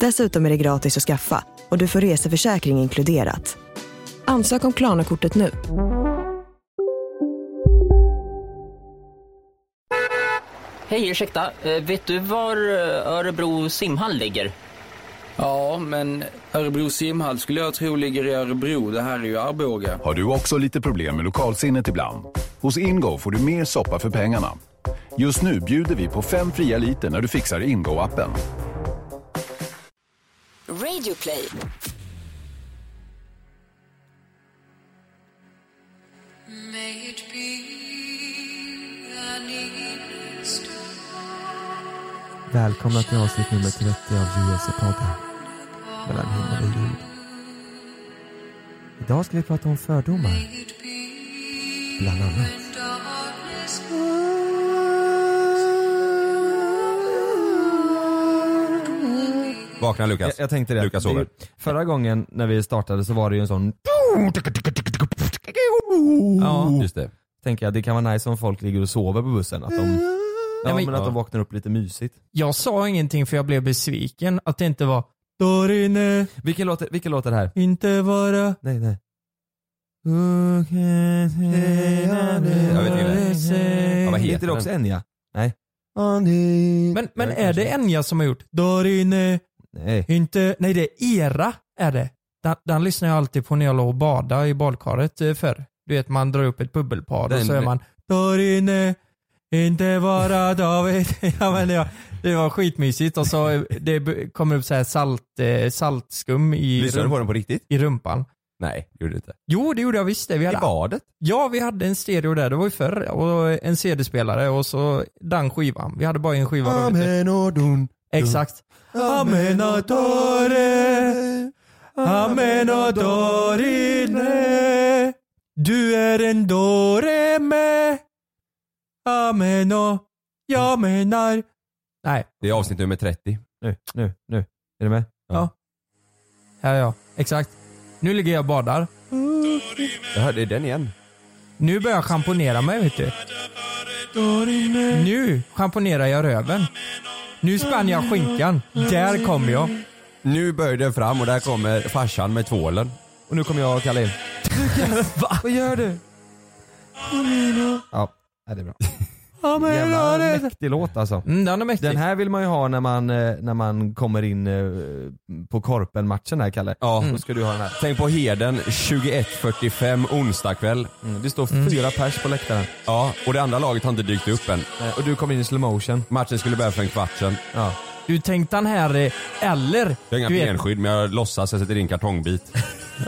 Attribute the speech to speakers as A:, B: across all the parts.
A: Dessutom är det gratis att skaffa och du får reseförsäkring inkluderat. Ansök om Klarna-kortet nu.
B: Hej, ursäkta. Eh, Vet du var eh, Örebro simhall ligger?
C: Ja, men Örebro simhall skulle jag tro ligger i Örebro. Det här är ju Arboga.
D: Har du också lite problem med lokalsinnet ibland? Hos Ingo får du mer soppa för pengarna. Just nu bjuder vi på fem fria liter när du fixar Ingo-appen.
E: Radioplay.
F: May it be an evening star
G: Välkomna till avsnitt nummer 30 av Djurgårdspodden. Mellan himmel och jord. Idag ska vi prata om fördomar. Bland annat.
F: when darkness
H: Vakna
G: Jag,
H: Lukas.
G: jag tänkte det.
H: Lukas
G: det är ju-
H: sover.
G: förra gången när vi startade så var det ju en sån... Ja,
H: Just det.
G: Oh. tänker jag. Det kan vara nice om folk ligger och sover på bussen. Att de, ja, men att de vaknar upp lite mysigt.
I: Jag sa ingenting för jag blev besviken att det inte var Där inne,
G: Vilken låt, vilken låt är det här?
I: inte vara
G: Nej, nej.
H: Jag vet inte. Ja, vad
G: Heter
H: heter
G: det
H: den?
G: också Enya?
I: Men, men
G: Ja,
I: är det
G: kanske.
I: Enya som har gjort Där inne,
G: Nej.
I: inte, nej det är Era är det. Den, den lyssnar jag alltid på när jag låg och badade i badkaret eh, förr. Du vet man drar upp ett bubbelpar och
G: Den-
I: så är man Där inne, inte vara David. ja, men det, var, det var skitmysigt och så eh, det b- kommer upp så här salt, eh, saltskum i,
H: Lyssnade du
I: rump,
H: på den på riktigt?
I: i rumpan.
H: Nej, gjorde du inte.
I: Jo det gjorde jag visst det. Vi
H: I
I: hade
H: badet?
I: Ja, vi hade en stereo där, det var ju förr, och en CD-spelare och så den skivan. Vi hade bara en skiva. då, vet du.
G: Amenodun.
I: Exakt. Amenadore, amenadorine, du är en doreme, ameno, jag menar. Mm. Nej,
H: Det är avsnitt nummer 30.
G: Nu, nu, nu. Är du med?
I: ja. Ja, ja, exakt. Nu ligger jag och badar.
H: Jag hörde den igen.
I: Nu börjar jag schamponera mig vet du. Nu schamponerar jag röven. Nu spänner jag skinkan. Där kommer jag.
H: Nu böjer den fram och där kommer farsan med tvålen.
G: Och nu kommer jag och Kalle in.
I: Va? Vad gör du?
G: Ja, nej, det är bra.
I: Ja, men
G: Jävla
I: jag är rädd.
G: mäktig låt alltså.
I: Mm, den är mäktig.
G: Den här vill man ju ha när man, eh, när man kommer in eh, på korpen-matchen här Kalle.
H: Ja.
I: Mm.
G: Då ska du ha den här.
H: Tänk på Heden 21.45 onsdag kväll.
G: Mm. Det står fyra pers på läktaren.
H: Ja, och det andra laget har inte dykt upp än.
G: Eh, Och du kommer in i slow motion.
H: Matchen skulle börja för en kvart sedan.
G: Ja.
I: Du tänkte den här, eh, eller
H: Jag har inga
I: du vet,
H: benskydd men jag låtsas, jag sätter in kartongbit.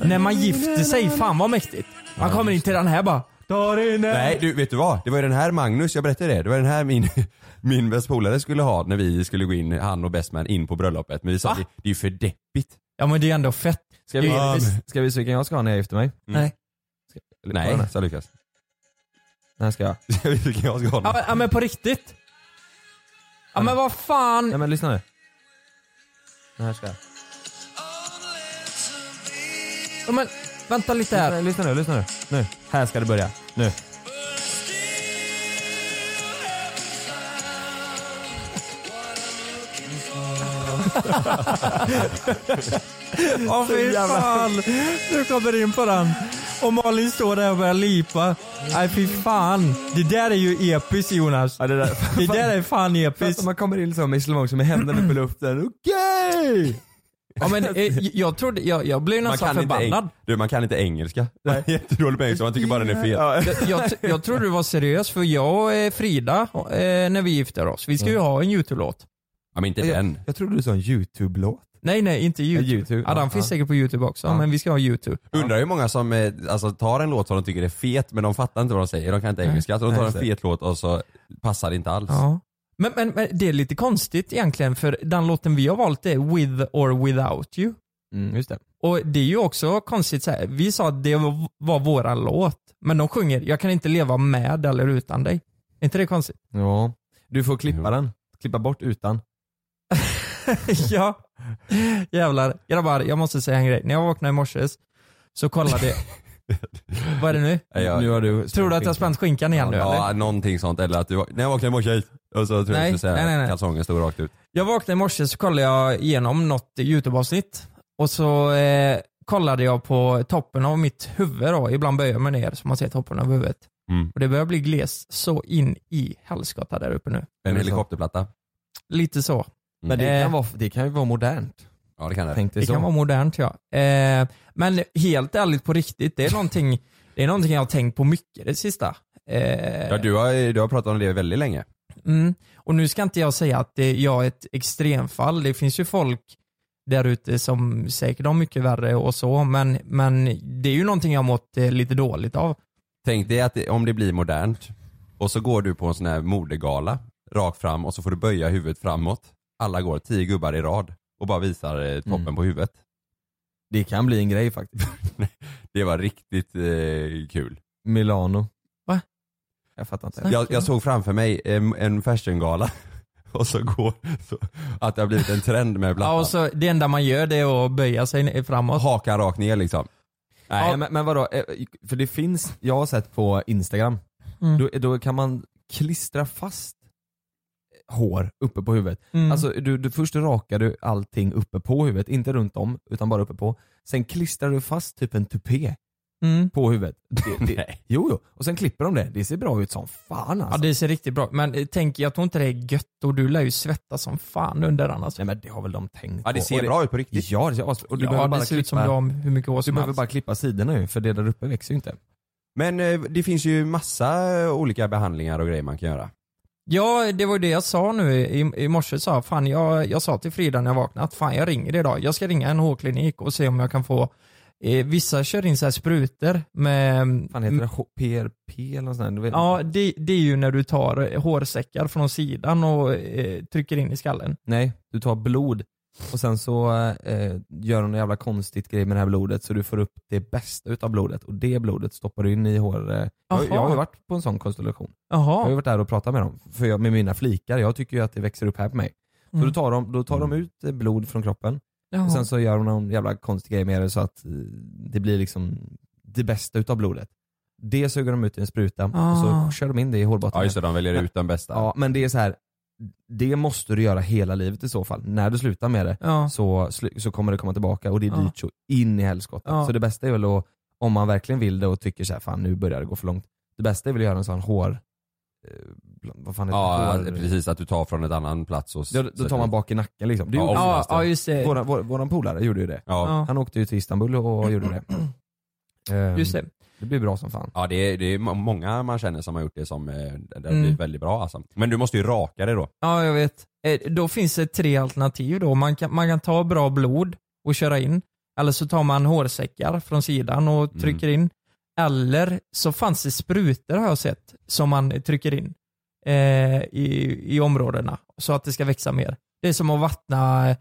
I: när man gifter sig, fan vad mäktigt. Man kommer in till den här bara. Där inne.
H: Nej du, vet du vad? Det var ju den här Magnus, jag berättade det. Det var den här min, min bästa polare skulle ha när vi skulle gå in, han och bestman, in på bröllopet. Men vi sa
I: Va?
H: att det, det är ju för deppigt.
I: Ja men det är ändå fett.
G: Ska vi,
I: Det är-
G: ska vi se vilken jag ska ha när jag gifter mig?
I: Nej.
H: Mm. Nej, sa Lukas.
G: Den här ska jag.
H: Jag vet vilken jag ska ha
I: Ja,
H: nu.
I: men- ja men på riktigt. Ja men vad fan.
G: Nej men lyssna nu. Den här ska jag.
I: Ja, men, vänta lite här.
G: Lyssna, lyssna nu, lyssna nu. Nu. Här ska det börja. Nu.
I: Ja fy fan. Du kommer in på den. Och Malin står där och börjar lipa. Nej fy fan. Det där är ju episkt Jonas.
G: Ja, det där.
I: Det där är fan
G: Fast om
I: episkt.
G: man kommer in liksom i slow motion med händerna uppe i luften. Okej!
I: Ja, men, eh, jag, trodde, jag, jag blev nästan
H: inte,
I: förbannad.
H: eng- du, man kan inte engelska. Nej. Jättedålig på engelska, man tycker bara den är fel.
I: Jag, jag, tr- jag trodde du var seriös för jag och Frida, eh, när vi gifter oss, vi ska ju ha en YouTube-låt.
H: Ja, men inte den.
G: Jag trodde du sa en YouTube-låt.
I: Nej nej, inte YouTube.
G: YouTube,
I: ja,
G: ja,
I: den finns
G: ja.
I: säkert på YouTube också,
G: Ja.
I: men vi ska ha YouTube.
H: Undrar hur många som eh, alltså, tar en låt som de tycker är fet men de fattar inte vad de säger, de kan inte engelska. Så de
G: Nej,
H: tar en
G: just det.
H: fet låt och så passar det inte alls.
I: Ja. Men, men, men det är lite konstigt egentligen för den låten vi har valt är With or Without You.
G: Mm, just det.
I: Och det är ju också konstigt så här. vi sa att det var- var våran låt, men de sjunger Jag kan inte leva med eller utan dig. Är inte det konstigt?
G: Ja. Du får klippa
H: Mm.
G: den. Klippa bort utan.
I: ja. Jävlar. Grabbar, jag måste säga en grej. När jag vaknade i morse så kollade jag... Vad är det nu?
H: Nej, jag-
G: Nu har du
I: Tror du att jag spänt skinkan igen nu eller?
H: Ja, någonting sånt. Eller att du, när jag vaknade i morse, och så tror jag
I: Nej,
H: jag skulle säga
I: nej, nej, nej.
H: att kalsongen stod rakt ut.
I: Jag vaknade i morse så kollade jag igenom något YouTube-avsnitt och så eh, kollade jag på toppen av mitt huvud då. Ibland böjer jag mig ner så man ser toppen av huvudet.
H: Mm.
I: Och det börjar bli glest så in i helskotta där uppe nu.
H: En helikopterplatta. Mm.
I: Lite så.
G: Men det
I: Eh.
G: kan, vara, det kan ju vara modernt.
H: Ja det kan det.
G: Tänk dig
I: Det
G: så.
I: kan vara modernt ja. Eh, men helt ärligt på riktigt, det är någonting, det är någonting jag har tänkt på mycket det sista. Eh,
H: Ja, du, har, du har pratat om det väldigt länge.
I: Mm. Och nu ska inte jag säga att det, jag är ett extremfall. Det finns ju folk där ute som säkert har mycket värre och så, men, men det är ju någonting jag har mått eh, lite dåligt av.
H: Tänk dig att det, om det blir modernt och så går du på en sån här modegala rakt fram och så får du böja huvudet framåt. Alla går tio gubbar i rad och bara visar eh, toppen
G: Mm.
H: på huvudet.
G: Det kan bli en grej faktiskt.
H: Det var riktigt eh, kul.
G: Milano.
I: Va?
G: Jag fattar inte.
I: Nej.
H: Jag, jag såg framför mig en, en fashiongala och så går så, att det har blivit en trend med plattan.
I: Ja, och så, det enda man gör det är att böja sig ner- framåt.
H: Hakan rakt ner liksom.
G: Nej,
I: Ja.
G: men, men vadå, Eh, för det finns, jag har sett på Instagram,
I: Mm.
G: då, då kan man klistra fast hår uppe på huvudet.
I: Mm.
G: Alltså du, du, först rakar du allting uppe på huvudet, inte runt om utan bara uppe på. Sen klistrar du fast typ en tupé
I: mm.
G: på huvudet. Det, det, jo, jo. Och sen klipper de det. Det ser bra ut som fan
I: Ja
G: alltså.
I: det ser riktigt bra men eh, tänk jag tror inte det är gött och du lär ju svettas som fan under den alltså.
G: Nej men det har väl de tänkt
H: Ja det
G: på.
H: ser
G: Och
H: bra ut på riktigt.
G: Ja, det ser as- och du
I: ja,
G: behöver
I: det
G: bara
I: ser
G: klippa,
I: ut som jag har hur mycket hår
G: du
I: som
G: behöver
I: helst.
G: bara klippa sidorna ju för det där uppe växer ju inte.
H: Men eh, det finns ju massa eh, olika behandlingar och grejer man kan göra.
I: Ja det var ju det jag sa nu i, i morse sa jag, fan jag, jag sa till Frida när jag vaknade att fan jag ringer idag. Jag ska ringa en hårklinik och se om jag kan få eh, vissa kör in så här sprutor med
G: Fan heter det H- PRP eller något sånt där? Du vet-
I: Mm. Ja det, det är ju när du tar eh, hårsäckar från sidan och eh, trycker in i skallen.
G: Nej, du tar blod och sen så eh, gör de en jävla konstigt grej med det här blodet så du får upp det bästa utav blodet och det blodet stoppar du in i hår. Eh. Jag,
I: Aha.
G: jag har ju varit på en sån konstellation. Jag har ju
I: Jaha.
G: varit där och pratat med dem, för jag, med mina flikar. Jag tycker ju att det växer upp här på mig. Så
I: Mm.
G: då tar de, då tar de ut eh, blod från kroppen
I: Jaha.
G: och sen så gör de någon jävla konstig grej med det så att eh, det blir liksom det bästa utav blodet. Det suger de ut i en spruta och
I: Ah.
G: så kör de in det i hårbotten.
H: Ja just det, de väljer ut den bästa.
G: Ja, men det är så här. Det måste du göra hela livet i så fall. När du slutar med det
I: ja.
G: så, slu- så kommer det komma tillbaka och det är
I: Ja.
G: dyrt så in i helskotta.
I: Ja.
G: Så det bästa är väl att, om man verkligen vill det och tycker så här, fan nu börjar det gå för långt. Det bästa är väl att göra en sån hår... eh, Vad fan heter
H: Ja,
G: det? Hår...
H: precis att du tar från ett annan plats och
G: Då, då tar man bak i nacken liksom. Det
H: Ja,
G: gjorde ju
I: Ja,
G: Sebastian.
I: ja just det.
G: Våran, vår, våran polare gjorde ju det.
H: Ja,
I: Ja,
G: Han åkte ju till Istanbul och gjorde det. Ehm,
I: just det.
G: Det blir bra som fan.
H: ja det, är, det är må- många man känner som har gjort det som eh, det har
I: Mm.
H: blivit väldigt bra alltså. Men du måste ju raka det då.
I: Ja, jag vet. Eh, Då finns det tre alternativ då. Man kan, man kan ta bra blod och köra in. Eller så tar man hårsäckar från sidan
H: Mm.
I: och trycker in. Eller så fanns det sprutor har jag sett som man trycker in eh, i, i områdena så att det ska växa mer. Det är som att vattna, eh,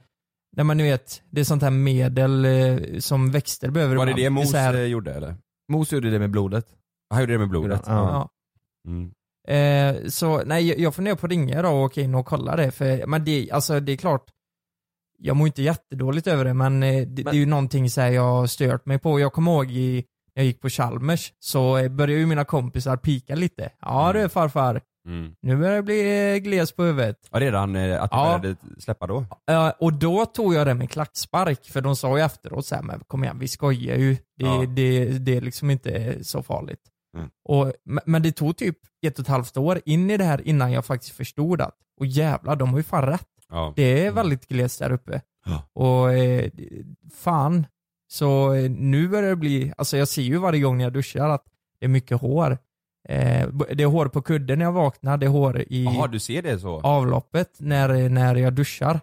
I: nej men ni vet, det är sånt här medel eh, som växter behöver.
H: Var det
I: ibland.
H: det
I: är
H: Mos
I: så här-
H: eh, gjorde eller?
G: Mos gjorde det med blodet.
H: Han gjorde det med blodet?
G: Gjorde han? Ja.
H: Mm.
I: Eh, så nej, jag- jag funderar på att ringa då och åka in och kolla det. För, men det, alltså, det är klart, jag mår inte jättedåligt över det, men, eh, det, det är ju någonting så här, jag har stört mig på. Jag kommer ihåg i, när jag gick på Chalmers så eh, började ju mina kompisar pika lite. Ja du farfar,
H: Mm.
I: nu börjar det bli eh, gles på huvudet.
H: Ja redan eh, att du
I: Ja.
H: började släppa då?
I: Eh, och då tog jag det med klackspark, för de sa ju efteråt så här, men kom igen vi skojar ju. Det,
H: Ja.
I: det, det är liksom inte så farligt.
H: Mm.
I: Och, men- men det tog typ ett och ett halvt år in i det här innan jag faktiskt förstod att, och jävlar de har ju fan rätt.
H: Ja.
I: Det är väldigt glest där uppe.
A: Och eh, fan, så eh, nu börjar det bli, alltså jag ser ju varje gång när jag duschar att det är mycket hår. Eh, b- det är hår på kudden när jag vaknar, det är hår i
H: Jaha, du ser det så?
A: avloppet när, när jag duschar.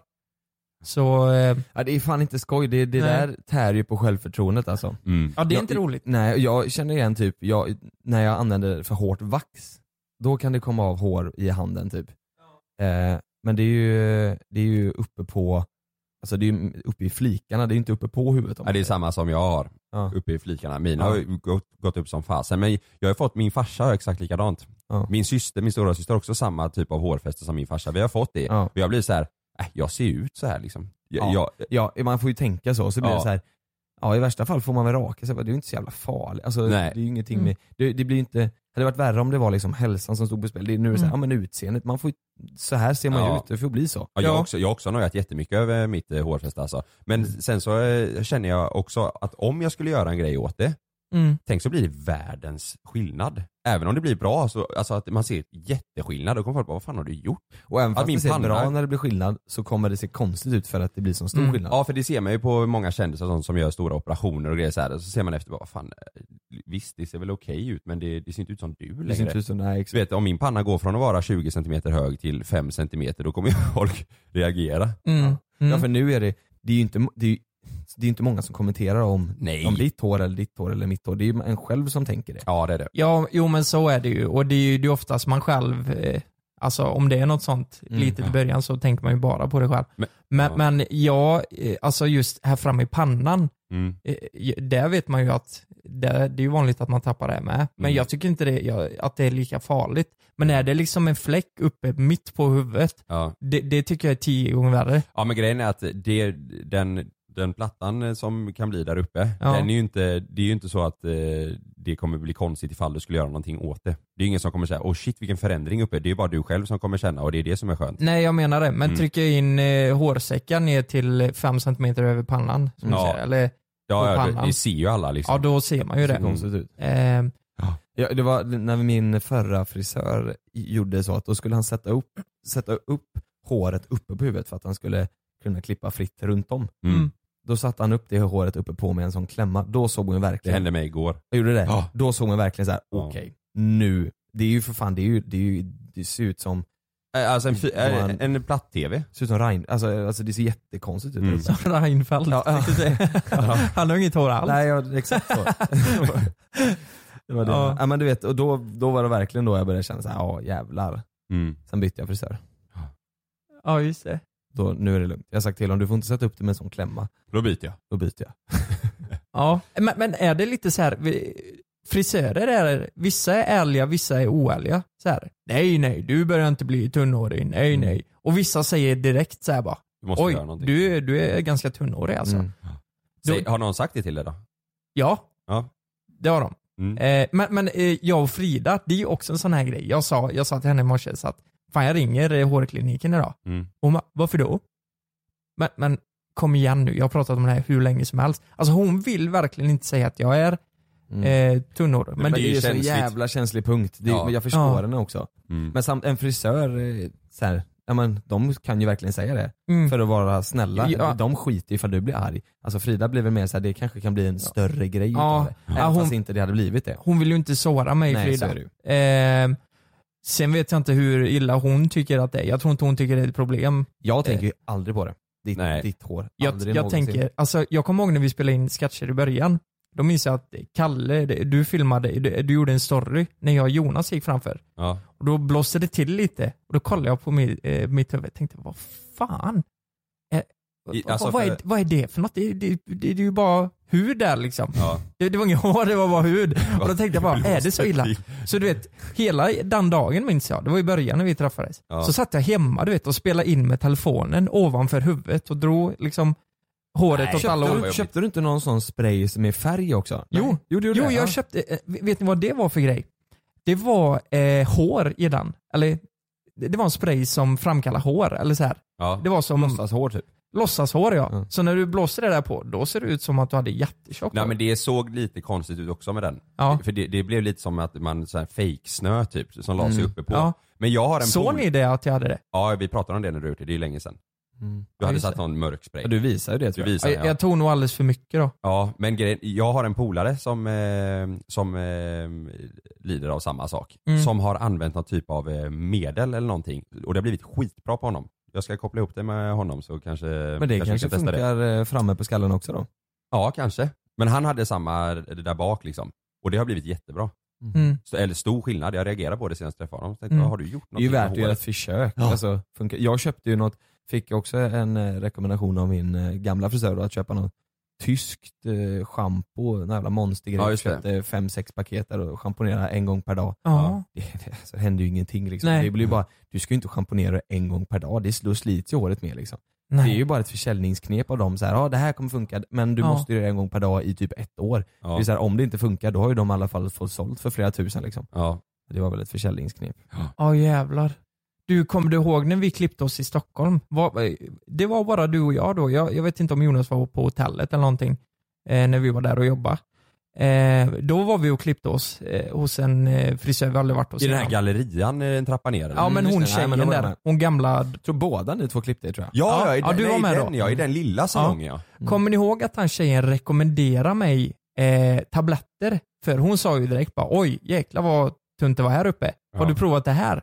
A: Så... Eh,
I: ja, det är fan inte skoj, det, det
A: Nej.
I: där tär ju på självförtroendet alltså.
H: Mm.
A: Ja, det är
I: Jag-
A: inte roligt.
I: Nej, jag känner igen typ, jag, när jag använder för hårt vax, då kan det komma av hår i handen typ. Eh, men det är, ju, det är ju uppe på, alltså det är ju uppe i flikarna, det är ju inte uppe på huvudet. Om
H: Ja, det är samma som jag har uppe i flikarna. Mina har ju gått, gått upp som fasen. Men jag har fått, min farsa har exakt likadant. Min syster, min stora syster har också samma typ av hårfäste som min farsa. Vi har fått det.
I: Ja.
H: Och jag blir så här, äh, jag ser ju ut så här liksom. Jag,
I: Ja,
H: jag,
I: ja, man får ju tänka så, så blir
H: Ja.
I: det så här. Ja i värsta fall får man väl raka sig, det är ju inte så jävla farligt. Alltså, det
H: Nej.
I: är ju ingenting
H: Mm.
I: med, det, det blir ju inte, hade det varit värre om det var liksom hälsan som stod på spel. Det är nu mm. så här,
H: Mm.
I: ja men utseendet, man får ju, så här ser man ju
H: Ja.
I: ut, det får bli så.
H: Ja, jag, har Också, jag har också nöjat jättemycket över mitt eh, hårfäste alltså. Men sen så eh, känner jag också att om jag skulle göra en grej åt det,
A: Mm.
H: tänk så blir det världens skillnad. Även om det blir bra, så, alltså att man ser jätteskillnad, då kommer folk bara vad fan har du gjort?
I: Och även
H: Att
I: fast
H: min
I: det ser
H: panna-
I: bra när det blir skillnad så kommer det se konstigt ut för att det blir sån stor
H: Mm.
I: skillnad.
H: Ja för det ser man ju på många kändisar som, som gör stora operationer och grejer så här. Så ser man efter bara, fan eh, visst det ser väl okej ut men det, det ser inte ut som du längre.
I: ser inte ut som- nej,
H: du vet, om min panna går från att vara 20 cm hög till 5 cm då kommer ju folk reagera.
A: Mm. Mm.
I: Ja för nu är det, det är ju inte, det är, ju- det är ju inte många som kommenterar om,
H: Nej.
I: om ditt hår eller ditt hår eller mitt hår. Det är ju en själv som tänker det.
H: Ja det är det.
A: Ja, jo men så är det ju. Och det är ju det är oftast man själv, eh, alltså om det är något sånt
I: Mm.
A: litet i
I: Ja.
A: början så tänker man ju bara på det själv.
H: Men,
A: men,
H: ja.
A: jag, eh, alltså just här framme i pannan,
H: Mm.
A: eh, j- där vet man ju att det, det är ju vanligt att man tappar det med. Men
H: Mm.
A: jag tycker inte det, jag, att det är lika farligt. Men är det liksom en fläck uppe mitt på huvudet,
H: Ja.
A: det, det tycker jag är tio gånger värre.
H: Ja men grejen är att det, den, den plattan som kan bli där uppe,
A: Ja.
H: den är ju inte, det är ju inte så att eh, det kommer bli konstigt ifall du skulle göra någonting åt det. Det är ju ingen som kommer säga åh shit vilken förändring uppe, det är bara du själv som kommer känna och det är det som är skönt.
A: Nej jag menar det, men
H: Mm.
A: trycker jag in eh, hårsäckar ner till 5 cm över pannan, som du
H: Ja.
A: säger, eller på
H: Ja, ja
A: pannan.
H: det, det ser ju alla liksom.
A: Ja, då ser man ju det.
I: ser
H: Mm.
I: konstigt ut.
A: Ehm,
I: Ja, det var när min förra frisör gjorde så att då skulle han sätta upp, sätta upp håret uppe på huvudet för att han skulle kunna klippa fritt runt om.
H: Mm.
I: Då satte han upp det håret uppe på med en sån klämma. Då såg hon
H: Det
I: verkligen,
H: hände mig igår.
I: jag gjorde det,
H: Ja.
I: då såg hon verkligen så här:
H: Ja.
I: okej nu, det är ju för fan, det, är ju, det, är ju, det ser ut som
H: Eh, Alltså en, fy-
A: Mm.
H: eh,
I: Man-
H: en platt-tv.
I: Ser ut som Rein, alltså, alltså det ser jättekonstigt ut.
H: Mm.
I: Alltså.
A: Reinfeldt.
I: Ja, ja.
A: Han har inget hår alls.
I: Nej, ja, exakt så. det var det.
A: Ja.
I: Ja. men du vet, och då, då var det verkligen då jag började känna såhär, ja jävlar.
H: Mm.
I: Sen bytte jag frisör.
A: Ja, just det.
I: Då, nu är det lugnt. Jag har sagt till honom, du får inte sätta upp det med en sån klämma.
H: Då byter jag.
I: Då byter jag.
A: Ja. Men, men är det lite så här, vi- frisörer är, vissa är ärliga, vissa är oärliga. Så här, nej, nej, du börjar inte bli tunnhårig, nej, nej. Och vissa säger direkt så här bara,
H: Du måste
A: oj,
H: göra någonting.
A: du, är- du är ganska tunnhårig alltså.
I: Mm.
H: Säg, har någon sagt det till dig då?
A: Ja,
H: Ja.
A: det har de.
H: Mm.
A: Eh, men men eh, jag och Frida, det är ju också en sån här grej. Jag sa, jag sa till henne i morse så att, fan jag ringer eh, hårkliniken idag.
H: Mm.
A: Hon bara, varför då? Men, men kom igen nu, jag har pratat om det här hur länge som helst. Alltså hon vill verkligen inte säga att jag är eh, tunnhårig.
I: Men, det är ju så
H: känsligt.
I: jävla känslig punkt. Det,
H: Ja.
I: men Jag förstår
A: Ja.
I: henne också.
H: Mm.
I: Men samt, en frisör, eh, så här, ja, men, de kan ju verkligen säga det.
A: Mm.
I: För att vara snälla.
A: Ja.
I: De skiter i ifall du blir arg. Alltså Frida blir väl mer såhär, det kanske kan bli en större grej
A: Ja.
I: utav det. Även
A: Ja, hon-
I: fast inte det hade blivit det.
A: Hon vill ju inte såra mig
I: Nej, så
A: Frida.
I: är det ju.
A: Eh, sen vet jag inte hur illa hon tycker att det är. Jag tror inte hon tycker det är ett problem.
I: Jag
H: Eh.
I: tänker ju aldrig på det. Ditt, ditt hår.
A: Jag,
I: Aldrig
A: jag
I: någonsin.
A: tänker, alltså jag kommer ihåg när vi spelade in sketcher i början. Då minns jag att Kalle, det- du filmade, du, du gjorde en story när jag och Jonas gick framför.
H: Ja.
A: Och då blåste det till lite och då kollade jag på mitt, eh, mitt huvud och tänkte, vad fan? Eh,
H: I-
A: vad-
H: alltså,
A: vad, är,
H: för-
A: vad är det för något? Det, det, det, det är ju bara hud där liksom.
H: Ja.
A: Det, det var inget hår, det var bara hud. Och då tänkte jag bara, är det så illa?
H: till.
A: Så du vet, hela den dagen minns jag, det var i början när vi träffades.
H: Ja.
A: Så satt jag hemma du vet och spelade in med telefonen ovanför huvudet och drog liksom håret åt alla
I: köpte,
A: håll.
I: du, köpte du inte någon sån spray som är färg också?
A: Jo,
I: jo, du gjorde
A: jo
I: det,
A: jag
I: ja.
A: köpte, eh, vet ni vad det var för grej? Det var eh, hår i den, eller det det var en spray som framkallar hår, eller så här.
H: Ja.
A: Det var som
I: Låtsashår typ.
A: låtsashår ja. Så när du blåser det där på, då ser det ut som att du hade jättetjockt
H: Nej
A: hår.
H: men det såg lite konstigt ut också med den.
A: Ja.
H: För det, det blev lite som att man så här fake snö typ som la sig
A: Mm.
H: uppe på.
A: Ja.
H: Men jag har en
A: Såg
H: pol-
A: ni det att jag hade det?
H: Ja vi pratade om det när du gjorde det, det är ju länge sedan.
I: Mm.
H: Du hade
A: just
H: satt någon mörk spray.
I: Ja, du visar ju det
H: Du
I: tror jag.
H: visar,
A: jag,
H: ja.
A: jag tog nog alldeles för mycket då.
H: Ja, men grejen, jag har en polare som, eh, som eh, lider av samma sak.
A: Mm.
H: Som har använt någon typ av eh, medel eller någonting och det har blivit skitbra på honom. Jag ska koppla ihop det med honom så kanske
I: Men det kanske
H: vi kan testa det.
I: funkar eh, framme på skallen också då?
H: Ja, kanske. Men han hade samma det där bak liksom. Och det har blivit jättebra.
A: Mm.
H: Så, eller stor skillnad. Jag reagerade på det senast jag träffade honom. Så Tänkte,
I: Mm.
H: Har du gjort
I: Det är ju
H: någonting med
I: värt att göra
H: håret?"
I: ett försök.
H: Ja.
I: Alltså, funkar. Jag köpte ju något, fick också en eh, rekommendation av min eh, gamla frisör då, att köpa något tyskt eh, schampo, en jävla monstergrej.
H: Ja,
I: jag
H: just det.
I: köpte fem, sex paket där och schamponerade en gång per dag.
A: Ja.
I: Det, det, alltså, det hände ju ingenting liksom.
A: Nej.
I: Det blir ju bara, du ska ju inte schamponera en gång per dag, det sl- då slits ju håret med liksom.
A: Nej.
I: Det är ju bara ett försäljningsknep av dem, så här, ja det här kommer funka men du
A: Ja.
I: måste göra det en gång per dag i typ ett år.
H: Ja.
I: Det är så här, om det inte funkar då har ju de i alla fall fått sålt för flera tusen liksom.
H: Ja.
I: Det var väl ett försäljningsknep.
A: Ja jävlar. Du, kommer du ihåg när vi klippte oss i Stockholm? Var, det var bara du och jag då. Jag, jag vet inte om Jonas var på hotellet eller någonting eh, när vi var där och jobbade. Eh, då var vi och klippte oss eh, hos en eh, frisör vi aldrig varit hos.
H: I den här
A: innan.
H: gallerian eh, en trappa ner? eller?
A: Ja men
H: Just
A: hon
H: det. Nej, men då
A: tjejen
H: var jag
A: där,
H: med.
A: hon gamla.
I: Jag tror båda ni två klippte er tror jag.
H: Ja, ja, i,
A: Ja,
H: den,
A: du var
H: nej,
A: med
H: i den,
A: då.
H: ja, i den lilla salongen ja.
A: Kommer ni ihåg att han tjejen rekommenderade mig eh, tabletter? För hon sa ju direkt bara oj jäklar vad tunt det var här uppe. Har
H: Ja.
A: du provat det här?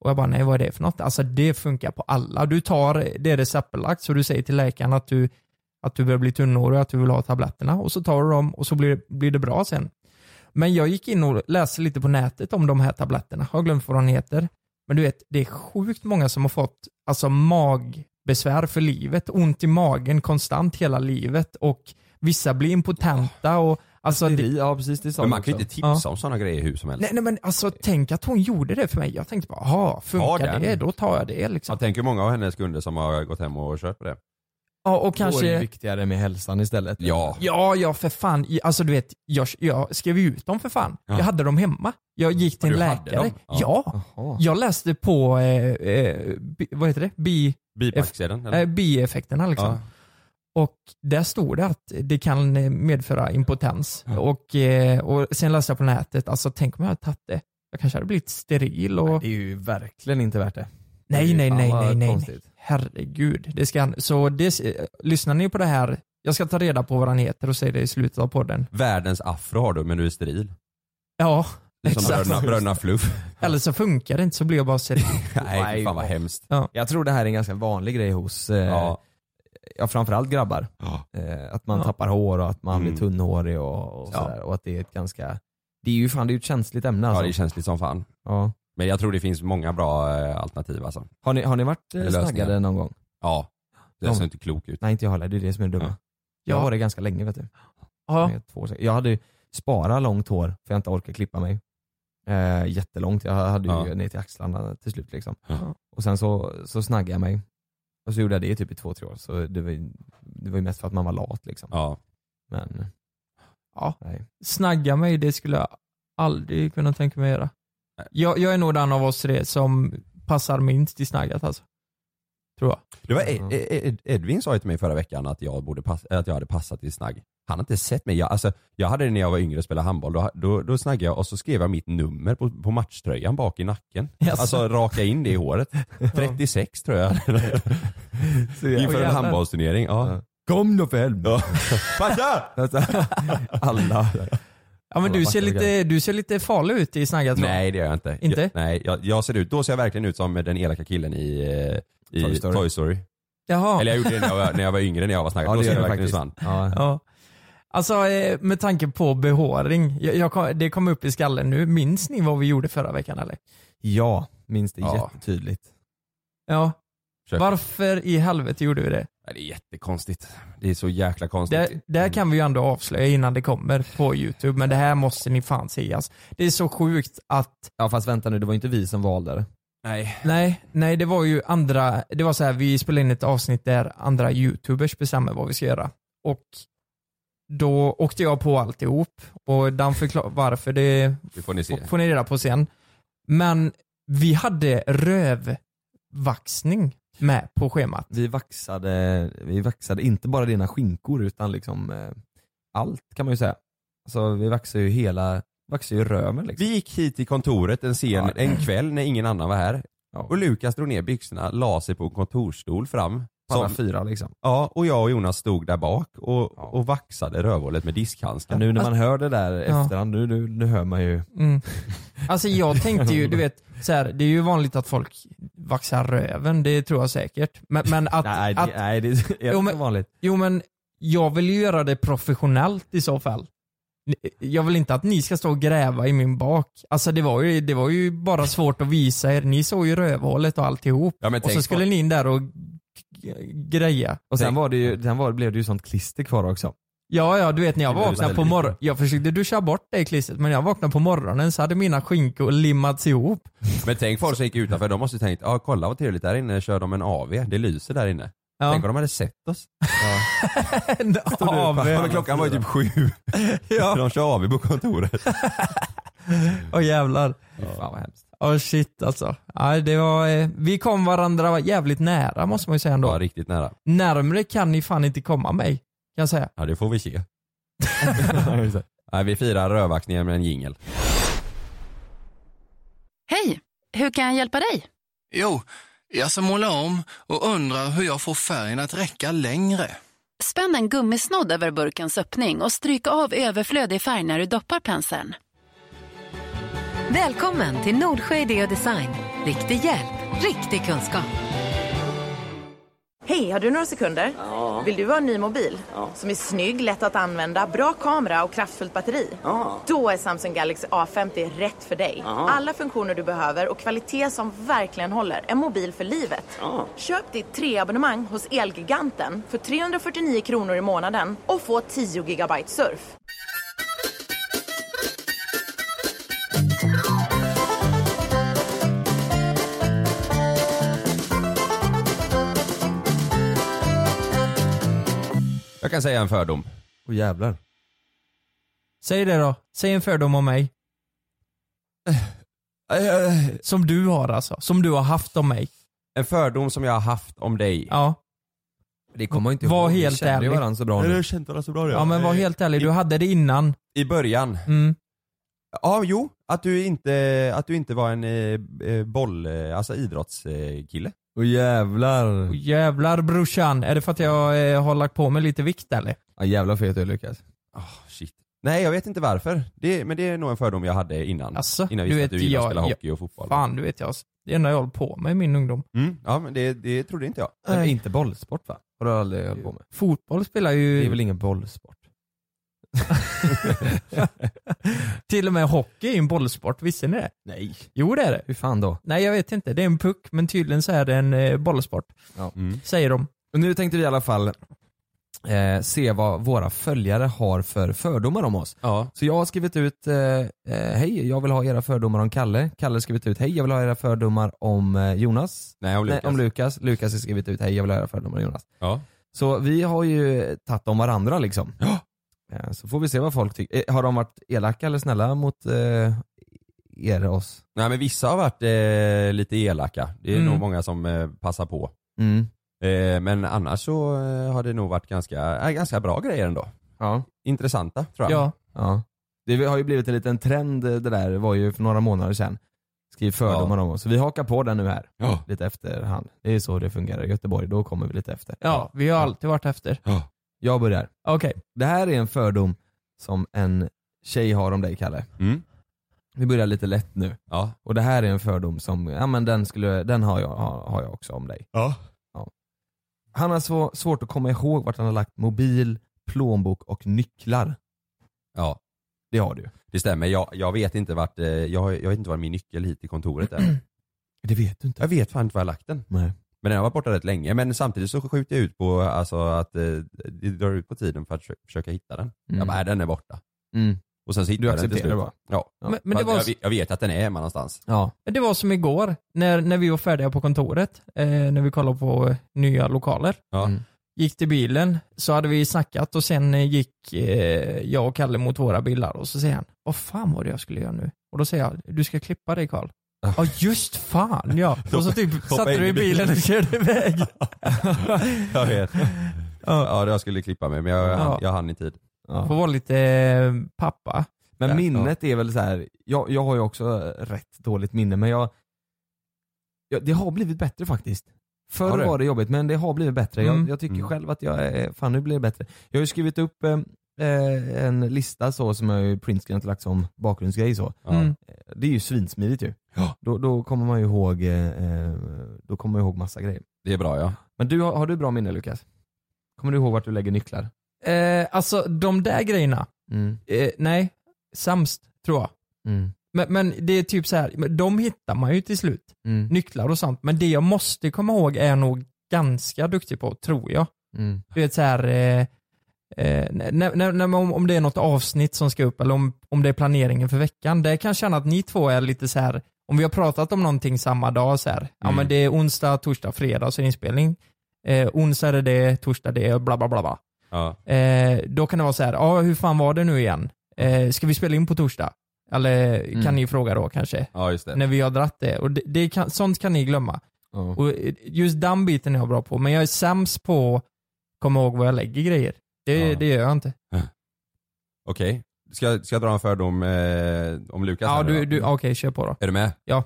A: Och jag bara nej vad är det för något? Alltså det funkar på alla. Du tar det receptbelagt så du säger till läkaren att du, att du börjar bli tunnhårig och att du vill ha tabletterna och så tar du dem och så blir, blir det bra sen. Men jag gick in och läste lite på nätet om de här tabletterna. Jag har glömt vad de heter. Men du vet, det är sjukt många som har fått alltså, magbesvär för livet. Ont i magen konstant hela livet och vissa blir impotenta. Och, alltså, det,
I: ja precis, det sa
H: Men
I: du
H: man kan ju
I: också.
H: inte tipsa om sådana grejer hur som helst.
A: nej, nej men alltså tänk att hon gjorde det för mig. Jag tänkte bara, aha,
H: Ta
A: funkar
H: den.
A: det? Då tar jag det liksom.
H: Jag tänker många av hennes kunder som har gått hem och kört på det.
A: Ja, och
I: Då är det
A: kanske...
I: viktigare med hälsan istället.
H: Ja.
A: Ja, ja för fan. I- Alltså du vet, jag, jag skrev ju ut dem för fan.
H: Ja.
A: Jag hade dem hemma. Jag gick till
H: Ja,
A: en
H: du hade
A: läkare.
H: dem? Ja.
A: Ja. Jag läste på, eh, eh, bi, vad heter det? Bi,
H: Bipacksedeln eller?
A: eh, bieffekterna liksom.
H: Ja.
A: Och där stod det att det kan eh, medföra impotens. Och, eh, och sen läste jag på nätet, alltså tänk om jag hade tagit det. Jag kanske hade blivit steril och...
I: Det är ju verkligen inte värt det.
A: Nej, nej,
I: Fan,
A: nej,
I: vad
A: nej, nej, nej.
I: konstigt.
A: Herregud. Det ska, så det, eh, lyssnar ni på det här, jag ska ta reda på vad han heter och säga det i slutet av podden.
H: Världens afro har du men du är steril.
A: Ja,
H: Som
A: exakt.
H: bröderna, bröderna Fluff.
A: Eller så funkar det inte så blir jag bara seriös.
H: Nej, fy fan vad
I: ja.
H: hemskt.
I: Jag tror det här är en ganska vanlig grej hos eh, ja.
H: Ja.
I: framförallt grabbar.
H: Ja.
I: Eh, att man
A: Ja.
I: tappar hår och att man
H: Mm.
I: blir tunnhårig och, och
H: Ja.
I: sådär. Och att det är ett ganska, det är ju fan det är ju ett känsligt ämne
H: ja,
I: alltså.
H: det är känsligt som fan.
I: ja.
H: Men jag tror det finns många bra eh, alternativ alltså.
I: har, ni, har ni varit eh,
H: Lösningar.
I: snaggade någon gång?
H: Ja. Det
I: Ja.
H: ser inte klok ut.
I: Nej inte jag heller, det är det som är det dumma.
H: Ja.
I: Jag
A: Ja.
I: var det ganska länge vet du.
A: Ja.
I: Med Två år sedan. Jag hade ju sparat långt hår för jag inte orkar klippa mig. Eh, jättelångt, jag hade ju
H: Ja.
I: ner till axlarna till slut liksom.
H: Ja.
I: Och sen så, så snaggade jag mig. Och så gjorde jag det i typ i två, tre år. Så det var, ju- det var ju mest för att man var lat liksom.
H: Ja.
I: Men
A: Ja.
I: nej.
A: Snagga mig, det skulle jag aldrig kunna tänka mig göra. Jag, jag är nog den av oss tre som passar minst i snaggat alltså. Tror jag.
H: Det var
I: Ja.
H: Ed, Ed, Edvin sa ju till mig förra veckan att jag, borde pass, att jag hade passat i snagg. Han har inte sett mig. Jag, alltså, jag hade det när jag var yngre och spelade handboll. Då, då, då snaggade jag och så skrev jag mitt nummer på, på matchtröjan bak i nacken.
A: Jaså.
H: Alltså raka in det i håret. 36 tror jag.
A: Åh,
H: Inför en
A: jävlar.
H: handbollsturnering. Ja.
I: Ja. Kom då för
H: Ja.
I: helvete.
H: Passa!
I: alltså. Alla.
A: Ja men
I: Alla
A: du ser,
I: backar
A: lite, du ser lite farlig ut i snaggat tror jag.
H: Nej det gör jag inte.
A: Inte?
H: Jag, nej, jag, jag ser ut, då ser jag verkligen ut som den elaka killen i, eh, i
I: Toy
H: Toy
I: Story.
H: Story.
A: Jaha.
H: Eller jag gjorde det när jag var, när jag var yngre, när jag var snaggad.
I: Ja
H: då
I: det
H: ser
I: gör
H: jag
I: det
H: verkligen ut
I: faktiskt.
H: som han.
I: Ja.
A: Ja. Alltså eh, med tanke på behåring, jag, jag, kom- det kom upp i skallen nu. Minns ni vad vi gjorde förra veckan eller?
I: ja, minns det
H: Ja.
I: jättetydligt.
A: Ja.
H: Försök.
A: Varför i helvete gjorde vi det?
H: Nej, Det är jättekonstigt. Det är så jäkla konstigt.
A: Det, där kan vi ju ändå avslöja innan det kommer på YouTube, men det här måste ni fan se alltså. Det är så sjukt att,
I: Ja fast vänta nu, det var ju inte vi som valde det.
H: Nej.
A: nej, nej det var ju andra, det var så här, vi spelade in ett avsnitt där andra YouTubers bestämmer vad vi ska göra. Och då åkte jag på alltihop och Dan förklarar varför det
H: Det får ni se.
A: F- får ni reda på sen. Men vi hade rövvaxning med på schemat.
I: Vi vaxade, vi vaxade inte bara dina skinkor utan liksom eh, allt kan man ju säga. Alltså vi vaxade ju hela, vaxade ju röven liksom.
H: Vi gick hit till kontoret en, sen,
I: Ja.
H: en kväll när ingen annan var här.
I: Ja.
H: Och Lukas drog ner byxorna, la sig på en kontorsstol fram.
I: på alla fyra liksom.
H: Ja, och jag och Jonas stod där bak och, och vaxade rövhålet med diskhandskar.
I: nu när man hör det där
J: Alltså, Ja.
I: efterhand, nu, nu, nu hör man ju
J: Mm. Alltså jag tänkte ju, du vet, så här, det är ju vanligt att folk vaxar röven, det tror jag säkert. Men, men att...
I: Nej, det-
J: att,
I: nej, det är inte vanligt.
J: Jo men, jag vill ju göra det professionellt i så fall. Ni- Jag vill inte att ni ska stå och gräva i min bak. Alltså det var ju, det var ju bara svårt att visa er, ni såg ju rövhålet och alltihop.
H: Ja, men
J: och
H: tänk
J: så
H: på-
J: skulle ni in där och g- greja.
I: Och sen var det ju, sen var, blev det ju sånt klister kvar också.
J: Ja, ja, du vet när jag
I: Det blir
J: vaknade på
I: väldigt-
J: morgonen, jag försökte duscha bort det klistret men när jag vaknade på morgonen så hade mina skinkor limmats ihop.
H: Men tänk folk som gick utanför, de måste ju tänkt, ja kolla vad trevligt, där inne kör de en AV, det lyser där inne.
J: Ja.
H: Tänk vad de hade sett oss.
J: En
H: Ja,
J: AV.
H: men klockan var ju typ sju.
J: Ja.
H: De kör AV på kontoret.
J: Åh jävlar.
I: Fan vad hemskt.
J: Åh shit alltså. Ja, det var, eh, vi kom varandra jävligt nära måste man ju säga ändå.
H: Ja, riktigt nära.
J: Närmre kan ni fan inte komma mig, kan jag säga.
H: Ja, det får vi se. Nej, vi firar rövvaxningen med en jingel.
K: Hej! Hur kan jag hjälpa dig?
L: Jo, jag ska måla om och undrar hur jag får färgen att räcka längre.
K: Spänn en gummisnodd över burkens öppning och stryk av överflödig färg när du doppar penseln.
M: Välkommen till Nordsjö Idé och Design. Riktig hjälp, riktig kunskap.
A: Hej, har du några sekunder? Vill du ha en ny mobil? Som är snygg, lätt att använda, bra kamera och kraftfullt batteri? Då är Samsung Galaxy A50 rätt för dig.
N: Ja.
A: Alla funktioner du behöver och kvalitet som verkligen håller. En mobil för livet. Köp ditt treabonnemang hos Elgiganten för 349 kronor i månaden och få 10 gigabyte surf.
H: Jag kan säga en fördom.
I: Åh jävlar.
J: Säg det då. Säg en fördom om mig. Som du har alltså. Som du har haft om mig.
H: Eh, En fördom som jag har haft om dig.
J: Ja.
I: Det kommer jag inte
J: Var
I: ihåg. Vi
J: helt
I: kände ju
J: ärlig.
I: varandra så bra
H: Nej,
I: nu.
H: jag kände varandra så bra nu.
J: Ja men var helt ärlig, du hade det innan.
H: I början.
J: Mm.
H: Ja, jo. Att du inte, att du inte var en eh, eh, boll, eh, alltså idrottskille.
I: Åh jävlar.
J: Åh, Jävlar brorsan, är det för att jag eh, har lagt på mig lite vikt eller?
I: Ja jävlar fet du Lukas.
H: shit. Nej, jag vet inte varför. Det, men det är nog en fördom jag hade innan.
J: Alltså,
H: innan
J: du
H: jag visste
J: vet,
H: att du gillade
J: jag-
H: att spela
J: jag-
H: hockey och fotboll.
J: Fan du vet jag, det enda jag håller på med i min ungdom.
H: Mm. Ja, men det, det trodde inte jag.
I: Men det är inte bollsport va? Har du aldrig hållit på med?
J: Fotboll spelar ju...
I: Det är väl ingen bollsport?
J: Till och med hockey är en bollsport, visste ni det?
I: Nej.
J: Jo det är det.
I: Hur fan då?
J: Nej jag vet inte, det är en puck men tydligen så är det en eh, bollsport.
I: Ja.
H: Mm.
J: Säger de.
I: Och nu tänkte vi i alla fall eh, se vad våra följare har för fördomar om oss. Så jag har skrivit ut, eh, eh, hej jag vill ha era fördomar om Kalle. Kalle har skrivit ut, hej jag vill ha era fördomar om eh, Jonas.
H: Nej, om Lukas.
I: om Lukas. Lukas har skrivit ut, hej jag vill ha era fördomar om Jonas.
H: Ja.
I: Så vi har ju tagit om varandra liksom. Eh, Så får vi se vad folk tycker. Eh, Har de varit elaka eller snälla mot eh, er och oss?
H: Nej, men vissa har varit eh, lite elaka. Det är
I: Mm.
H: nog många som eh, passar på.
I: Mm.
H: Eh, men annars så eh, har det nog varit ganska, eh, ganska bra grejer ändå.
I: Ja.
H: Intressanta tror jag.
I: ja. Det har ju blivit en liten trend, eh, det där Det var ju för några månader sedan. Skriv fördomar om oss. Så vi hakar på den nu här. Lite efterhand. Det är så det fungerar i Göteborg, då kommer vi lite efter.
J: Ja, vi har alltid varit efter.
I: Jag börjar.
J: Okej.
I: Det här är en fördom som en tjej har om dig Kalle.
H: Mm.
I: Vi börjar lite lätt nu.
H: Ja.
I: Och det här är en fördom som, ja men den, skulle, den har, jag, har, har jag också om dig.
H: Ja.
I: Han har så svårt att komma ihåg vart han har lagt mobil, plånbok och nycklar.
H: Ja.
I: Det har du.
H: Det stämmer. Jag, jag vet inte vart, eh, jag, har- jag vet inte var min nyckel hit till kontoret är.
I: Det vet du inte.
H: Jag vet fan inte var jag har lagt den.
I: Nej.
H: Men den har varit borta rätt länge. Men samtidigt så skjuter jag ut på alltså, att eh, det drar ut på tiden för att försöka- försöka hitta den.
I: Mm.
H: Jag bara, "Nej, den är borta.
I: Mm.
H: Och sen så hittar
I: Du
H: jag den till
I: accepterar
H: slut.
I: det bara?
H: Ja.
J: Ja. Men- men det
H: Fast
J: var-
H: jag, vet- jag vet att den är hemma någonstans.
I: Ja.
J: Det var som igår, när, när vi var färdiga på kontoret, eh, när vi kollade på eh, nya lokaler.
H: Ja.
J: Gick till bilen, så hade vi snackat och sen eh, gick eh, jag och Kalle mot våra bilar och så säger han, vad fan var det jag skulle göra nu? Och då säger jag, du ska klippa dig Karl. Ja just fan ja. Och så typ
H: Hoppa
J: satte
H: in
J: du i
H: i
J: bilen
H: bilen.
J: och körde iväg.
H: Jag vet. ja, jag skulle klippa mig men jag,
J: Ja.
H: jag hann i tid.
J: Får vara lite eh, pappa.
I: Men
J: Där,
I: minnet är väl så här. Jag, jag har ju också rätt dåligt minne men jag, jag Det har blivit bättre faktiskt.
H: Har
G: Förr
H: du?
G: var det jobbigt men det har blivit bättre.
H: Mm.
G: Jag, jag tycker
H: Mm.
G: själv att jag är, fan nu blir det bättre. Jag har ju skrivit upp eh, eh, en lista så som jag ju printscreenat och lagt som bakgrundsgrej så.
I: Mm.
G: Eh, Det är ju svinsmidigt ju. Då, då kommer man ju ihåg, eh, eh, då kommer man ihåg massa grejer.
H: Det är bra ja.
G: Men du, har har du bra minne Lukas? Kommer du ihåg vart du lägger nycklar?
I: Eh, alltså de där grejerna,
G: Mm.
I: eh, nej, sämst tror jag.
G: Mm.
I: Men, men det är typ så här, men de hittar man ju till slut.
G: Mm.
I: Nycklar och sånt. Men det jag måste komma ihåg är jag nog ganska duktig på, tror jag.
G: Mm.
I: Du vet så här, eh, eh, när, när, när, om, om det är något avsnitt som ska upp eller om, om det är planeringen för veckan. Där kan jag känna att ni två är lite så här, om vi har pratat om någonting samma dag så här, ja
G: Mm.
I: men det är onsdag, torsdag, fredag så är det inspelning. Eh, onsdag är det det, torsdag det, bla bla bla. bla.
H: Ja.
I: Eh, då kan det vara så här, ja hur fan var det nu igen? Eh, ska vi spela in på torsdag? Eller
H: Mm.
I: kan ni fråga då kanske?
H: Ja just det.
I: När vi har dratt det. Och det, det kan, sånt kan ni glömma.
G: Ja.
I: Och eh, just den biten är jag bra på, men jag är sämst på att komma ihåg var jag lägger grejer. Det,
H: Ja.
I: det gör jag inte.
H: Okej. Ska, jag- ska jag dra en fördom eh, om Lukas?
I: Ja,
H: här nu
I: du,
H: då?
I: du, okej, kör på då.
H: Är du med?
I: Ja.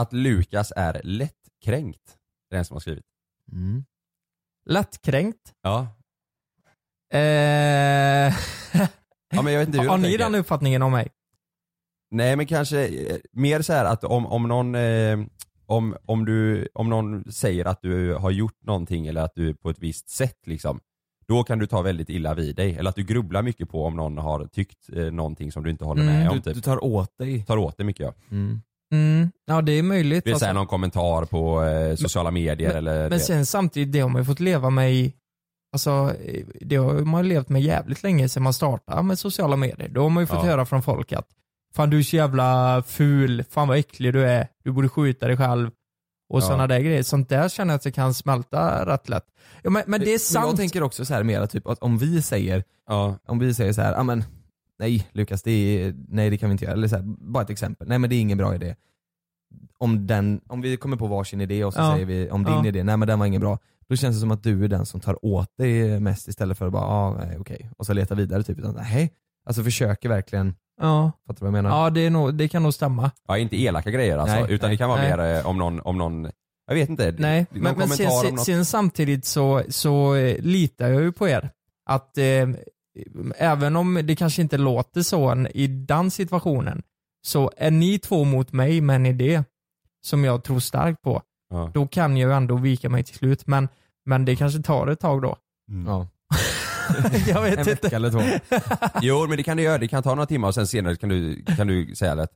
H: Att Lukas är lättkränkt. Det är den som har skrivit.
G: Mm.
I: Lättkränkt.
H: Ja.
I: Eh,
H: ja men jag vet inte hur
I: har
H: jag
I: ni
H: tänker.
I: den uppfattningen om mig?
H: Nej men kanske eh, mer så här att om, om någon eh, om, om, du, om någon säger att du har gjort någonting eller att du är på ett visst sätt liksom då kan du ta väldigt illa vid dig. Eller att du grubblar mycket på om någon har tyckt eh, någonting som du inte håller med
I: Mm,
H: om. typ.
G: Du, du tar åt dig.
H: Tar åt dig mycket ja.
I: Mm, ja, det är möjligt.
H: Det är
I: alltså.
H: såhär någon kommentar på eh, sociala medier eller
I: Men
H: det.
I: sen samtidigt, det har man ju fått leva med i, alltså eh, det har man ju levt med jävligt länge sedan man startade med sociala medier. Då har man ju fått
H: Ja.
I: höra från folk att fan du är så jävla ful, fan vad äcklig du är, du borde skjuta dig själv och
G: Ja.
I: sådana där grejer. Sånt där känner jag att det kan smälta rätt lätt. Ja, men, men det är
G: Men
I: sant.
G: jag tänker också så här mera typ att om vi säger, om vi säger så här, "Ah, men nej Lukas, det är, nej det kan vi inte göra. Eller så här, bara ett exempel, nej men det är ingen bra idé. Om, den, om vi kommer på varsin idé och så
I: Ja.
G: säger vi om din
I: Ja.
G: idé, nej men den var ingen bra. Då känns det som att du är den som tar åt dig mest istället för att bara, ah, nej okej, och så leta vidare typ. Utan, nej, alltså försöker verkligen,
I: Ja,
G: fattar du vad jag menar?
I: ja det, är nog, det kan nog stämma.
H: Ja, inte elaka grejer alltså,
G: Nej,
H: utan det kan vara
I: nej.
H: mer eh, om någon, om någon, jag vet inte,
I: Nej,
H: någon
I: men, men sen,
H: kommentar om
I: sen,
H: något.
I: sen samtidigt så, så eh, litar jag ju på er. Att eh, även om det kanske inte låter så en- i den situationen, så är ni två mot mig med en idé som jag tror starkt på,
H: Ja.
I: då kan jag ju ändå vika mig till slut. Men, men det kanske tar ett tag då.
H: Mm.
G: Ja.
I: jag vet
G: En
I: inte.
G: vecka eller två.
H: Jo men det kan du göra, det kan ta några timmar och sen senare kan du, kan du säga att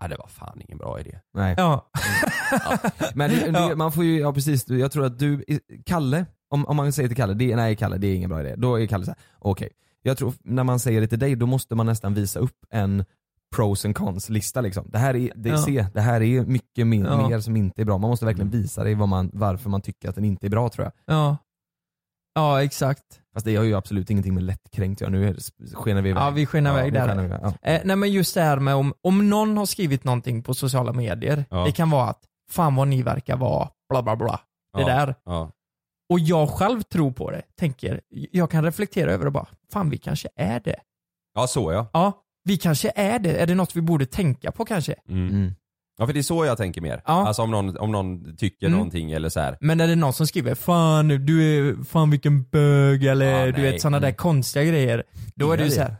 H: ah, det var fan ingen bra idé.
G: Nej.
I: Ja.
G: Men det,
I: Ja.
G: det, man får ju, ja precis, Du- jag tror att du, Kalle, om, om man säger till Kalle, det, nej Kalle det är ingen bra idé, då är Kalle såhär, okej. Jag tror, när man säger det till dig, då måste man nästan visa upp en pros and cons lista liksom. Det här är, det,
I: Ja.
G: se, det här är mycket min,
I: Ja. Mm.
G: mer som inte är bra. Man måste verkligen visa dig vad man, varför man tycker att den inte är bra tror jag.
I: Ja. ja, exakt.
G: Fast det har ju absolut ingenting med lättkränkt att göra, nu är det- skenar vi iväg.
I: Ja, vi skenar iväg
G: vi
I: där.
G: skenar iväg, Ja.
I: Eh, nej men just det här med om, om någon har skrivit någonting på sociala medier,
G: Ja.
I: det kan vara att fan vad ni verkar vara bla bla bla. Det
H: Ja,
I: där.
H: Ja.
I: Och jag själv tror på det, tänker, jag kan reflektera över det bara, fan vi kanske är det.
H: ja, så ja.
I: Ja, vi kanske är det. Är det något vi borde tänka på kanske?
H: Mm. Ja för det är så jag tänker mer. Alltså om någon, om någon tycker
I: Mm.
H: någonting eller så här.
I: Men är det någon som skriver 'Fan, du är, fan vilken bög' eller
H: Ja,
I: du
H: nej.
I: vet sådana där
H: Mm.
I: konstiga grejer. Då är det ju såhär,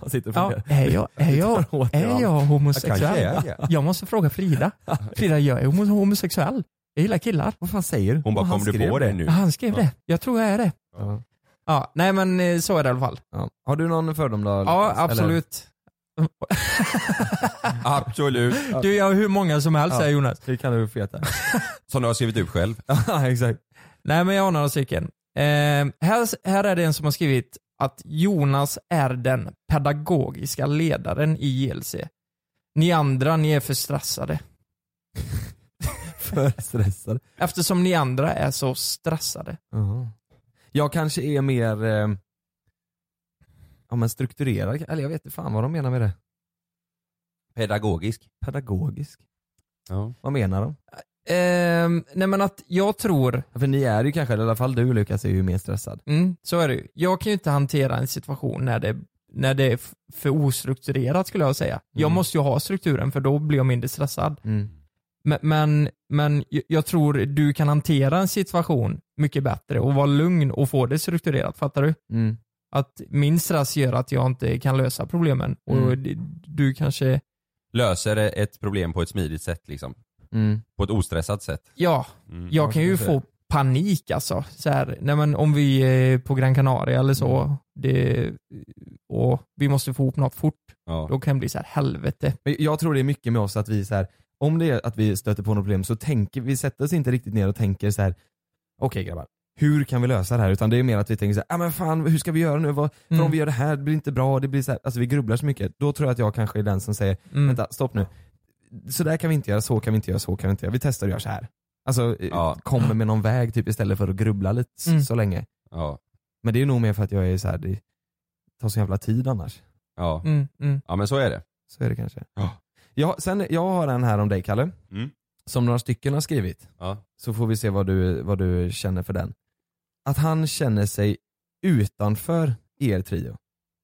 G: Man sitter och
I: ja,
G: funderar.
I: är jag, är jag,
G: tar åt dig
I: är
G: allt.
I: jag homosexuell?
G: Jag
I: Jag,
G: kanske är det.
I: måste fråga Frida. Frida, jag är homo- homosexuell. Jag gillar killar.
G: Vad fan säger du?
H: Hon bara,
G: Och han
H: "Kom du
G: skrev
H: på det nu?"
I: Ja, Han skrev
G: Ja.
I: det. Jag tror jag är det.
G: Ja.
I: Ja, nej men eh, så är det i alla fall.
G: Ja. Har du någon fördom då?
I: Ja,
G: Lukas? Eller-
I: absolut.
H: Absolut.
I: Du, jag har hur många som helst
G: Ja.
I: säger Jonas.
G: Det kan du få veta.
H: Som du har skrivit upp själv.
G: Ja, exakt.
I: Nej men jag har några stycken. Eh, här, här är det en som har skrivit att Jonas är den pedagogiska ledaren i JLC. Ni andra, ni är för stressade.
G: För stressad.
I: Eftersom ni andra är så stressade.
G: Jaha. Jag kanske är mer eh, ja, men strukturerad, eller jag vet inte fan vad de menar med det.
H: Pedagogisk.
G: Pedagogisk.
H: Ja.
G: Vad menar de?
I: Ehm, nej men att jag tror,
G: För ni är ju kanske, eller i alla fall du Lukas är ju mer stressad.
I: mm, så är det ju. Jag kan ju inte hantera en situation när det, när det är f- för ostrukturerat skulle jag säga. Jag
G: Mm.
I: måste ju ha strukturen för då blir jag mindre stressad.
G: Mm.
I: Men, men, men j- jag tror du kan hantera en situation mycket bättre och vara lugn och få det strukturerat, fattar du?
G: Mm.
I: Att min stress gör att jag inte kan lösa problemen och
H: Mm.
I: d- du kanske,
H: Löser ett problem på ett smidigt sätt liksom.
G: Mm.
H: På ett ostressat sätt.
I: ja,
H: Mm.
I: jag kan ju få panik alltså. Så här, nej men om vi är på Gran Canaria eller
G: Mm.
I: så det, och vi måste få ihop något fort,
H: Ja.
I: då kan det bli så här helvete.
G: Men jag tror det är mycket med oss att vi så här, om det är att vi stöter på något problem så tänker vi, sätter oss inte riktigt ner och tänker så här. okej grabbar, hur kan vi lösa det här? Utan det är mer att vi tänker så här, ah, men fan hur ska vi göra nu? Vad, för
I: Mm.
G: om vi gör det här, det blir inte bra, det blir så här, alltså vi grubblar så mycket. Då tror jag att jag kanske är den som säger,
I: Mm.
G: vänta stopp nu, så där kan vi inte göra, så kan vi inte göra, så kan vi inte göra, vi testar och gör så här. Alltså eh, kommer med någon väg typ istället för att grubbla lite s-
I: Mm.
G: så länge.
H: Ja.
G: Men det är nog mer för att jag är så här, det tar så jävla tid annars.
H: Ja.
I: Mm, mm.
H: ja men så är det.
G: Så är det kanske. Ja, sen, jag har en här om dig Kalle,
H: Mm.
G: som några stycken har skrivit.
H: Ja.
G: Så får vi se vad du, vad du känner för den. Att han känner sig utanför er trio.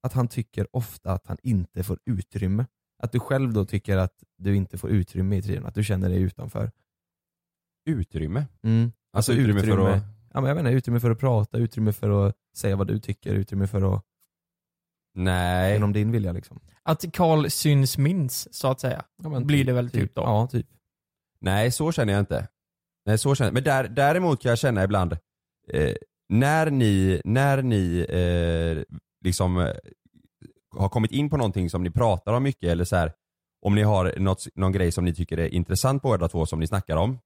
G: Att han tycker ofta att han inte får utrymme. Att du själv då tycker att du inte får utrymme i trion, att du känner dig utanför.
H: Utrymme?
G: Mm.
H: Alltså utrymme för att-
G: Ja, men jag menar, utrymme för att prata, utrymme för att säga vad du tycker, utrymme för att...
H: Nej.
G: Genom din vilja liksom.
I: Att Karl syns minst, så att säga, blir det väl typ, då.
G: Ja, typ.
H: Nej, så känner jag inte. Nej, så känner jag. Men där, däremot kan jag känna ibland, eh, när ni, när ni eh, liksom eh, har kommit in på någonting som ni pratar om mycket eller så här, om ni har något, någon grej som ni tycker är intressant båda två som ni snackar om,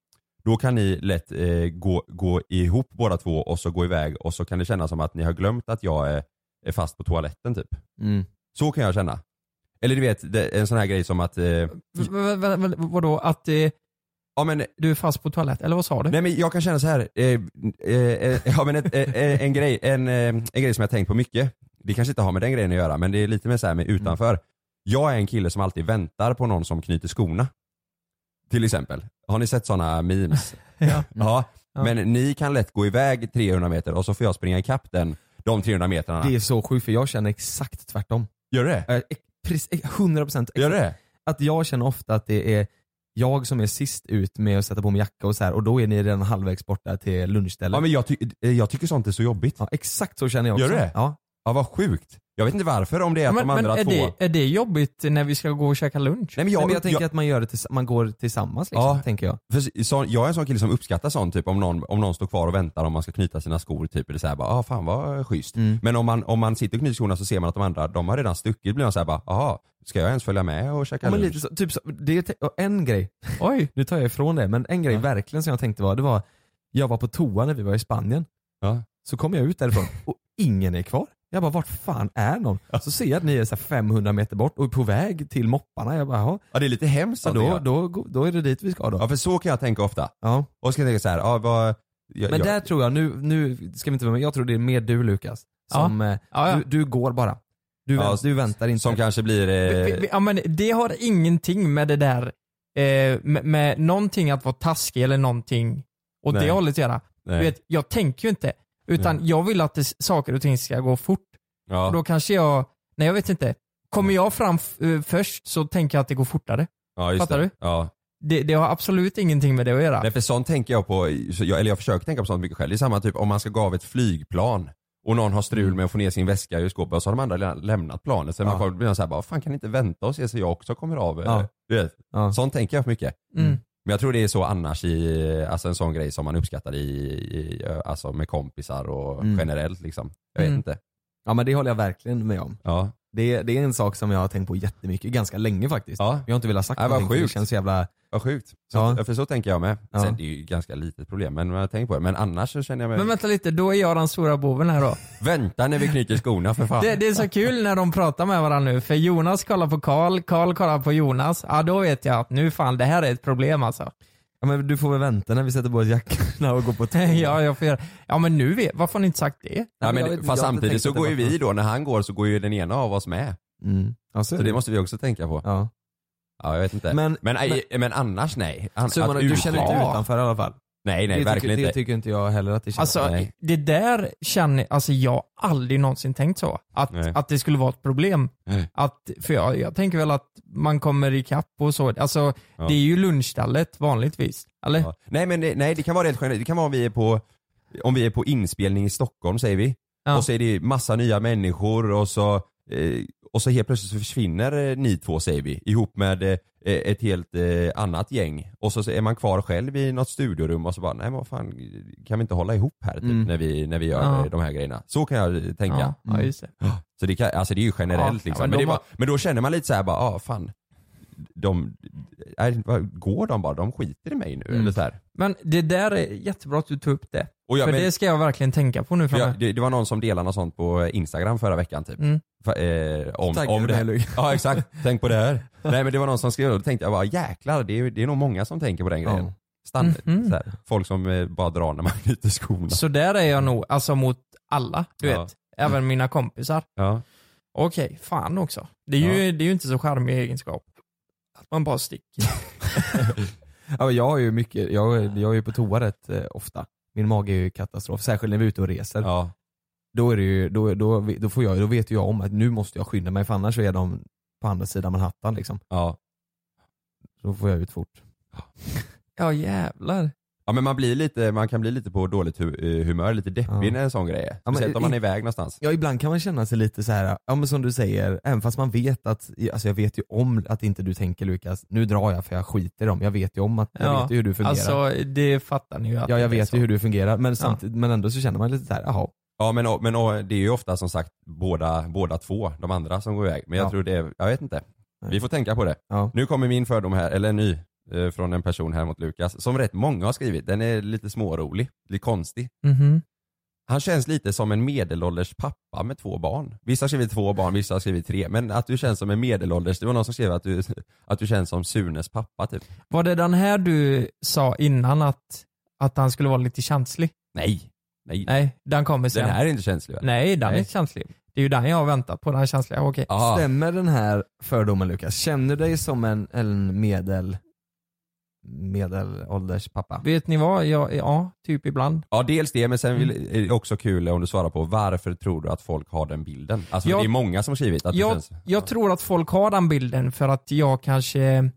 H: då kan ni lätt eh, gå, gå ihop båda två och så gå iväg och så kan det kännas som att ni har glömt att jag är, är fast på toaletten typ.
G: Mm.
H: Så kan jag känna. Eller du vet, det, en sån här grej som att eh,
I: V- v- v- v- vadå, att eh, du är fast på toalett, eller vad sa du?
H: Nej men jag kan känna så här. Eh, eh, eh, ja, men ett, eh, eh, en, grej, en, eh, en grej som jag tänkt på mycket. Det kanske inte har med den grejen att göra men det är lite mer så här med
I: Mm.
H: utanför. Jag är en kille som alltid väntar på någon som knyter skorna. Till exempel. Har ni sett sådana memes?
I: Mm. ja.
H: Men ni kan lätt gå iväg 300 meter och så får jag springa ikapp den, de 300 metrarna.
G: Det är så sjukt för jag känner exakt tvärtom.
H: Gör det?
G: Eh, ex- precis, eh, 100% exakt.
H: Gör det?
G: Att jag känner ofta att det är jag som är sist ut med att sätta på mig jacka och så här och då är ni redan halvvägs borta till lunchstället.
H: Ja, men jag, ty- eh, jag tycker sånt är så jobbigt.
G: Ja, exakt så känner jag också.
H: Gör det?
G: Ja.
H: ja vad sjukt. Jag vet inte varför om det är att
I: Men,
H: de
I: men
H: andra
I: är,
H: två...
I: det, är det jobbigt när vi ska gå och käka lunch?
H: Nej, men jag-
G: Nej, men jag tänker
H: jag-
G: att man, gör det tills- man går tillsammans liksom,
H: Ja.
G: tänker jag.
H: För så, jag är en sån kille som uppskattar sånt, typ om någon, om någon står kvar och väntar om man ska knyta sina skor, typ eller såhär bara ah, fan vad schysst.
G: Mm.
H: Men om man, om man sitter och knyter skorna så ser man att de andra, de har redan stuckit, blir man såhär bara aha, ska jag ens följa med och käka
G: Ja, men
H: lunch?
G: lite så, typ så, det är te- och en grej,
I: Oj.
G: nu tar jag ifrån det, men en grej verkligen som jag tänkte var, det var, jag var på toa när vi var i Spanien.
H: Ja.
G: Så kom jag ut därifrån och ingen är kvar. Jag bara, vart fan är någon? Så ser jag att ni är så här 500 meter bort och är på väg till mopparna. Jag bara, "Jaha."
H: Ja det är lite hemskt
G: ja,
H: att det
G: då,
H: gör.
G: då, då, är det dit vi ska då.
H: Ja för så kan jag tänka ofta.
G: Ja.
H: Och ska jag tänka såhär, ah, vad, jag,
G: Men
H: jag,
G: där tror jag, nu, nu ska vi inte vara med, jag tror det är mer du Lukas. Som, eh,
I: Ja, ja.
G: Du, du går bara. Du,
H: Ja,
G: vänt, du väntar inte.
H: som kanske blir,
I: Vi- vi-
H: eh,
I: Ja, men det har ingenting med det där, eh, med, med någonting att vara taskig eller någonting åt
H: Nej.
I: det hållet att göra.
H: Nej.
I: Du vet, jag tänker ju inte. Utan jag vill att det, s- saker och ting ska gå fort.
H: ja.
I: Och Då kanske jag, nej jag vet inte. Kommer jag fram f- eh, först så tänker jag att det går fortare.
H: ja just
I: fattar
H: det.
I: du?
H: Ja.
I: Det, det har absolut ingenting med det att göra.
H: Nej för sånt tänker jag på, så jag, eller jag försöker tänka på sånt mycket själv. Det är samma typ om man ska gå av ett flygplan och någon har strul med att få ner sin väska ur skåpet och så har de andra redan lämnat planet. Så
G: Mm. Ja.
H: man kommer bli såhär, bara, fan kan ni inte vänta och se så jag också kommer av?
G: Ja.
H: eller?" Du vet,
G: Ja.
H: Sånt tänker jag för mycket.
I: Mm.
H: Men jag tror det är så annars i, alltså en sån grej som man uppskattar i, i alltså med kompisar och
G: Mm.
H: generellt liksom. Jag vet
I: Mm.
H: inte.
G: Ja men det håller jag verkligen med om.
H: Ja.
G: Det, det är en sak som jag har tänkt på jättemycket, ganska länge faktiskt.
H: Ja.
G: Jag har inte velat sagt
H: Nej, vad
G: någonting för det
H: sjukt.
G: känns så jävla,
H: Vad sjukt. Så,
G: Ja.
H: För så tänker jag med.
G: Ja.
H: Sen det är ju ett ganska litet problem men jag tänker på det. Men annars så känner jag mig,
I: Men vänta lite, då är jag den stora boven här då.
H: vänta när vi knyter skorna för fan.
I: Det, det är så kul när de pratar med varandra nu, för Jonas kollar på Karl, Karl kollar på Jonas. Ja, då vet jag att nu fan, det här är ett problem alltså.
G: ja men du får väl vänta när vi sätter på oss jackorna och går på toa.
I: Ja, jag får göra. ja men nu vet, varför har ni inte sagt det?
H: Ja,
G: Jag
H: men,
G: vet inte,
H: fast
G: jag har inte
H: samtidigt
G: tänkt
H: så
G: att det
H: går ju
G: var-
H: vi då, när han går så går ju den ena av oss med.
G: Mm. Ja, så är
H: Så
G: det.
H: det måste vi också tänka på.
G: Ja.
H: Ja, jag vet inte.
G: Men-
H: Men, men, men annars nej. An,
G: Så man,
H: att
G: du känner dig
H: uttrycka-
G: utanför i alla fall?
H: Nej, nej,
G: det
H: verkligen
G: tycker,
H: inte.
G: Det tycker inte jag heller att det känns.
I: Alltså
G: nej.
I: det där känner, alltså jag har aldrig någonsin tänkt så. Att,
G: Nej.
I: att det skulle vara ett problem.
G: Nej.
I: Att, för jag, jag tänker väl att man kommer ikapp och så. Alltså
H: Ja.
I: det är ju lunchstället vanligtvis. Eller?
H: Ja. Nej men det, nej, det kan vara rent generellt, det kan vara om vi är på, om vi är på inspelning i Stockholm säger vi. Och så är det massa nya människor och så, eh, och så helt plötsligt så försvinner eh, ni två säger vi ihop med eh, ett helt eh, annat gäng. Och så är man kvar själv i något studiorum och så bara nej men vad fan kan vi inte hålla ihop här typ,
I: Mm.
H: när, vi, när vi gör
I: Ja.
H: eh, de här grejerna. Så kan jag Mm. tänka.
I: Ja, ja, just det.
H: Så det, kan, alltså det är ju generellt
I: Ja,
H: liksom. men,
I: men de
H: det är
I: har-
H: bara, men då känner man lite så här bara, ah fan. De, är, vad, går de bara? De skiter i mig nu
I: Mm.
H: eller så här.
I: Men det där är jättebra att du tog upp det.
H: Och jag-
I: för
H: men-
I: det ska jag verkligen tänka på
H: För
I: nu framöver.
H: jag, det, det var någon som delade något sånt på eh, Instagram förra veckan typ.
I: Mm.
H: Fa- eh, om,
I: Taggade
H: om det
I: mig, Luke.
H: här. Ja exakt, tänk på det här. Nej men det var någon som skrev och då tänkte jag bara jäklar det är, det är nog många som tänker på den grejen. Stann, så här, folk som eh, bara drar när man knyter skorna.
I: Så där är jag nog, alltså mot alla, du
H: Ja.
I: vet. Även mina kompisar.
H: Ja.
I: Okej, fan också. Det är, ju, det är ju inte så charmig egenskap. Att man bara sticker.
G: Ja, men jag är ju mycket, jag, är- jag är ju på toa rätt eh, ofta. Min mage är ju katastrof, särskilt när vi är ute och reser. Då, är det ju, då, då, då, får jag, då vet ju jag om att nu måste jag skynda mig för annars så är de på andra sidan Manhattan liksom.
H: Ja.
G: Då får jag ut fort.
I: Ja jävlar.
H: Ja men man, blir lite, man kan bli lite på dåligt hu- eh, humör, lite deppig
G: Ja.
H: när en sån grej är.
G: men
H: Speciellt om man är
G: i-
H: iväg någonstans.
G: Ja ibland kan man känna sig lite så här, ja men som du säger, även fast man vet att, alltså jag vet ju om att inte du tänker Lukas, nu drar jag för jag skiter i dem. Jag vet ju om att, jag vet ju hur du fungerar.
I: Alltså det fattar ni ju. att
G: ja jag
I: det är
G: vet
I: så.
G: ju hur du fungerar men, samtidigt, men ändå så känner man lite så här, jaha.
H: Ja men, och- men och det är ju ofta som sagt båda, båda två, de andra som går iväg. Men jag
G: Ja.
H: tror det är, jag vet inte. Vi får tänka på det.
G: Ja.
H: Nu kommer min fördom här, eller en ny, eh, från en person här mot Lukas, som rätt många har skrivit. Den är lite smårolig, lite konstig.
I: Mhm.
H: Han känns lite som en medelålders pappa med två barn. Vissa har skrivit två barn, vissa har skrivit tre. Men att du känns som en medelålders, det var någon som skrev att du, att du känns som Sunes pappa typ.
I: Var det den här du sa innan att, att han skulle vara lite känslig?
H: Nej, nej.
I: Nej, den kommer sen.
H: Den här är inte känslig va?
I: Nej, den är
H: Nej.
I: inte känslig. Det är ju den jag har väntat på, den känsliga. Okej.
G: Stämmer den här fördomen Lukas? Känner du dig som en, en medel, medelålders pappa?
I: Vet ni vad? Jag, ja, typ ibland.
H: Ja dels det, men sen vill,
G: Mm.
H: är det också kul om du svarar på varför tror du att folk har den bilden? Alltså
I: Jag-
H: det är många som har skrivit att du
I: Jag,
H: känns...
I: jag tror att folk har den bilden för att jag kanske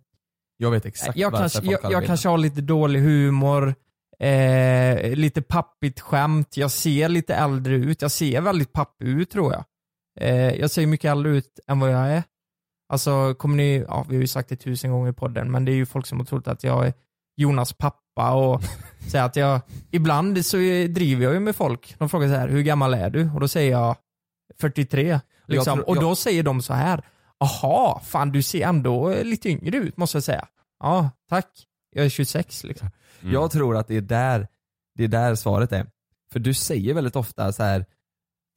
G: Jag vet exakt
I: jag
G: varför
I: kanske,
G: folk
I: jag,
G: har
I: jag
G: bilden.
I: kanske har lite dålig humor, eh, lite pappigt skämt, jag ser lite äldre ut, jag ser väldigt pappig ut tror jag. Eh, jag ser mycket äldre ut än vad jag är. Alltså kommer ni, ja vi har ju sagt det tusen gånger i podden, men det är ju folk som har trott att jag är Jonas pappa och säger att jag, ibland så är- driver jag ju med folk. De frågar så här, hur gammal är du? Och då säger jag 43. Liksom.
G: tror-
I: och då
G: jag-
I: säger de så här, aha, fan du ser ändå lite yngre ut måste jag säga. Ja, tack. Jag är 26 liksom.
H: Mm.
G: Jag tror att det är där, det är där svaret är. För du säger väldigt ofta så här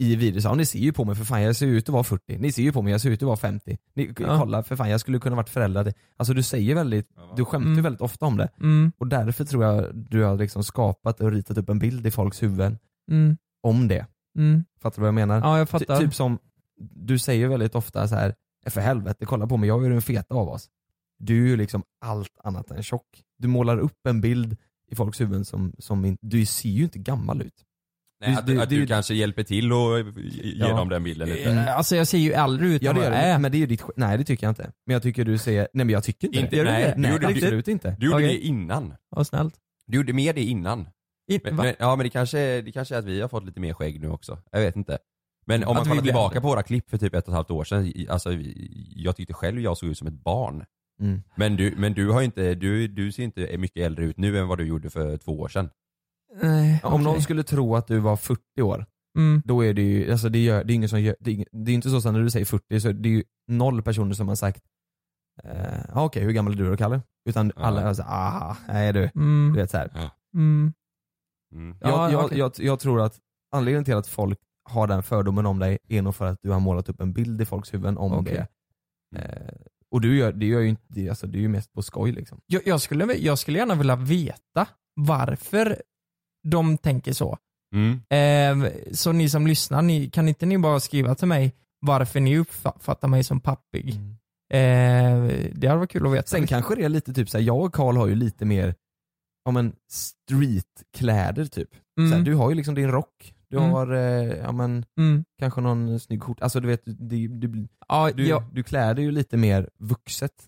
G: i videos, ja ni ser ju på mig för fan jag ser ut att vara 40, ni ser ju på mig jag ser ut att vara 50, ni,
I: Ja.
G: kolla för fan jag skulle kunna varit förälder. Alltså du säger väldigt, du skämtar ju väldigt ofta om det.
I: Mm.
G: Och därför tror jag du har liksom skapat och ritat upp en bild i folks huvuden
I: Mm.
G: om det.
I: Mm.
G: Fattar du vad jag menar?
I: Ja, jag fattar.
G: Ty- typ som, du säger ju väldigt ofta så här, "Eh, för helvete kolla på mig, jag är ju den feta av oss. Du är ju liksom allt annat än tjock. Du målar upp en bild i folks huvuden som, som in, du ser ju inte gammal ut.
H: Nej, att,
G: det-
H: att du
G: det-
H: kanske hjälper till och ge dem den bilden lite.
I: Eh, Alltså jag ser ju äldre ut
G: Mm. Ja
I: än
G: det
I: vad
G: gör
I: jag är.
G: du, men det är ju ditt sk- Nej det tycker jag inte. Men jag tycker du säger, nej men jag tycker inte,
H: Inte-
G: det. Gör
H: nej,
G: du det?
H: du
G: nej
H: gjorde det-
G: absolut inte.
H: Du gjorde
G: Okej.
H: det innan.
I: Vad snällt.
H: Du gjorde mer det innan.
I: In-
H: men,
I: va?
H: men, ja men det kanske, det kanske är att vi har fått lite mer skägg nu också. Jag vet inte. Men om
G: Att
H: man
G: vi
H: kollar
G: blir
H: tillbaka
G: äldre.
H: på våra klipp för typ ett och ett halvt år sedan, i- alltså, vi- jag tyckte själv jag såg ut som ett barn.
G: Mm.
H: Men, du, men du, har ju inte, du, du ser inte mycket äldre ut nu än vad du gjorde för två år sedan.
I: Nej,
G: Om
I: okej.
G: någon skulle tro att du var 40 år,
I: Mm.
G: då är det ju, alltså det, gör, det är ingen som gör, det är, ing- det är inte så att när du säger 40 så är det ju noll personer som har sagt eh, ah, okej hur gammal är du då Kalle? Utan alla har sagt ah, nej du.
I: Mm.
G: Du vet så här.
I: Mm.
G: Jag,
I: Ja,
G: jag,
I: okej.
G: jag, jag tror att anledningen till att folk har den fördomen om dig är nog för att du har målat upp en bild i folks huvuden om
I: Okej.
G: det. Eh, och du gör, det gör ju inte, det, alltså, det är ju mest på skoj liksom.
I: Jag, jag, skulle, jag skulle gärna vilja veta varför de tänker så.
H: Mm.
I: Eh, så ni som lyssnar, ni, kan inte ni bara skriva till mig varför ni uppfattar mig som pappig? Eh, Mm. det hade varit kul att veta.
G: Sen kanske det är lite typ såhär, jag och Karl har ju lite mer
I: ja, men streetkläder typ.
O: Mm.
I: Så här, du har ju liksom din rock, du
O: Mm.
I: har eh, ja, men,
O: Mm.
I: kanske någon snygg skjorta. Alltså du vet, du, du,
O: Ja,
I: du,
O: ja.
I: du klär dig ju lite mer vuxet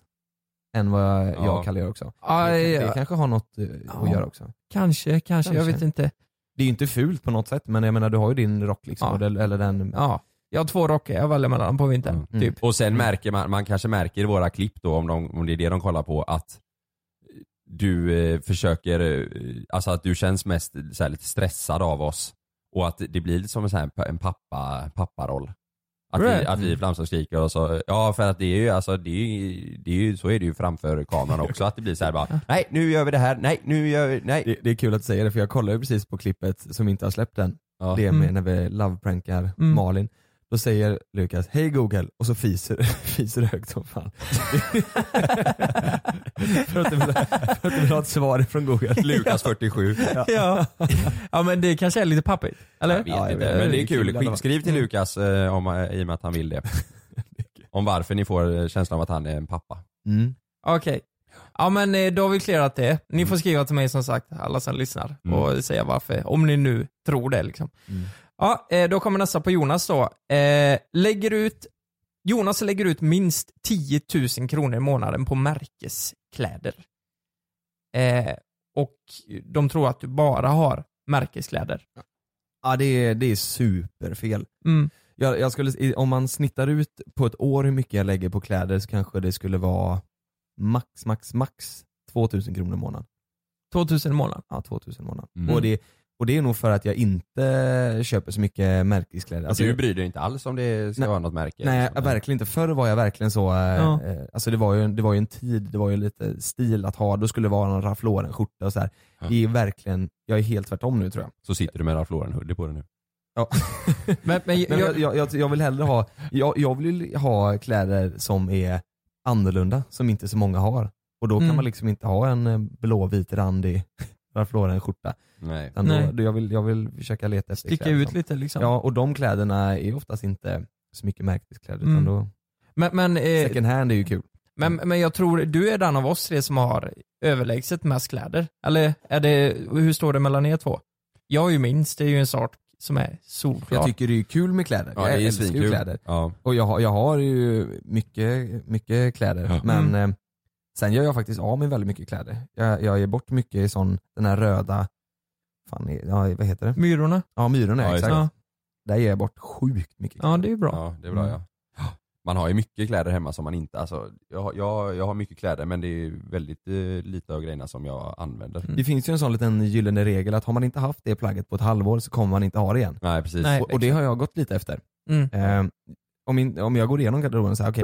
I: än vad jag
O: Ja.
I: kallar det också.
O: Ja,
I: det,
O: ja.
I: det kanske har något eh,
O: Ja.
I: att göra också.
O: Kanske, kanske, jag
I: Kanske.
O: vet inte.
I: Det är ju inte fult på något sätt men jag menar du har ju din rock liksom,
O: Ja.
I: och det- eller den Mm.
O: Ja, jag har två rockar jag väljer mellan på vintern. Typ.
H: Mm. Och sen märker man, man kanske märker i våra klipp då om, de, om det är det de kollar på att du eh, försöker, eh, alltså att du känns mest så här, lite stressad av oss och att det blir lite som en, så här, en pappa, papparoll. Att vi,
O: Right. Mm.
H: att vi flamsar och skriker och så, ja för att det är ju alltså, det är ju, det är ju, så är det ju framför kameran också att det blir så här bara, nej nu gör vi det här, nej nu gör vi, nej.
I: Det, det är kul att säga det för jag kollade ju precis på klippet som inte har släppt än. Det med
O: Mm.
I: när vi loveprankar
O: Mm.
I: Malin. Då säger Lukas hej Google och så fiser, fiser högt som fan. för att du vill, för att du vill ha ett svar från Google.
H: Lukas 47.
I: Ja.
O: Ja. ja, men det kanske är lite pappigt. Eller?
H: Jag vet
O: ja,
H: inte, men det är kul.
I: alla fall.
H: Skick- Skriv till
O: Mm.
H: Lukas eh, om, eh, i och med att han vill det. om varför ni får eh, känslan av att han är en pappa.
I: Mm.
O: Okej. Ja men eh, då har vi klarat det. Ni får skriva till mig som sagt, alla som lyssnar,
H: Mm.
O: och säga varför. Om ni nu tror det liksom.
I: Mm.
O: Ja, eh, då kommer nästa på Jonas då. Eh, lägger ut, Jonas lägger ut minst 10 000 kronor i månaden på märkeskläder. Eh, och de tror att du bara har märkeskläder.
I: Ja det är, det är superfel.
O: Mm.
I: Jag, jag skulle, i- om man snittar ut på ett år hur mycket jag lägger på kläder så kanske det skulle vara max, max, max 2000 kronor i månaden.
O: 2000 i månaden.
I: Ja, 2000 i månaden.
H: Mm.
I: Och, det, och det är nog för att jag inte köper så mycket märkeskläder. Alltså,
H: du bryr dig inte alls om det ska
I: Nej.
H: vara något märke?
I: Nej,
H: liksom.
I: verkligen inte. Förr var jag verkligen så, eh,
O: Ja.
I: eh, alltså det var, ju, en- det var ju en tid, det var ju lite stil att ha, då skulle det vara någon Ralph Lauren-skjorta och så här.
H: Ja.
I: Det är verkligen, jag är helt tvärtom nu tror jag.
H: Så sitter du med Ralph Lauren hoodie på dig nu.
I: Ja.
O: Men, men,
I: Men jag,
O: jag,
I: jag, jag, jag vill hellre ha, jag, jag vill ju ha kläder som är annorlunda, som inte så många har. Och då kan
O: Mm.
I: man liksom inte ha en eh, blåvit randig Ralph Lauren-skjorta.
H: Nej.
I: Utan då-
O: Nej.
I: då Jag vill, jag vill försöka leta efter
O: sticka
I: kläder
O: ut
I: som-
O: lite liksom.
I: Ja, och de kläderna är oftast inte så mycket märkeskläder
O: Mm.
I: utan då,
O: Men, men, eh,
I: second hand är ju kul.
O: Men, men jag tror du är den av oss tre som har överlägset mest kläder. Eller är det, hur står det mellan er två? Jag har ju minst, det är ju en sak som är solklar.
I: Jag tycker det är kul med kläder.
H: Ja, det är
I: jag
H: ju
I: älskar ju
H: svinkul.
I: kläder.
H: Ja.
I: Och jag, har- jag har ju mycket, mycket kläder.
H: Ja.
I: Men
O: Mm.
I: eh, sen gör jag faktiskt av med väldigt mycket kläder. Jag, jag ger bort mycket i sån, den här röda, fan, i- ja, vad heter det?
O: Myrorna?
I: Ja, myrorna
H: Ja,
I: ja,
H: just
I: exakt.
O: det.
I: Där ger jag bort sjukt mycket kläder.
O: Ja, det är ju bra.
H: Ja, det är bra
I: Mm.
H: ja. Man har ju mycket kläder hemma som man inte, alltså jag, har- jag, jag har mycket kläder men det är ju väldigt eh, lite av grejerna som jag använder.
O: Mm.
I: Det finns ju en sån liten gyllene regel att har man inte haft det plagget på ett halvår så kommer man inte ha det igen.
H: Nej precis.
O: Nej.
I: Och, och det har jag gått lite efter.
O: Mm.
I: Eh, om, min, om jag går igenom garderoben så här, okej,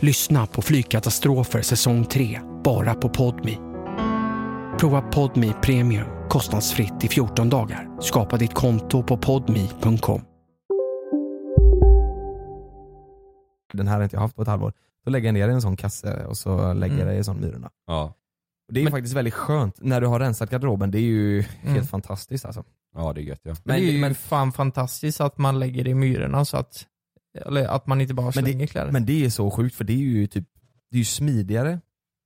P: Lyssna på Flygkatastrofer säsong 3, bara på Podmi. Prova Podmi Premium kostnadsfritt i 14 dagar. Skapa ditt konto på podmi.com.
Q: Mm.
I: den här har inte jag haft på ett halvår. Då lägger jag ner i en sån kasse och så lägger jag det i en sån myrorna.
H: Ja.
I: Och det är ju faktiskt väldigt skönt när du har rensat garderoben. Det är ju helt fantastiskt alltså.
H: Ja det är gött ja.
Q: Mm. Men, det är ju fan fantastiskt att man lägger det i myrorna så att, eller att man inte bara
I: Men
Q: slänger
I: det,
Q: kläder.
I: men det är så sjukt för det är ju typ, det är ju smidigare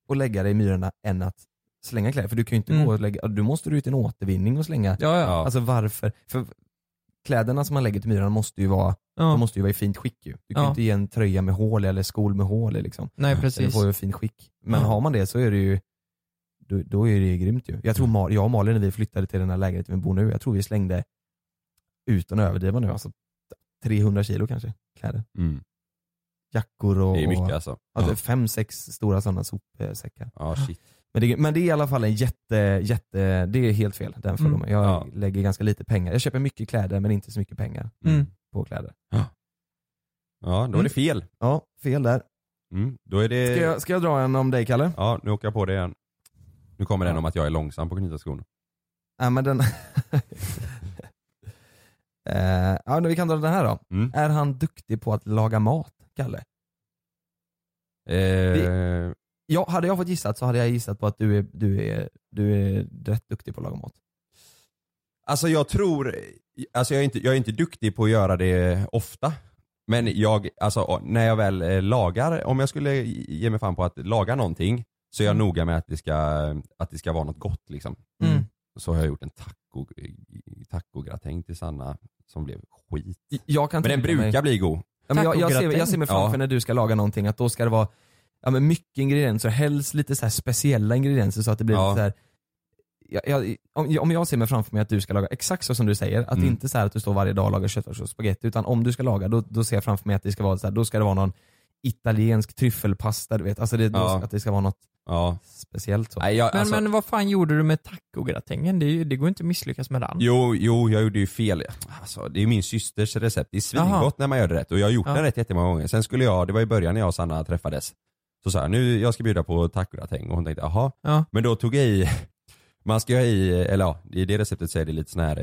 I: att lägga det i myrorna än att slänga kläder. För du kan ju inte
Q: Mm.
I: gå och lägga, du måste du ut i en återvinning och slänga.
Q: Ja, ja.
I: Alltså varför? För kläderna som man lägger till myrorna måste ju vara,
Q: Ja.
I: de måste ju vara i fint skick ju. Du kan ju
Q: Ja.
I: inte ge en tröja med hål i eller skol med hål i liksom.
Q: Nej, precis.
I: Det får ju fint skick. Men
Q: Ja.
I: har man det så är det ju då, då är det ju grymt ju. Jag tror Mar- jag och Malin när vi flyttade till den här lägenheten vi bor nu, jag tror vi slängde, utan att överdriva nu, alltså 300 kilo kanske kläder
H: Mm.
I: jackor och...
H: Det är mycket, alltså.
I: Ja, det är
H: Ja.
I: fem, sex stora sådana sopsäckar.
H: Ja, shit.
I: Men, det, men det är i alla fall en jätte, jätte, det är helt fel den fördomen.
H: Mm.
I: Jag
H: Ja.
I: lägger ganska lite pengar. Jag köper mycket kläder men inte så mycket pengar
Q: Mm.
I: på kläder.
H: Mm. Ja,
I: Mm.
H: då är det fel.
I: Ja, fel där. Eh,
H: Mm, då är det...
I: Ska jag, ska jag dra en om dig Kalle?
H: Ja, nu åker jag på det igen. Nu kommer den om att jag är långsam på att knyta skon.
I: Nej men den... Eh, ja, men vi kan dra den här då.
H: Mm.
I: Är han duktig på att laga mat, Kalle?
H: Det-
I: Ja, hade jag fått gissat så hade jag gissat på att du är, du är, du är rätt duktig på att laga mat.
H: Alltså jag tror, alltså jag är, inte, jag är inte duktig på att göra det ofta. Men jag, alltså när jag väl eh, lagar, om jag skulle ge mig fan på att laga någonting så är jag noga med att det ska, att det ska vara något gott liksom.
I: Mm.
H: Så har jag gjort en taco, tacogratäng till Sanna som blev skit.
I: Jag kan
H: men den
I: tänka
H: brukar
I: mig-
H: bli god.
I: Ja, men jag, jag, ser, jag ser mig framför
H: Ja.
I: när du ska laga någonting att då ska det vara ja, men mycket ingredienser, helst lite så här speciella ingredienser så att det blir
H: Ja.
I: lite så här, jag, jag, om, om jag ser mig framför mig att du ska laga exakt så som du säger, att det
H: Mm.
I: inte så här att du står varje dag och lagar köttfärs och spagetti utan om du ska laga då, då ser jag framför mig att det ska vara så här, då ska det vara någon italiensk tryffelpasta du vet, alltså det,
H: Ja.
I: då, att det ska vara något speciellt så.
H: Nej, jag,
Q: Men,
H: alltså,
Q: men vad fan gjorde du med tacogratängen? Det, är ju- det går inte att misslyckas med den.
H: Jo, jo, jag gjorde ju fel. Alltså, det är min systers recept. Det är
Q: Jaha.
H: svingott när man gör det rätt. Och jag har gjort
Q: Ja.
H: den rätt jättemånga gånger. Sen skulle jag, det var i början när jag och Sanna träffades. Så sa jag, nu jag ska bjuda på tacogratäng. Och hon tänkte, jaha.
Q: Ja.
H: Men då tog jag i, man ska ha i, eller ja, i det receptet så är det lite sån här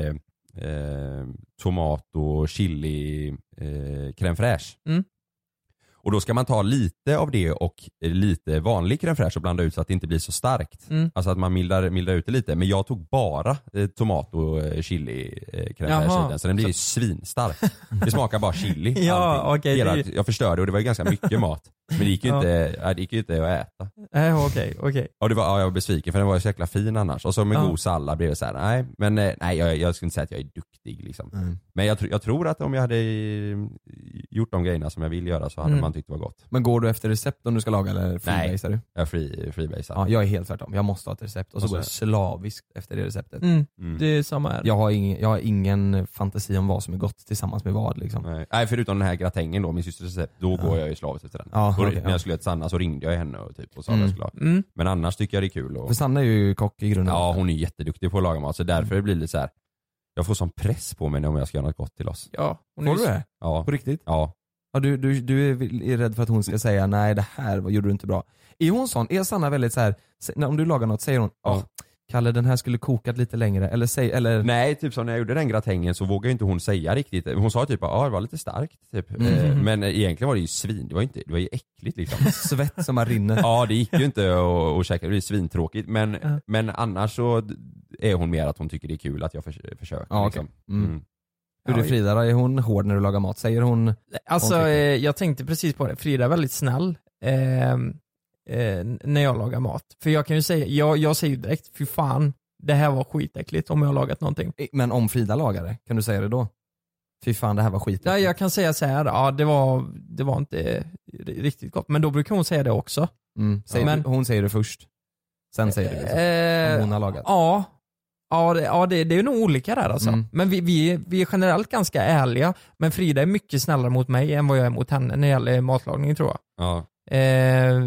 H: eh, eh, tomat och chili eh, crème fraîche.
Q: Mm.
H: Och då ska man ta lite av det och eh, lite vanlig crème fraîche och blanda ut så att det inte blir så starkt.
Q: Mm.
H: Alltså att man mildrar, mildrar ut det lite. Men jag tog bara eh, tomat och eh, chili eh, crème
Q: Jaha.
H: fraîche i den, så den blev ju svinstark. Det smakar bara chili.
Q: Ja,
H: allting.
Q: okej,
H: Hela,
Q: det-
H: Jag förstörde och det var ju ganska mycket mat. Men det gick ju,
Q: Ja.
H: inte, ja, det gick ju inte att äta.
Q: Nej, okej, okej.
H: Ja, det var, ja, jag var besviken för den var ju så jäkla fin annars. Och så med
Q: Ja.
H: god sallad blev det så här, nej, men eh, nej, jag, jag skulle inte säga att jag är duktig liksom.
I: Mm.
H: Men jag, tr- jag tror att om jag hade eh, gjort de grejerna som jag vill göra så hade
I: Mm.
H: man tyckt det var gott.
I: Men går du efter recept om du ska laga eller freebasar du?
H: Jag free, freebasar.
I: Ja, jag är helt tvärtom, jag måste ha ett recept och så
H: Och så-
I: går jag slaviskt efter det receptet.
Q: Alltså- Mm. Det är samma här.
I: Jag har, ingen, jag har ingen fantasi om vad som är gott tillsammans med vad liksom.
H: Nej. Nej, förutom den här gratängen då, min systers recept, då
I: Ja.
H: går jag ju slaviskt efter den.
I: Ja,
H: och
I: okej,
H: när
I: ja.
H: jag skulle till Sanna så ringde jag henne och, typ, och sa
I: Mm.
H: vad jag skulle ha.
I: Mm.
H: Men annars tycker jag det är kul. Och...
I: För Sanna Mm. är ju kock i grunden.
H: Ja, hon är jätteduktig på att laga mat så därför blir det så här. jag får sån press på mig om jag ska göra något gott till oss.
Q: Ja, hon
I: Får
Q: är
I: du
Q: ju-
I: det?
H: Ja.
I: På riktigt?
H: Ja.
I: Ja, du, du, du är väl- är rädd för att hon ska säga nej det här var- gjorde du inte bra. Är hon sån? Är Sanna väldigt så här, sä- när- om du lagar något säger hon ja. Kalle den här skulle kokat lite längre eller säg, eller
H: Nej, typ som när jag gjorde den gratängen så vågade ju inte hon säga riktigt. Hon sa typ att ah, det var lite starkt. Typ.
G: Mm.
H: Eh, Men egentligen var det ju svin, det var, ju inte, det var ju äckligt liksom.
I: svett som har rinner.
H: ja, det gick ju inte att att käka, det är svintråkigt. Men,
I: Ja.
H: men annars så är hon mer att hon tycker det är kul att jag förs försöker.
I: Ja,
H: liksom.
I: okej. Mm. Hur är Frida då? Är hon hård när du lagar mat? Säger hon?
Q: Alltså
I: hon tycker-
Q: eh, jag tänkte precis på det, Frida är väldigt snäll eh, eh, när jag lagar mat. För jag kan ju säga, jag, jag säger ju direkt, fy fan, det här var skitäckligt om jag har lagat någonting.
I: Men om Frida lagar det, kan du säga det då? Fy fan det här var skit.
Q: Nej, jag kan säga så här, ja det var, det var inte eh, riktigt gott. Men då brukar hon säga det också.
I: Mm. Säger
Q: Men-
I: du, hon säger det först. Sen säger du det. Liksom.
Q: Eh,
I: Om hon har lagat.
Q: Ja, ja, det, ja det, det är nog olika där alltså.
I: Mm.
Q: Men vi, vi, vi är generellt ganska ärliga, men Frida är mycket snällare mot mig än vad jag är mot henne när det gäller matlagning tror jag.
H: Ja.
Q: Eh,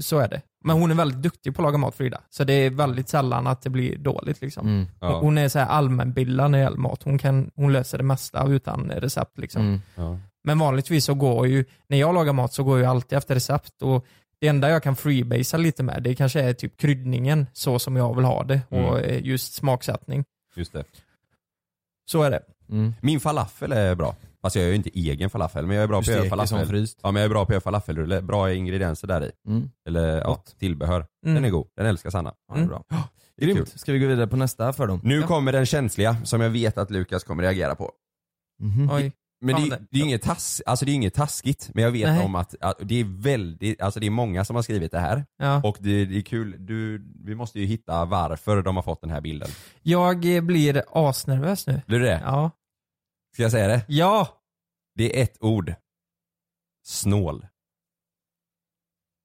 Q: så är det. Men hon är väldigt duktig på att laga mat Frida, så det är väldigt sällan att det blir dåligt liksom.
I: Mm.
H: Ja.
Q: Hon- Hon är så här allmänbildad när det gäller mat, hon, kan, hon löser det mesta utan recept liksom.
I: Mm.
H: Ja.
Q: Men vanligtvis så går ju, när jag lagar mat så går jag alltid efter recept och det enda jag kan freebasea lite med det kanske är typ kryddningen så som jag vill ha det och
H: Mm.
Q: eh, just smaksättning.
H: Just det.
Q: Så är det.
I: Mm.
H: Min falafel är bra. Alltså jag gör ju inte egen falafel men jag är bra
G: Du
H: på att göra
G: steker som
H: falafel.
G: fryst.
H: Ja men jag är bra på att göra falafelrulle. Bra ingredienser där i.
G: Mm.
H: Eller ja, tillbehör. Den
G: Mm.
H: är god. Den älskar Sanna. Ja, den är
G: Mm.
H: bra. Det är kul.
G: Grymt. Ska vi gå vidare på nästa för dem?
H: Nu
G: Ja.
H: kommer den känsliga som jag vet att Lukas kommer reagera på.
I: Mhm.
G: Oj.
H: Men
G: Fan,
H: det,
G: det-
H: det, är ju inget tass, alltså det är inget taskigt, men jag vet
G: Nej.
H: om att, att det är väldigt, alltså det är många som har skrivit det här.
I: Ja.
H: Och det, det är kul, du, vi måste ju hitta varför de har fått den här bilden.
I: Jag eh, blir asnervös nu.
H: Blir du det?
I: Ja.
H: Ska jag säga det?
I: Ja!
H: Det är ett ord. Snål.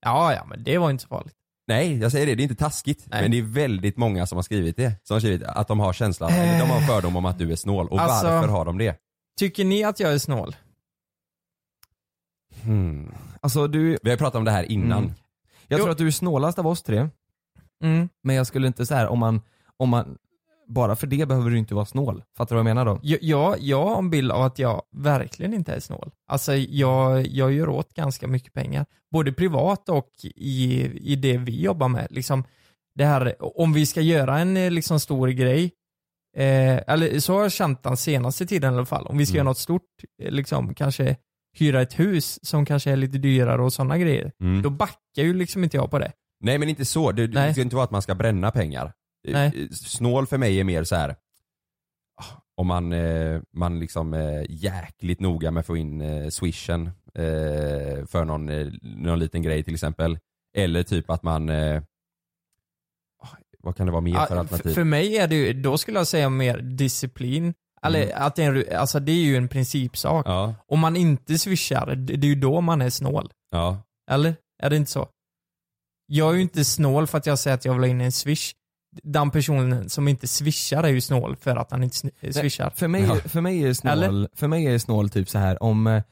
I: Ja, ja, men det var inte så farligt.
H: Nej, jag säger det, det är inte taskigt. Men det är väldigt många som har skrivit det. Som har skrivit att de har känslan, eller de har en fördom om att du är snål. Och
I: Alltså-
H: varför har de det?
I: Tycker ni att jag är snål?
H: Hmm.
G: Alltså du...
H: Vi har pratat om det här innan.
G: Mm. Jag tror att du är snålast av oss tre.
I: Mm.
G: Men jag skulle inte så här om man, om man, bara för det behöver du inte vara snål. Fattar du vad jag menar då?
I: Jag, jag, jag har en bild av att jag verkligen inte är snål. Alltså jag, jag gör åt ganska mycket pengar. Både privat och i, i det vi jobbar med. Liksom, det här, om vi ska göra en eh, liksom, stor grej, eh, eller så har jag känt den senaste tiden i alla fall. Om vi ska
G: Mm.
I: göra något stort, eh, liksom, kanske hyra ett hus som kanske är lite dyrare och sådana grejer.
H: Mm.
I: Då backar ju liksom inte jag på det.
H: Nej men inte så, det, det
I: Nej.
H: ska inte vara att man ska bränna pengar. Eh,
I: Nej.
H: Snål för mig är mer så här. ah, om man, eh, man liksom eh, jäkligt noga med att få in eh, swishen eh, för någon, eh, någon liten grej till exempel. Eller typ att man, eh, ah, vad kan det vara mer
I: Ja,
H: för alternativ?
I: f- för mig är det ju, då skulle jag säga mer disciplin. Eller att det är, en ru- alltså det är ju en principsak.
H: Mm. Ja.
I: Om man inte swishar, det det är ju då man är snål.
H: Ja.
I: Eller? Är det inte så? Jag är ju inte snål för att jag säger att jag vill ha in en swish. Den personen som inte swishar är ju snål för att han inte sn- eh, swishar.
G: För mig, för mig är snål,
I: Eller?
G: för mig är snål typ så här om, eh,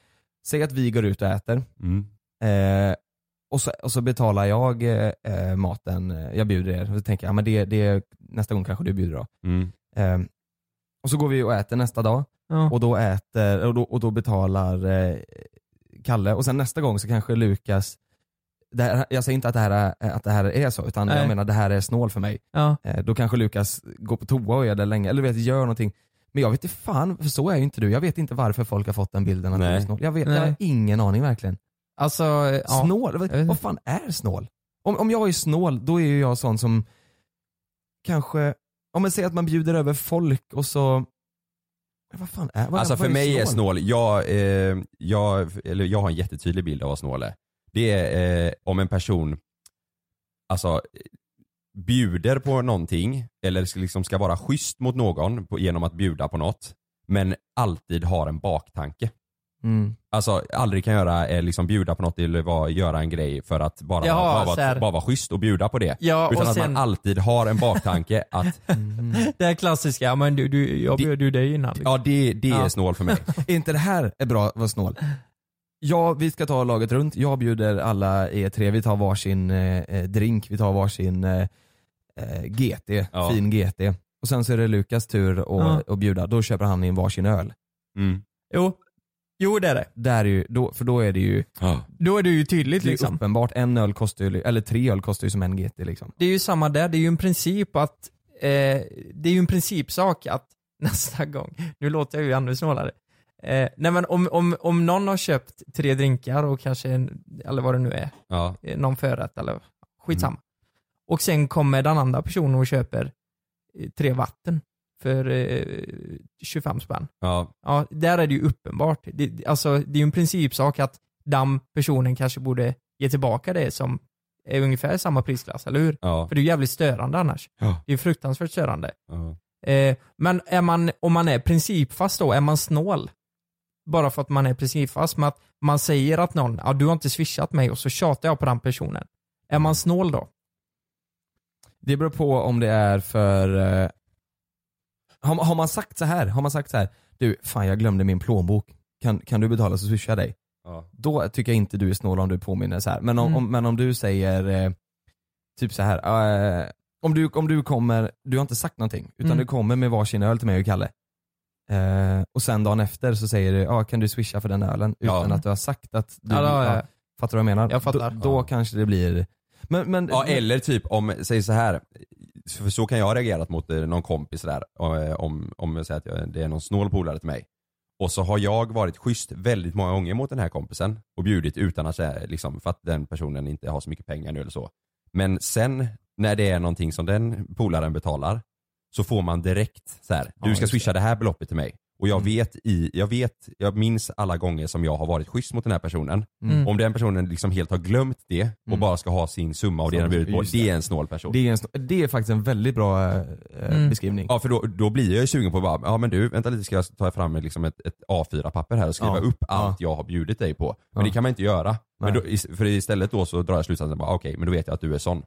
G: säg att vi går ut och äter.
H: Mm.
G: Eh, och, så, och så betalar jag eh, eh, maten, eh, jag bjuder er. Och så tänker jag, ja, men det, det, nästa gång kanske du bjuder då.
H: Mm.
G: Eh, och så går vi och äter nästa dag.
I: Ja.
G: Och, då äter, och, då, och då betalar eh, Kalle. Och sen nästa gång så kanske Lukas, det här, jag säger inte att det, här är, att det här är så, utan jag
I: Nej.
G: menar det här är snål för mig.
I: Ja.
G: Eh, Då kanske Lukas går på toa och gör det länge, eller du vet, gör någonting. Men jag vet inte fan, för så är ju inte du. Jag vet inte varför folk har fått den bilden att du är
I: Nej.
G: snål. Jag, vet, jag har
I: Nej.
G: ingen aning verkligen.
I: Alltså, eh, ja.
G: Snål? Vad, vad fan är snål? Om, om jag är snål, då är ju jag sån som kanske, om man säger att man bjuder över folk och så, vad fan är, vad,
H: alltså
G: vad
H: för mig är
G: snål?
H: snål, jag, eh, jag, eller jag har en jättetydlig bild av vad snål är. Det är eh, om en person alltså, eh, bjuder på någonting eller ska- liksom ska vara schysst mot någon på, genom att bjuda på något men alltid har en baktanke.
G: Mm.
H: Alltså aldrig kan göra, eh, liksom bjuda på något eller vara, göra en grej för att bara,
I: Jaha,
H: bara,
I: så
H: vara,
I: här.
H: bara vara schysst och bjuda på det.
I: Ja, och
H: Utan att
I: sen-
H: man alltid har en baktanke att
G: Mm.
I: Det här klassiska, ja, men du, du, jag bjöd ju dig innan. liksom.
H: ja, det, det är snål för mig.
G: Är inte det här är bra att vara snål? Ja, vi ska ta laget runt. Jag bjuder alla er tre. Vi tar varsin eh, eh, drink, vi tar varsin eh, eh, GT,
H: Ja.
G: fin GT. Och sen så är det Lukas tur att
I: Ja.
G: att bjuda. Då köper han in varsin öl.
I: Jo. jo, det är det.
G: Där är ju, då, för då är det ju
I: Då är det ju tydligt
G: det är ju
I: liksom.
G: uppenbart. En öl kostar ju, eller tre öl kostar ju som en GT liksom.
I: Det är ju samma där, det är ju en princip att eh, det är ju en principsak att nästa gång, nu låter jag ju ännu snålare. Eh, nej men om, om, om någon har köpt tre drinkar och kanske, en, eller vad det nu är,
H: Ja.
I: eh, någon förrätt eller skitsamma.
G: Mm.
I: Och sen kommer den andra personen och köper eh, tre vatten för eh, 25 spänn.
H: Ja.
I: Ja, där är det ju uppenbart. Det- Det, alltså, det är ju en principsak att den personen kanske borde ge tillbaka det som är ungefär samma prisklass, eller hur?
H: Ja.
I: För det är ju jävligt störande annars.
H: Ja.
I: Det är ju fruktansvärt störande.
H: Ja.
I: Eh, men är man, om man är principfast då, är man snål? Bara för att man är principfast med att man säger att någon, ja du har inte swishat mig och så tjatar jag på den personen. Är man snål då?
G: Det beror på om det är för... Eh, har, har man sagt så här? Har man sagt så här? Du, fan jag glömde min plånbok. Kan, kan du betala så swishar jag dig?
H: Ja.
G: Då tycker jag inte du är snål om du påminner så här. Men om,
H: Mm.
G: om, men om du säger eh, typ så här. Eh, om, du, om du kommer, du har inte sagt någonting, utan
H: Mm.
G: du kommer med varsin öl till mig och Kalle. Eh, och sen dagen efter så säger du, ah, kan du swisha för den ölen?
H: Ja.
G: Utan att du har sagt att du,
I: Ja, ja, ja.
G: ja, fattar du vad jag menar?
I: Jag fattar.
G: Då, då kanske det blir, men, men
H: Ja eller typ om, säg så här för så kan jag ha reagerat mot eh, någon kompis där eh, om, om jag säger att jag, det är någon snål polare till mig. Och så har jag varit schysst väldigt många gånger mot den här kompisen och bjudit utan att säga, liksom, för att den personen inte har så mycket pengar nu eller så. Men sen när det är någonting som den polaren betalar så får man direkt så här,
G: Ja,
H: du
G: just
H: ska
G: Mm.
H: swisha det här beloppet till mig. Och jag vet, i, jag vet, jag minns alla gånger som jag har varit schysst mot den här personen.
G: Mm.
H: Om den personen liksom helt har glömt det och
G: Mm.
H: bara ska ha sin summa och det den har bjudit på,
G: Just
H: det är en snål person.
G: Det är, en, sn- det är faktiskt en väldigt bra eh,
H: Mm.
G: beskrivning.
H: Ja för då, då blir jag ju sugen på att bara, ja men du vänta lite ska jag ta fram liksom ett, ett A4-papper här och skriva
G: Ja.
H: upp allt jag har bjudit dig på. Men
G: Ja.
H: det kan man inte göra. Men
G: Nej.
H: då, is- för istället då så drar jag slutsatsen bara okej, men då vet jag att du är sån.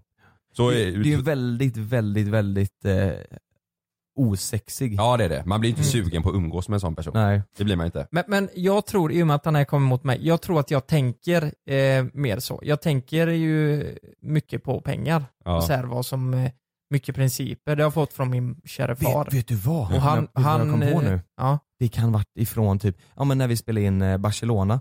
H: Så,
G: det,
H: eh,
G: det är ju väldigt, väldigt, väldigt eh, osexig.
H: Ja det är det, man blir inte sugen på att umgås med en sån person.
G: Mm. Nej.
H: Det blir man inte.
I: Men, men jag tror, i och med att den här kommer mot mig, jag tror att jag tänker eh, mer så. Jag tänker ju mycket på pengar.
G: Ja.
I: Och så här vad som, eh, mycket principer. Det har jag fått från min kära far.
G: Vet, vet du vad?
I: Och han,
G: Vet du vad jag
I: han,
G: kom på
I: eh,
G: nu?
I: Ja.
G: Det kan varit ifrån typ, ja men när vi spelade in eh, Barcelona,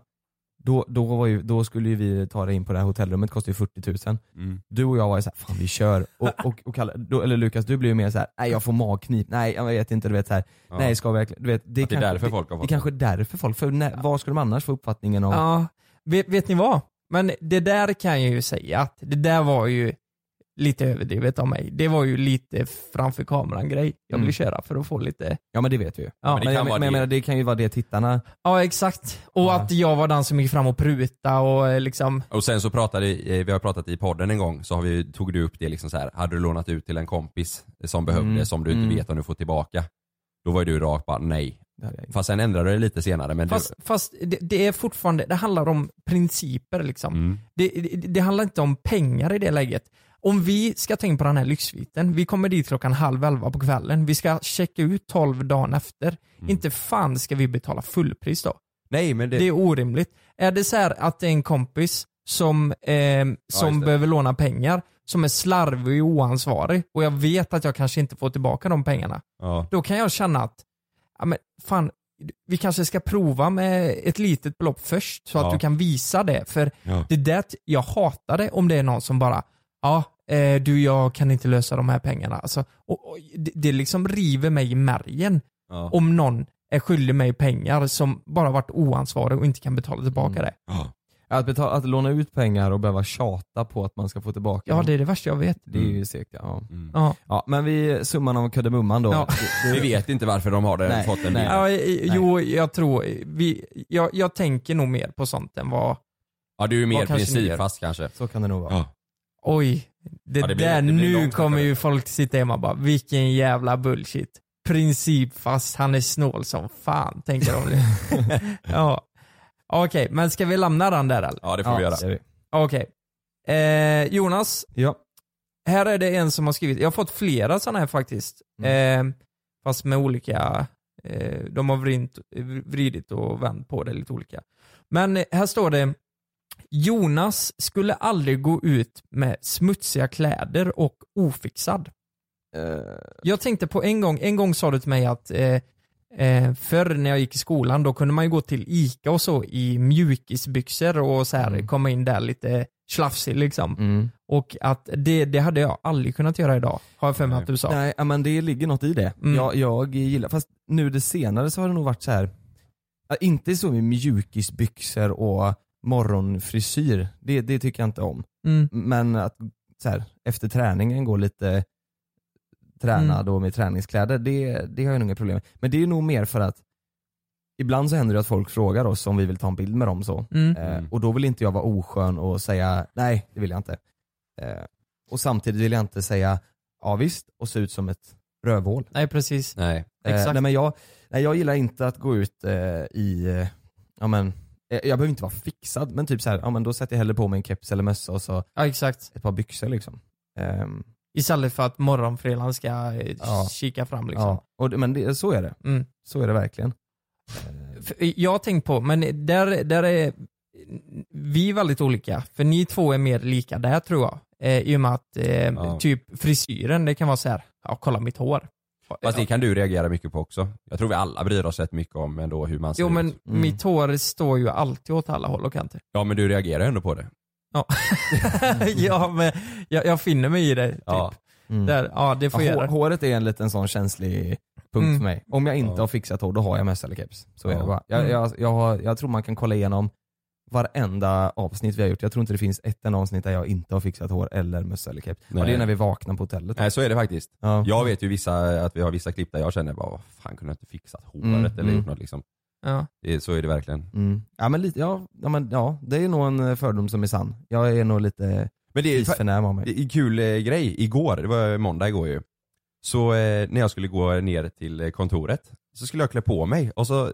G: då, då, var ju, då skulle ju vi ta det in på det här hotellrummet, kostade ju 40 000.
H: Mm.
G: Du och jag var ju såhär, fan vi kör. Och, och, och Kalle, då, eller Lukas, du blev ju mer såhär, nej jag får magknip, nej jag vet inte, du vet såhär,
H: Ja.
G: nej ska vi verkligen, du vet.
H: Att det är därför folk har
G: det,
H: fått
G: det kanske är därför folk, för när, vad skulle de annars få uppfattningen av?
I: Ja, vet, vet ni vad? Men det där kan jag ju säga att det där var ju lite överdrivet av mig. Det var ju lite framför kameran grej jag ville
G: Mm.
I: köra för att få lite...
G: Ja men det vet vi ju.
I: Ja, men
G: men
I: det
G: men,
I: kan
G: jag,
I: vara
G: men jag
I: det.
G: menar det kan ju vara det tittarna,
I: Ja, exakt. Och att jag var den som gick fram och pruta och eh, liksom...
H: Och sen så pratade, eh, vi har pratat i podden en gång, så har vi, tog du upp det liksom så här, hade du lånat ut till en kompis som behövde,
G: Mm.
H: som du inte
G: Mm.
H: vet om du får tillbaka. Då var ju du rakt bara nej.
G: Det hade jag
H: Fast sen ändrade du det lite senare. Men
I: Fast, fast det, det är fortfarande, det handlar om principer liksom.
H: Mm.
I: Det, det, det handlar inte om pengar i det läget. Om vi ska ta in på den här lyxviten, vi kommer dit klockan halv elva på kvällen, vi ska checka ut tolv dagen efter. Inte fan ska vi betala fullpris då.
H: Nej, men det...
I: är orimligt. Är det så här att det är en kompis som, ehm, som behöver låna pengar, som är slarvig och oansvarig och jag vet att jag kanske inte får tillbaka de pengarna.
H: Ja.
I: Då kan jag känna att, ja men fan, vi kanske ska prova med ett litet belopp först så
H: Ja.
I: att du kan visa det. För
H: Ja.
I: det där, t- jag hatar det om det är någon som bara, ja, eh, du jag kan inte lösa de här pengarna. Alltså, och, och, det, det liksom river mig i märgen
H: Ja.
I: om någon är skyldig mig pengar som bara varit oansvarig och inte kan betala tillbaka det.
G: att, betala, att låna ut pengar och behöva tjata på att man ska få tillbaka
I: Ja,
G: dem.
I: det Mm. är det värsta jag vet.
G: Det är ju segt ja.
I: Ja.
G: ja. Men vi, summan av kardemumman då.
I: Ja.
H: Mm. Vi vet inte varför de har det, fått den
I: Ja, eh, jo, jag tror, vi, jag, jag tänker nog mer på sånt än vad,
H: Ja du är mer
I: Vad kanske ni gör?
H: principfast kanske.
G: Så kan det nog vara.
H: Ja.
I: oj, det,
H: Ja, det blir-
I: där,
H: det blir
I: nu
H: långt
I: kommer ju folk sitta hemma och bara, vilken jävla bullshit. Principfast, han är snål som fan, tänker de nu. ja. Okej, men ska vi lämna den där eller?
H: Ja, det får vi göra.
G: ska vi.
I: Okej. Eh, Jonas.
G: Ja.
I: Här är det en som har skrivit, jag har fått flera sådana här faktiskt. Eh, fast med olika, eh, de har vridit, vridit och vänt på det lite olika. Men eh, här står det, Jonas skulle aldrig gå ut med smutsiga kläder och ofixad.
G: Eh,
I: Jag tänkte på en gång, en gång sa du till mig att eh, eh, förr när jag gick i skolan då kunde man ju gå till ICA och så i mjukisbyxor och så här
G: Mm.
I: komma in där lite slafsig liksom. Och att det, det hade jag aldrig kunnat göra idag, har jag för mig att du sa.
G: Nej ja, men det ligger något i det.
I: Mm.
G: Jag, jag gillar, fast nu det senare så har det nog varit så här. ja, inte så med mjukisbyxor och morgonfrisyr, det, det tycker jag inte om.
I: Mm.
G: Men att så här, efter träningen gå lite tränad
I: Mm.
G: och med träningskläder, det, det har jag nog inga problem med. Men det är nog mer för att ibland så händer det att folk frågar oss om vi vill ta en bild med dem så.
I: Mm.
G: Eh, och då vill inte jag vara oskön och säga nej, det vill jag inte. Eh, och samtidigt vill jag inte säga ja visst och se ut som ett rövhål.
I: Nej precis.
H: Nej.
G: Eh,
I: Exakt.
G: nej, men jag, nej, jag gillar inte att gå ut eh, i, eh, ja men, eh, jag behöver inte vara fixad men typ så här, ja men då sätter jag hellre på mig en keps eller mössa och så
I: Ja exakt.
G: ett par byxor liksom. Ehm,
I: Istället för att morgonfrillan ska eh,
G: Ja.
I: kika fram liksom.
G: ja. och, det- men det, så är det.
I: Mm.
G: Så är det verkligen.
I: För Jag har tänkt på, men där, där är vi är väldigt olika. För ni två är mer lika där tror jag. Eh, I och med att eh,
H: Ja.
I: typ frisyren, det kan vara så här, ja kolla mitt hår.
H: Fast det kan du reagera mycket på också. Jag tror vi alla bryr oss rätt mycket om ändå hur man ser
I: Jo men
H: ut.
I: mitt hår står ju alltid åt alla håll och kanter.
H: Ja men du reagerar ändå på det.
I: Ja, ja men jag, jag finner mig i det. Typ.
H: Ja.
I: Där, ja det får
G: Ja,
I: jag
G: hår,
I: göra.
G: håret är en liten sån känslig
I: Punkt
K: Mm.
I: för mig. Om jag inte har fixat hår, då har jag mest eller keps. Så är det bara. Jag, jag, jag, har, jag tror man kan kolla igenom varenda avsnitt vi har gjort. Jag tror inte det finns ett enda avsnitt där jag inte har fixat hår eller mössa eller keps. Och det
H: Nej.
I: är när vi vaknar på hotellet.
H: Nej så är det faktiskt. Jag vet ju vissa, att vi har vissa klipp där jag känner bara, vad fan kunde jag inte fixat håret
I: Mm,
H: eller
I: mm.
H: gjort något liksom.
K: Ja.
H: Det, är- så är det verkligen.
I: Mm. Ja, men lite, ja, ja, men, ja, det är nog en eh, fördom som är sann. Jag är nog lite
H: Men det är
I: isförnäm av mig.
H: Det är en kul eh, grej, igår, det var måndag igår ju. Så eh, när jag skulle gå ner till eh, kontoret så skulle jag klä på mig och så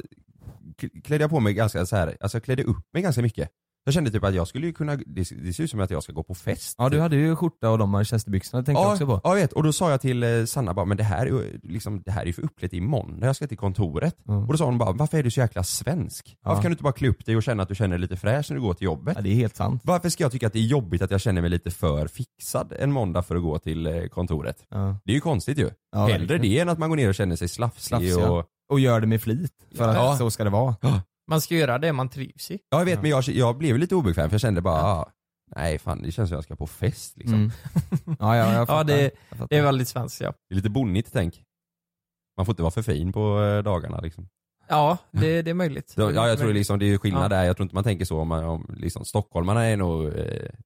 H: k- klädde jag på mig ganska så här, alltså jag klädde upp mig ganska mycket. Jag kände typ att jag skulle ju kunna, det, det ser ut som att jag ska gå på fest.
I: Ja du hade ju skjorta och de manchesterbyxorna tänkte jag
H: Ja,
I: också på.
H: ja jag vet. Och då sa jag till eh, Sanna bara, men det här, är ju- liksom, det här är ju för uppklätt i måndag, jag ska till kontoret. Och då sa hon bara, varför är du så jäkla svensk? Varför kan du inte bara klä upp dig och känna att du känner dig lite fräsch när du går till jobbet?
I: Ja, det är helt sant.
H: Varför ska jag tycka att det är jobbigt att jag känner mig lite för fixad en måndag för att gå till eh, kontoret?
I: Ja.
H: Det är ju konstigt ju.
I: Ja,
H: Hellre
I: verkligen.
H: det än att man går ner och känner sig slafsig
I: Slafsiga.
H: och...
I: Och gör det med flit. För att
H: Ja.
I: så ska det vara.
K: Man ska göra det man trivs i.
H: Ja jag vet men jag, jag blev lite obekväm för jag kände bara, ah, nej fan det känns som jag ska på fest liksom.
I: Mm. Ja, ja, jag
K: Ja,
I: fattar.
K: det,
I: Jag fattar.
K: det är väldigt svenskt ja.
H: Det är lite bonnigt tänk. Man får inte vara för fin på eh, dagarna liksom.
K: Ja, det, det är möjligt.
H: Ja, ja, jag tror
K: Möjligt.
H: liksom det är ju skillnad
K: Ja.
H: där. Jag tror inte man tänker så om, man- om liksom, stockholmarna är nog, eh,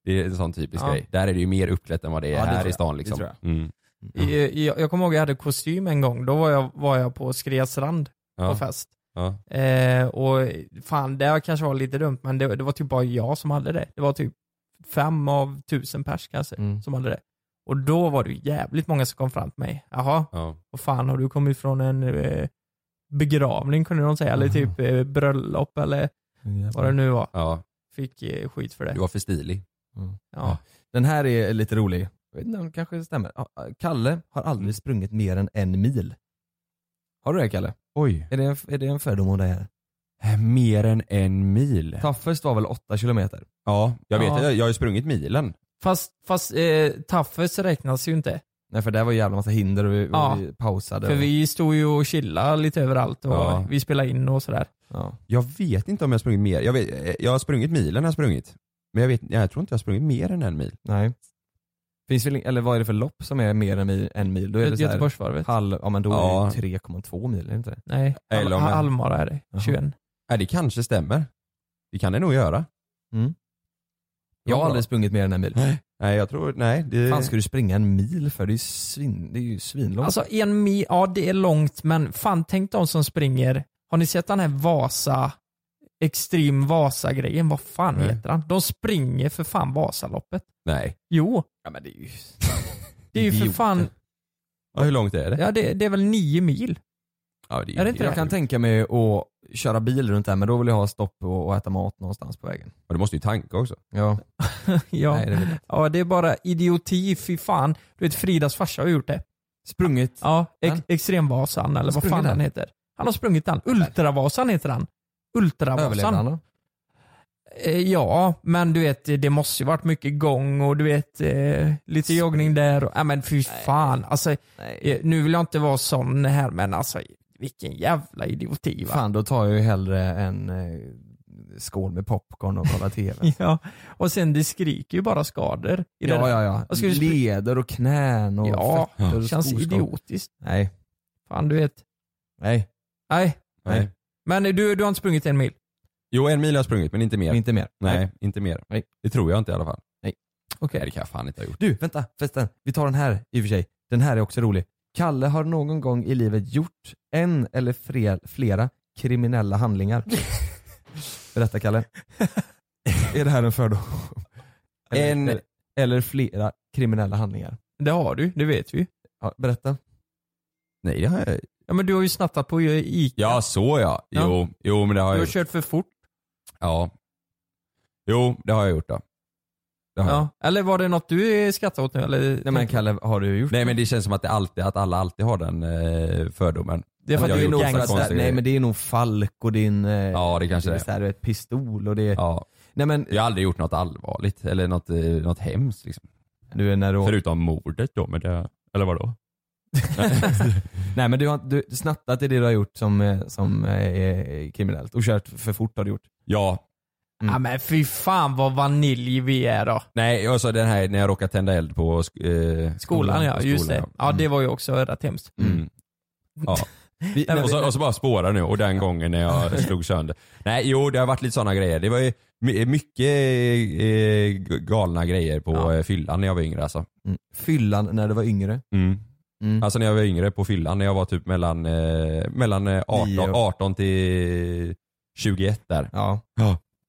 H: det är en sån typisk
K: Ja.
H: grej. Där är det ju mer uppklätt än vad det är
K: Ja, det
H: här
K: tror
H: i
K: jag.
H: stan
K: Det
H: liksom.
K: tror jag.
H: Mm.
K: I- Jag, jag kommer ihåg jag hade kostym en gång, då var jag, var jag på Skreastrand
H: Ja.
K: på fest.
H: Ja.
K: Eh, och fan, det kanske var lite dumt men det, det var typ bara jag som hade det. Det var typ fem av tusen pers kanske
H: Mm.
K: som hade det. Och då var det ju jävligt många som kom fram till mig. Jaha,
H: Ja.
K: och fan har du kommit från en eh, begravning kunde de säga, eller typ eh, bröllop eller vad det nu var.
H: Mm. Ja.
K: Fick eh, skit för det.
H: Du var för stilig.
K: Mm. Ja.
I: Den här är lite rolig. Jag vet inte om det kanske stämmer. Ja, Kalle har
K: Mm.
I: aldrig sprungit mer än en mil. Har du det Kalle?
H: Oj.
I: Är det en, är det en fördom om dig här?
H: Eh, Mer än en mil.
I: Toughest var väl 8 kilometer?
H: Ja, jag vet.
K: Ja.
H: Jag, jag har ju sprungit milen.
K: Fast, fast eh, Taffes räknas ju inte.
I: Nej för där var ju jävla massa hinder och vi,
K: Ja.
I: och vi pausade.
K: För
I: och,
K: vi stod ju och chillade lite överallt och
H: Ja.
K: vi spelade in och sådär.
I: ja.
H: Jag vet inte om jag har sprungit mer. Jag, vet, eh, jag har sprungit milen, jag har sprungit. Men jag, vet, jag tror inte jag har sprungit mer än en mil.
I: Nej. Finns väl, eller vad är det för lopp som är mer än mil? En mil? Då är
K: Gö-
I: det så här,
K: Göteborgsvarvet.
I: Halv, ja men då
H: Ja.
I: är det ju 3,2 mil, är det inte?
K: Nej,
H: Eller
K: Al-
H: om jag-
K: Almara är det. 21.
H: Nej, det kanske stämmer. Det kan det nog göra.
I: Mm. Jag har
H: Ja.
I: aldrig sprungit mer än en mil.
H: Nej, jag tror, nej. Det...
I: fan ska du springa en mil för? Det är ju, svin, det är ju svinlångt.
K: Alltså en mil, ja det är långt men fan tänk de som springer. Har ni sett den här Vasa, Extrem Vasa-grejen? Vad fan
H: Nej.
K: heter han? De springer för fan Vasaloppet.
H: Nej.
K: Jo.
H: Ja, men det är ju...
K: Det är ju för
H: Idioter.
K: fan,
H: Ja, hur långt är det?
K: ja det, det är väl nio mil?
H: Ja, det
K: Är det inte
I: jag
K: det?
I: kan tänka mig att köra bil runt där men då vill jag ha stopp och, och äta mat någonstans på vägen.
H: Ja, du måste ju tanka också.
I: Ja.
K: Ja.
I: Nej, det vill jag inte.
K: ja, det är bara idioti, fy fan. Du vet Fridas farsa har gjort det.
I: Sprungit?
K: Ja, ex Extremvasan eller vad
I: Sprungit
K: fan
I: den?
K: han heter. Han har sprungit den. Ultravasan heter han.
I: Överlevde han
K: Ultravasan.
I: då?
K: Eh, Ja, men du vet det måste ju varit mycket gång och du vet eh, lite joggning där. Och, nej men fy fan. Alltså, eh, nu vill jag inte vara sån här men alltså vilken jävla idioti va.
I: Fan då tar jag ju hellre en eh, skål med popcorn och kollar TV.
K: Ja, och sen det skriker ju bara skador. i det
I: ja
K: där.
I: ja ja.
K: Vad ska du springa-
I: Leder och knän och
K: Ja,
I: fötter
K: det
I: och
K: känns
I: skoskav.
K: idiotiskt.
I: Nej.
K: Fan du vet.
I: Nej.
K: Nej.
H: Nej.
K: Men du, du har inte sprungit en mil?
H: Jo, en mil har jag sprungit, men inte mer.
I: Inte mer.
H: Nej, inte mer.
I: Nej.
H: Det tror jag inte i alla fall.
I: Nej.
K: Okej.
H: Nej, det kan jag fan inte ha gjort.
I: Du, vänta förresten. Vi tar den här i och för sig. Den här är också rolig. Kalle har någon gång i livet gjort en eller fre- flera kriminella handlingar. Berätta Kalle. är det här en fördom?
H: En-
I: eller, eller flera kriminella handlingar.
K: Det har du, det vet vi.
I: Ja, berätta.
H: Nej, det har jag
K: Ja men du har ju snattat på ju ICA.
H: Ja, så ja. Jo,
K: Ja.
H: jo men det har
K: Du
H: jag
K: har
H: gjort.
K: kört för fort.
H: Ja. Jo, det har jag gjort då. Det har jag.
K: Ja. Eller var det något du skrattar åt nu? Eller?
I: Nej men Kalle, har du gjort
H: Nej men det känns som att, det alltid, att alla alltid har den eh, fördomen.
K: Det är för
H: Jag
K: att du
H: har
K: är
H: gjort
K: nog
H: massa
K: gangster.
H: konstiga
I: Nej
H: grejer.
I: men det är nog Falk och din... eh,
H: Ja, det kanske det är.
I: Så här, du vet, pistol och det...
H: Ja.
I: Nej men
H: Jag har aldrig gjort något allvarligt eller något, eh, något hemskt liksom.
I: du är när du...
H: Förutom mordet då, men det, eller vadå?
I: Nej men du har du, snattat är det du har gjort som, eh, som eh, är kriminellt. Och kört för fort har du gjort.
H: Ja.
K: Ja men fy fan vad vanilj vi är då.
H: Nej, jag sa den här när jag råkade tända eld på sk- eh,
K: Skolan ja,
H: på
K: just det.
H: skolan,
K: Ja det var ju också rätt hemskt.
H: Mm. Ja. Vi, och, så, och så bara spårar nu och den gången när jag slog sönder. Nej jo det har varit lite sådana grejer. Det var ju my- mycket eh, galna grejer på eh, fyllan när jag var yngre alltså.
I: Mm.
G: Fyllan när du var yngre?
H: Mm. Alltså när jag var yngre på fyllan, när jag var typ mellan, eh, mellan eh, 18,
G: Nio.
H: 18 till 21 där.
G: Ja.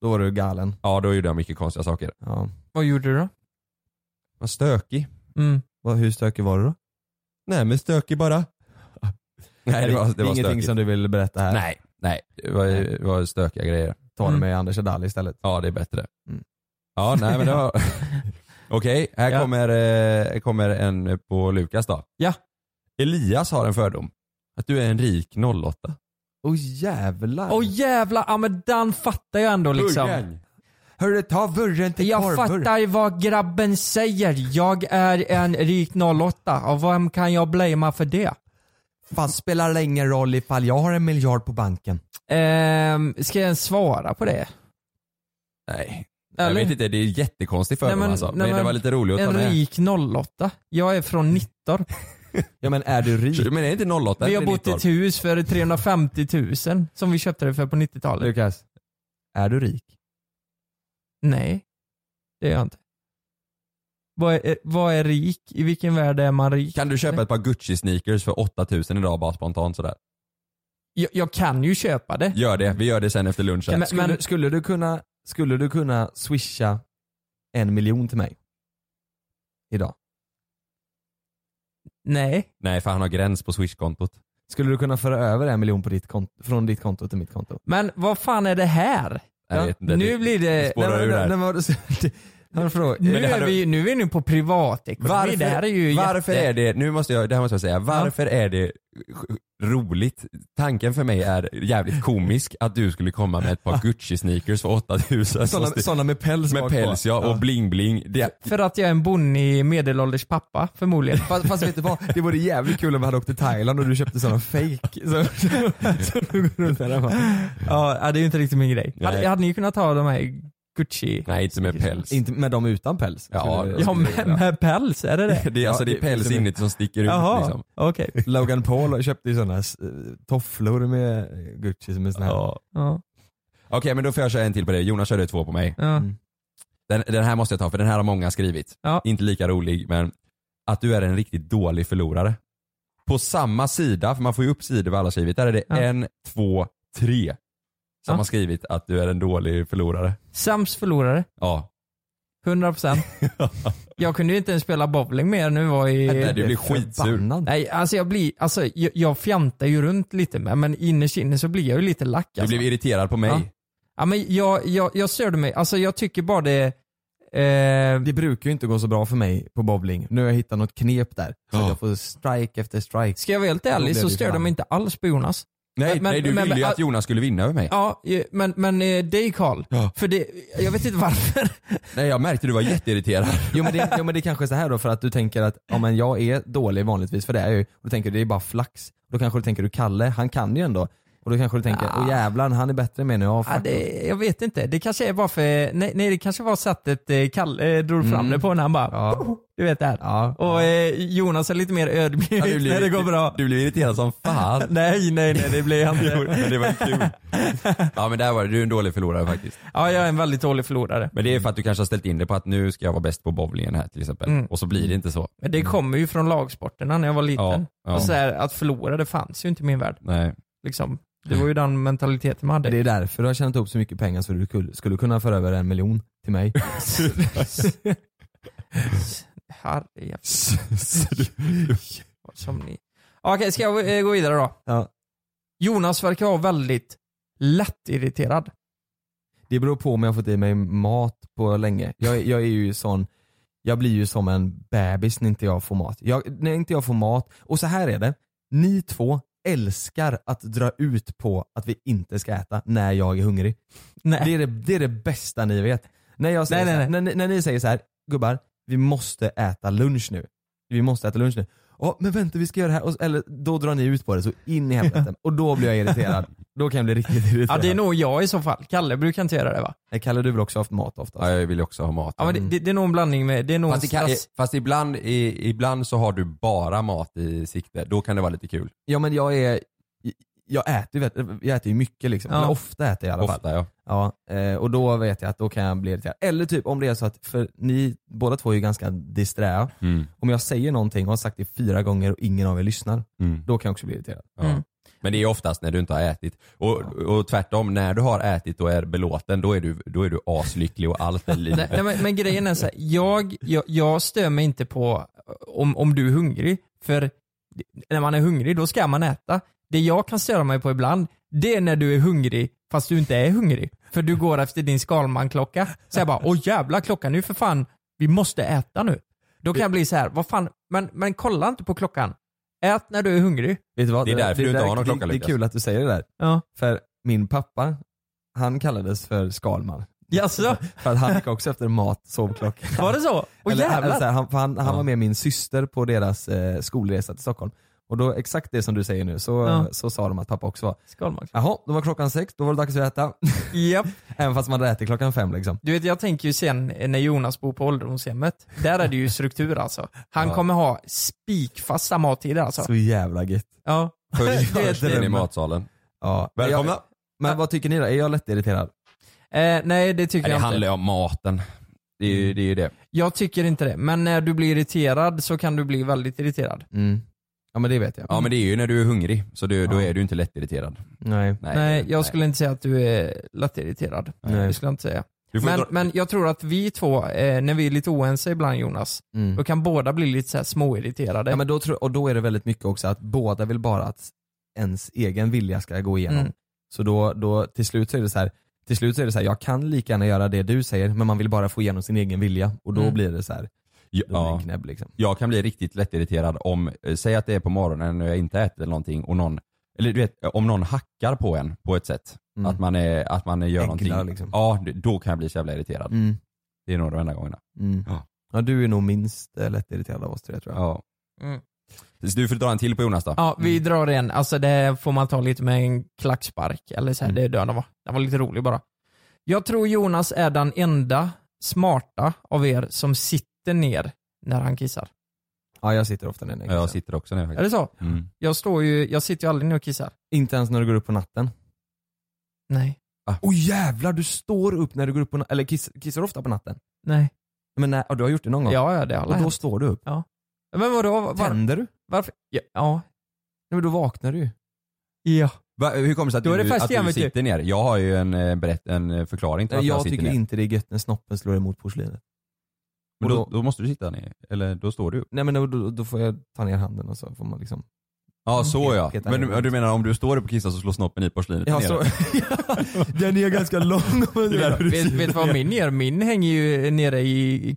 G: Då var du galen.
H: Ja då gjorde jag mycket konstiga saker.
G: Ja.
I: Vad gjorde du då?
H: Var stökig.
I: Mm.
G: Vad, hur stökig var du då?
H: Nej men stökig bara. Nej det var, det var
G: ingenting
H: stökigt.
G: som du vill berätta här?
H: Nej, nej. Det var, det var stökiga grejer.
G: Ta
I: Mm.
G: det med Anders Adali istället.
H: Ja det är bättre. Ja nej men det var... Okej, här
G: Ja.
H: kommer, eh, här kommer en på Lukas då.
I: Ja.
H: Elias har en fördom. Att du är en rik 08.
G: Åh jävlar.
I: Åh jävlar, ja men den fattar jag ändå liksom.
H: Burgaren.
G: Hörru, ta vurren till
I: Jag
G: korvburk.
I: fattar vad grabben säger. Jag är en rik 08 och vem kan jag blamea för det?
G: Fan spelar det ingen roll ifall jag har en miljard på banken?
I: Ehm, ska jag ens svara på det?
H: Nej.
I: Eller?
H: Jag vet inte, det är jättekonstig fördom alltså. Men, det var lite roligt att ta
I: En
H: med.
I: rik 08. Jag är från 19.
G: ja men är du rik?
H: Men är det inte 08
I: Vi
H: eller
I: har bott i
H: 19?
I: ett hus för 350 000 som vi köpte det för på 90-talet.
G: Lukas, är du rik?
I: Nej, det är jag inte. Vad är, vad är rik? I vilken värld är man rik?
H: Kan du köpa ett par Gucci-sneakers för 8000 idag bara spontant sådär?
I: Jag, jag kan ju köpa det.
H: Gör det, vi gör det sen efter lunchen.
G: Men, skulle, skulle, du kunna, skulle du kunna swisha en miljon till mig? Idag?
I: Nej.
H: Nej för han har gräns på swishkontot.
G: Skulle du kunna föra över en miljon på ditt konto, från ditt konto till mitt konto?
I: Men vad fan är det här?
G: Jag vet inte,
I: nu
G: det-
I: blir
G: det
I: det...
G: spårar ur här.
I: nu,
H: det hade-
I: är vi, nu är vi på privatekonomi.
H: Varför,
I: det här är ju
H: varför
I: jätte...
H: är det, nu måste jag, det här måste jag säga, varför är det sj- roligt? Tanken för mig är jävligt komisk att du skulle komma med ett par Gucci-sneakers för 8000.
G: Sådana- sådana med päls
H: Med
G: bak på.
H: päls ja, och
G: Ja.
H: bling-bling. Det,
I: För att jag är en bonnig medelålders pappa förmodligen.
G: Fast, fast vet du vad, det vore jävligt kul om vi hade åkt till Thailand och du köpte sådana fake. Så, så du går runt där och bara,
I: ja, det är ju inte riktigt min grej.
G: Nej.
I: Hade, hade ni kunnat ta de här Gucci?
H: nej inte med päls.
G: Inte med dem utan päls.
H: Ja,
G: Skulle-
I: Ja, med, med päls, är det det?
H: Det är, alltså,
G: Ja,
H: det är
G: det-
H: päls
G: det-
H: inuti som sticker ut
I: Jaha,
H: liksom.
I: okej.
G: Logan Paul köpte ju sådana eh, tofflor med Gucci som är såna här.
H: Ja.
I: Ja.
H: Okej men då får jag köra en till på dig, Jonas körde två på mig.
I: Ja.
G: Mm.
H: Den, den här måste jag ta för den här har många skrivit.
I: Ja.
H: Inte lika rolig men att du är en riktigt dålig förlorare. På samma sida, för man får ju upp sidor vad alla har skrivit, där är det
I: Ja.
H: en, två, tre som
I: Ja.
H: har skrivit att du är en dålig förlorare.
I: Sams förlorare,
H: Ja.
I: 100%. jag kunde ju inte ens spela bowling mer nu var i...
H: Nej, du blir skitsur.
I: Nej, alltså jag blir, alltså jag, jag fjantar ju runt lite med, men innerst inne så blir jag ju lite lack
H: Du
I: alltså.
H: blev irriterad på mig.
I: Ja. Ja men jag, jag, jag störde mig, alltså jag tycker bara det, eh,
G: Det brukar ju inte gå så bra för mig på bowling. Nu har jag hittat något knep där. Så att jag får strike efter strike.
I: ska jag vara helt
G: Då blev
I: ärlig så
G: du
I: störde
G: förbannad.
I: jag mig inte alls på Jonas.
H: Nej,
I: Men-
H: nej, du
I: men-
H: ville ju
I: men-
H: att Jonas skulle vinna över mig.
I: Ja, eh, men, men eh, dig Karl, för det, jag vet inte varför.
H: Nej, jag märkte du var jätteirriterad.
G: Jo men, det, jo men det är kanske är så här då för att du tänker att ja, men jag är dålig vanligtvis för det är jag ju. Och då tänker du det är bara flax. Då kanske du tänker du Kalle, han kan ju ändå. Och då kanske du tänker
I: Ja.
G: åh jävlar han är bättre än mig nu. Ja,
I: Ja,
G: fuck.
I: det, jag vet inte, det kanske är bara för, nej, nej det kanske var sättet eh, Kalle eh, drog fram
G: Mm.
I: det på när han bara,
G: Ja.
I: du vet det här.
G: Ja.
I: Och eh, Jonas är lite mer ödmjuk
H: Ja, du,
I: när det går bra.
H: du blev irriterad som fan.
I: Nej, nej, nej, det blir jag
H: Jo,
I: inte.
H: men det var ju kul. Ja men där var det, du är en dålig förlorare faktiskt.
I: Ja, jag är en väldigt dålig förlorare.
H: Men det är för att du kanske har ställt in dig på att nu ska jag vara bäst på bowlingen här till exempel.
I: Mm.
H: Och så blir det inte så.
I: Men
G: Mm.
I: det kommer ju från lagsporterna när jag var liten.
H: Ja, ja.
I: Och så här, att förlora, det fanns ju inte i min värld.
H: Nej.
I: Liksom. Det var ju den mentaliteten man hade.
G: Det är därför du har tjänat ihop så mycket pengar så du kul- skulle kunna föra över en miljon till mig.
I: Herre jävlar, vad som ni... Okej, ska jag eh, gå vidare då?
G: Ja.
I: Jonas verkar vara väldigt lättirriterad.
G: Det beror på om jag har fått i mig mat på länge. Jag, jag är ju sån, jag blir ju som en bebis när inte jag får mat. Jag, när inte jag får mat, och så här är det, ni två älskar att dra ut på att vi inte ska äta när jag är hungrig.
I: Nej.
G: Det, är det, det är det bästa ni vet. När, jag säger
I: Nej, nej,
G: så här, när, ni- när ni säger så här, gubbar, vi måste äta lunch nu. Vi måste äta lunch nu. Ja, men vänta vi ska göra det här. Och, eller, då drar ni ut på det så in i helvete. Och då blir jag irriterad. Då kan jag bli riktigt irriterad.
I: Ja, det är nog jag i så fall. Kalle brukar inte göra det va?
G: Nej, Kalle du vill också ha haft mat ofta? Mm.
H: Ja, jag vill ju också ha mat.
I: Ja, men det, det, det är nog en blandning med, det är nog
H: Fast, det kan,
I: stress.
H: fast ibland, i, ibland så har du bara mat i sikte, då kan det vara lite kul.
G: Ja men jag är, jag äter ju väldigt- jag äter ju mycket liksom.
I: Ja.
G: Eller ofta äter jag i alla fall.
H: Ofta, ja.
G: Ja, eh, och då vet jag att då kan jag bli irriterad. Eller typ om det är så att, för ni båda två är ju ganska disträ.
H: Mm.
G: Om jag säger någonting och har sagt det fyra gånger och ingen av er lyssnar,
H: Mm.
G: då kan jag också bli irriterad.
H: Ja. Men det är oftast när du inte har ätit. Och, och tvärtom, när du har ätit och är belåten, då är du, då är du aslycklig och allt är
I: Nej, nej,
H: livet.
I: men, men grejen är så här, jag, jag, jag stör mig inte på eh, om, om du är hungrig, för när man är hungrig då ska man äta. Det jag kan störa mig på ibland, det är när du är hungrig fast du inte är hungrig. För du går efter din skalmanklocka. Så jag bara, åh jävla klockan nu för fan, vi måste äta nu. Då kan jag bli så här, vad fan, men, men kolla inte på klockan. Ät när du är hungrig.
G: Vet du vad?
H: Det är därför du inte har någon klocka,
G: det, det är
H: Lukas.
G: kul att du säger det där.
I: Ja.
G: För min pappa, han kallades för Skalman.
I: Jaså?
G: För att han gick också efter mat, sovklocka.
I: Var det så? Åh
G: Eller-
I: jävlar.
G: eller så här, han för han, han var med min syster på deras eh, skolresa till Stockholm. Och då exakt det som du säger nu, så,
I: Ja.
G: så sa de att pappa också var
I: Skalman.
G: Jaha, då var klockan sex, då var det dags att äta.
I: Japp.
G: Även fast man hade ätit klockan fem liksom.
I: Du vet, jag tänker ju sen eh, när Jonas bor på ålderdomshemmet. Där är det ju struktur alltså. Han
G: Ja.
I: kommer ha spikfasta mattider alltså.
G: Så jävla gött.
I: Ja.
H: Först
I: Det är ett
H: först in i
I: dröm.
H: matsalen.
G: Ja.
H: Välkomna.
G: Jag, men vad tycker ni då? Är jag lättirriterad?
I: Eh, nej, det tycker
H: Nej, det
I: jag inte.
H: handlar ju om maten. Det är ju det. Är ju det.
I: Jag tycker inte det. Men när du blir irriterad så kan du bli väldigt irriterad.
G: Mm. Ja men det vet jag.
H: Ja men det är ju när du är hungrig, så du, då är du inte lättirriterad.
G: Nej.
I: Nej, jag skulle inte säga att du är lättirriterad.
G: Nej.
I: Det skulle jag inte säga.
H: Du får
I: Men,
H: dra-
I: men jag tror att vi två, eh, när vi är lite oense ibland Jonas,
G: Mm.
I: då kan båda bli lite så här småirriterade.
G: Ja, men då tror, och då är det väldigt mycket också att båda vill bara att ens egen vilja ska gå igenom.
I: Mm.
G: Så då, då till slut så är det så här, till slut så är det så här, jag kan lika gärna göra det du säger men man vill bara få igenom sin egen vilja och då
H: Mm.
G: blir det så här,
H: Ja,
G: då blir det en knäbb liksom.
H: Jag kan bli riktigt lättirriterad om, eh, säg att det är på morgonen och jag inte ätit eller någonting och någon, eller du vet, om någon hackar på en på ett sätt.
G: Mm.
H: Att man, är, att man gör
G: Äcklar,
H: någonting.
G: liksom.
H: Ja, d- då kan jag bli så jävla irriterad.
G: Mm.
H: Det är nog de enda gångerna.
G: Mm.
H: Ja.
G: Ja, du är nog minst eh, lättirriterad av oss tre tror jag.
H: Ja.
I: Mm.
H: Så du får dra en till på Jonas då.
I: Ja,
G: Mm.
I: vi drar en. Alltså det får man ta lite med en klackspark. Eller så här,
H: Mm.
I: det är död den var. Den var lite rolig bara. Jag tror Jonas är den enda smarta av er som sitter ner när han kissar.
G: Ja, jag sitter ofta ner när
H: Ja,
G: jag
H: jag
G: kissar.
H: sitter också ner
I: Är det
H: faktiskt.
I: så?
H: Mm.
I: Jag står ju, jag sitter ju aldrig ner och kissar.
G: Inte ens när du går upp på natten.
I: Nej.
G: Åh oh, jävlar, du står upp när du går upp på natten, eller kiss, kissar du ofta på natten?
I: Nej.
G: Men när, ja, du har gjort det någon gång?
I: Ja, ja det har
G: Och då
I: hänt.
G: står du upp?
I: Ja. Men vadå? Var,
G: Tänder du?
I: varför? Ja. ja.
G: Nej, men då vaknar du ju.
I: ja.
H: Va, hur kommer det sig att
I: Då är det
H: du,
I: fest
H: att
I: igen,
H: du
I: vet du.
H: sitter ner? Jag har ju en, eh, berätt, en eh, förklaring till
G: Jag,
H: att jag, sitter
G: tycker
H: ner.
G: inte det är gött när snoppen slår emot porslinet.
H: Men
G: och
H: då,
G: då-
H: då måste du sitta ner, eller då står du upp.
G: Nej men då, då, då får jag ta ner handen och så får man liksom
H: Ja så
G: Pet-
H: ja.
G: peta
H: Men
G: ner.
H: du, du menar om du står upp och kissar så slår snoppen i porslinet
G: Ja,
H: ner?
G: så- Den är ganska lång
H: Det är därför du
I: Vet, vet du vad min gör? Min hänger ju nere i, i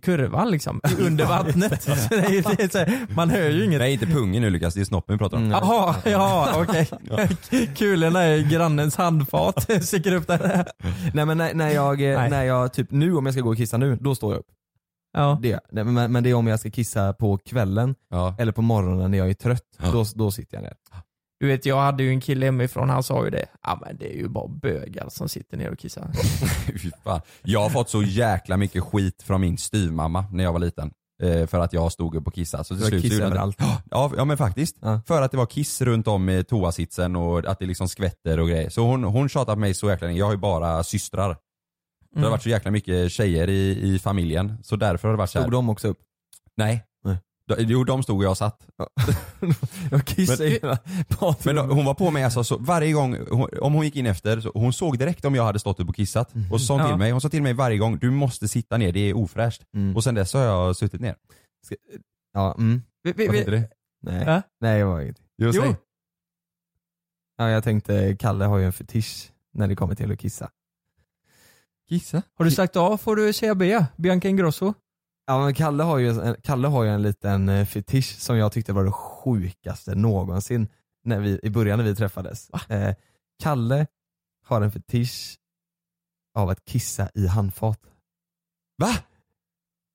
I: kurvan liksom. I- Under vattnet. Så det är, ju- det är så här, man hör ju inget.
H: Nej inte pungen nu Lukas, det är snoppen vi pratar
G: Mm.
H: om.
I: Jaha, ja okej. Kulorna är i grannens handfat. Sticker upp där.
G: Nej men när, när, jag, eh,
I: Nej.
G: när jag, typ nu om jag ska gå och kissa nu, då står jag upp.
I: Ja.
G: Det, Nej, men, men det är om jag ska kissa på kvällen
H: Ja.
G: eller på morgonen när jag är trött, då, då sitter jag ner.
I: Du vet, jag hade ju en kille hemifrån, han sa ju det. Ja men det är ju bara bögar som sitter ner och kissar.
H: Fy fan. Jag har fått så jäkla mycket skit från min styvmamma när jag var liten. Eh, för att jag stod upp och kissade. Så till
G: Du har
H: slut så
G: kiss
H: gjorde jag
G: överallt.
H: det. Ja, ja men faktiskt. För att det var kiss runt om i toasitsen och att det liksom skvätter och grejer. Så hon, hon tjatar på mig så jäkla länge. Jag har ju bara systrar. Det har
I: Mm.
H: varit så jäkla mycket tjejer i, i familjen. Så därför har det varit så här.
G: Stod de också upp?
H: Nej.
G: Nej.
H: De- Jo de stod och jag satt.
G: Jag kissar i hela
H: Men
G: badrummet.
H: då, hon var på mig alltså, så varje gång, hon, om hon gick in efter, så, hon såg direkt om jag hade stått upp och kissat. Och så sa hon
I: Mm. Ja.
H: till mig, hon sa till mig varje gång, du måste sitta ner, det är ofräscht.
G: Mm.
H: Och sen dess har jag suttit ner.
G: Ja, mm.
I: Vi, vi,
H: Vad
I: vi,
H: heter det?
G: Nej.
I: Va?
G: Nej, jag var inget.
H: Jo,
I: Jo.
H: säg.
G: Ja, jag tänkte, Kalle har ju en fetisch när det kommer till att kissa.
H: Kissa?
I: har du sagt A får du säga B. Bianca Ingrosso.
G: Ja men Kalle har ju en, Kalle har ju en liten eh, fetisch som jag tyckte var det sjukaste någonsin när vi, i början när vi träffades. Eh, Kalle har en fetisch av att kissa i handfat.
H: Va?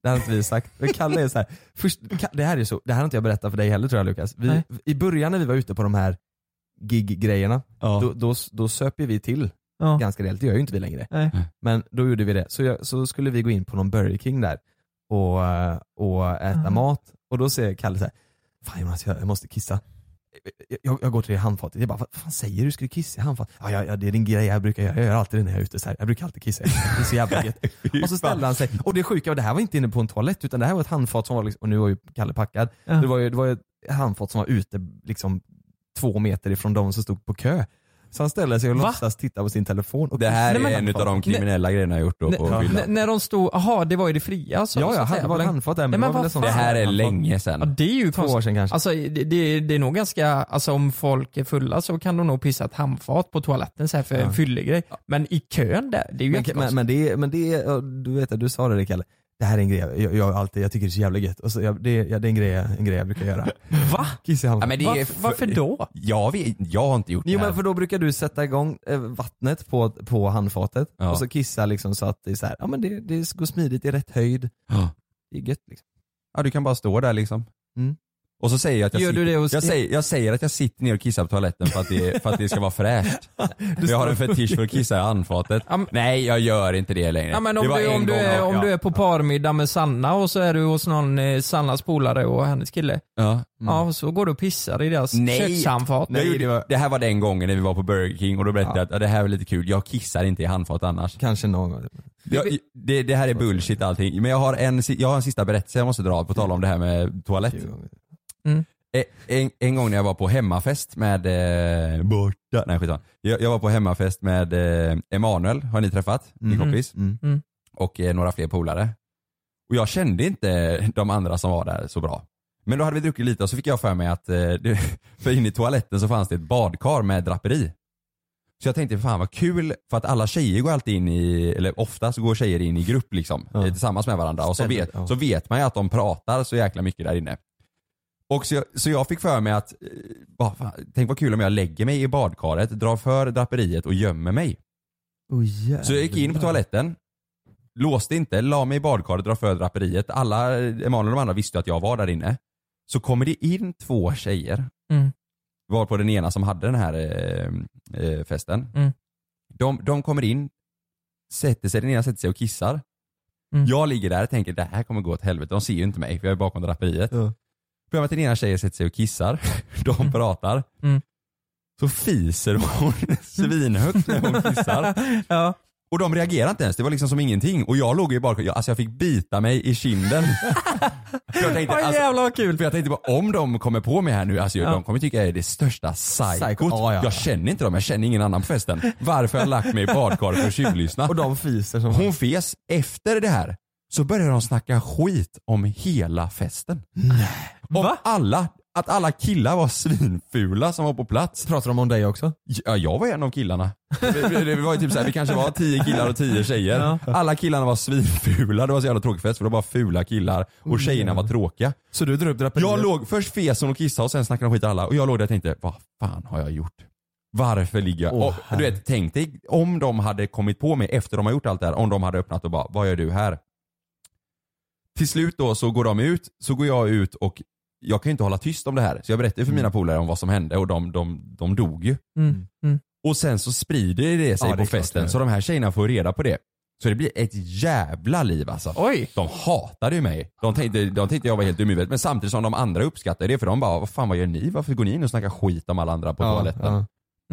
G: Det har inte vi sagt. Men Kalle är så här, först, Ka- det här är så, det här har inte jag berättat för dig heller tror jag Lukas. Vi,
I: Nej.
G: I början när vi var ute på de här gig-grejerna, då, då, då söp ju vi till
I: Ja.
G: ganska rejält, det gör ju inte vi längre.
I: Nej.
G: Men då gjorde vi det. Så, jag, så skulle vi gå in på någon Burger King där och, eh, och äta
I: Ah.
G: mat. Och då säger Kalle så här, Fan Jonas, jag jag måste kissa. jag, jag går till det handfatet, jag bara vad fan säger du? Ska du kissa i handfatet? Ja, ja, ja det är din grej, jag, brukar, jag, jag gör alltid det när jag är ute så här. jag brukar alltid kissa i handfatet. det är så jävla gött. Och så ställde han sig, och det sjuka var det här var inte inne på en toalett utan det här var ett handfat som var, liksom, och nu var ju Kalle packad, det, var ju, det var ju ett handfat som var ute liksom två meter ifrån de som stod på kö. Så han ställde sig och låtsas titta på sin telefon. Och
H: Det här
G: Nej, men-
H: är en av de kriminella grejerna jag gjort då på
G: Nej,
H: fyllan.
G: nej,
I: N- när de stod, jaha det var ju det fria så,
G: Ja,
I: så
G: ja,
I: att säga.
G: han var
I: Väl-
G: handfat där, men
I: Nej,
G: det var väl en sån-
I: vad
H: Det här är
I: fan.
H: länge sedan.
I: Ja, det är ju
G: Två år sedan kanske.
I: Alltså, det, det, det är nog ganska, alltså om folk är fulla så kan de nog pissa ett handfat på toaletten så här för
G: Ja.
I: en fyllig grej. Men i kön där, det är ju
G: men,
I: jättekonstigt.
G: men, men det är, men det är, ja, du vet att du sa det där, Kalle, det här är en grej jag, jag, jag, alltid, jag tycker det är så jävla gött. Och så, jag, det, är- ja, det är en grej, jag- en grej jag brukar göra. Va? Kissa i
H: Ja,
G: halsen.
H: men det är för-
I: varför då?
H: Jag, vet, jag har inte gjort
G: Jo
H: det här.
G: men för då brukar du sätta igång eh, vattnet på, på handfatet
H: Ja.
G: och så kissa liksom så att det är så här, ja men det, det går smidigt i rätt höjd.
H: Ja.
G: Det är gött liksom.
H: Ja, du kan bara stå där liksom.
G: Mm.
H: Och så säger jag att jag,
G: Gör
H: sitter,
G: du det hos-
H: jag, säger, jag säger att jag sitter ner och kissar på toaletten för att det, för att det ska vara fräscht. För jag har en fetisch för att kissa i handfatet. Nej, jag gör inte det längre.
I: Ja, men
H: det
I: om
H: var
I: du,
H: en
I: om, du
H: gång
I: är,
H: jag-
I: om du är på parmiddag med Sanna och så är du hos någon eh, Sannas polare och hennes kille.
H: Ja. Mm.
I: Ja, och så går du och pissar i deras
H: Nej,
I: kökshandfat.
H: Nej, det, var... det här var den gången när vi var på Burger King och då berättade jag att ja, det här var lite kul, jag kissar inte i handfat annars.
G: Kanske någon gång.
H: Jag, det, det här är bullshit allting, men jag har en, si- jag har en sista berättelse jag måste dra på tal om det här med toalett.
I: Mm.
H: Eh, En, en gång när jag var på hemmafest med, eh, borta, nej skitsamma. Jag, jag var på hemmafest med eh, Emanuel, har ni träffat? Min
G: Mm.
H: kompis.
G: Mm.
I: Mm.
H: Och eh, några fler polare. Och jag kände inte de andra som var där så bra. Men då hade vi druckit lite och så fick jag för mig att, eh, det- för inne i toaletten så fanns det ett badkar med draperi. Så jag tänkte fan vad kul, för att alla tjejer går alltid in i, eller oftast går tjejer in i grupp liksom, eh, tillsammans med varandra. Och så
G: Ställer,
H: vet,
G: ja.
H: så vet man ju att de pratar så jäkla mycket där inne. Och så, jag, så jag fick för mig att, eh, bara, fan, tänk vad kul om jag lägger mig i badkaret, drar för draperiet och gömmer mig.
G: Oh,
H: Så jag gick in på toaletten, låste inte, la mig i badkaret, drar för draperiet. Alla, Emanuel och de andra visste ju att jag var där inne. Så kommer det in två tjejer,
I: Mm.
H: var på den ena som hade den här eh, eh, festen.
I: Mm.
H: De, de kommer in, sätter sig, den ena sätter sig och kissar.
I: Mm.
H: Jag ligger där och tänker det här kommer gå åt helvete, de ser ju inte mig för jag är bakom draperiet. Problemet är att den ena tjejen sätter sig och kissar, de pratar.
I: Mm.
H: Så fiser hon svinhögt när hon kissar.
I: ja.
H: Och de reagerade inte ens, det var liksom som ingenting. Och jag låg ju bakom, jag, alltså jag fick bita mig i kinden. För jag tänkte,
I: Åh, jävlar vad kul!
H: alltså, För jag tänkte bara, om de kommer på mig här nu, alltså
I: Ja.
H: de kommer tycka jag är det största psykot.
G: Psycho, ja, ja, ja.
H: Jag känner inte dem, jag känner ingen annan på festen. Varför har jag lagt mig i badkaret för att tjuvlyssna?
G: Och de fiser som
H: Hon fes. Efter det här så började de snacka skit om hela festen. Om alla, att alla killar var svinfula som var på plats.
G: Pratar de om dig också?
H: Ja, jag var en av killarna. Det- det- det var ju typ så här, vi kanske var tio killar och tio tjejer.
G: Ja.
H: Alla killarna var svinfula, det var så jävla tråkig fest för det var bara fula killar och tjejerna var tråkiga.
G: Mm. Så du drar upp draperiet?
H: Jag låg, först fes hon och kissade och sen snackade de skit i alla och jag låg där och tänkte, vad fan har jag gjort? Varför ligger jag...
G: Åh,
H: och, du vet, tänk dig om de hade kommit på mig efter de har gjort allt det här, om de hade öppnat och bara, vad gör du här? Till slut då så går de ut, så går jag ut och jag kan ju inte hålla tyst om det här. Så jag berättade för
G: Mm.
H: mina polare om vad som hände och de, de, de dog ju.
I: Mm. Mm.
H: Och sen så sprider det sig
G: Ja, det
H: på
G: är klart,
H: festen
G: ja.
H: så de här tjejerna får reda på det. Så det blir ett jävla liv alltså.
I: Oj.
H: De hatade ju mig. De tänkte, de tänkte jag var helt dum i huvudet. Men samtidigt som de andra uppskattade det för de bara, vad fan vad gör ni? Varför går ni in och snackar skit om alla andra på
G: Ja,
H: toaletten?
G: ja.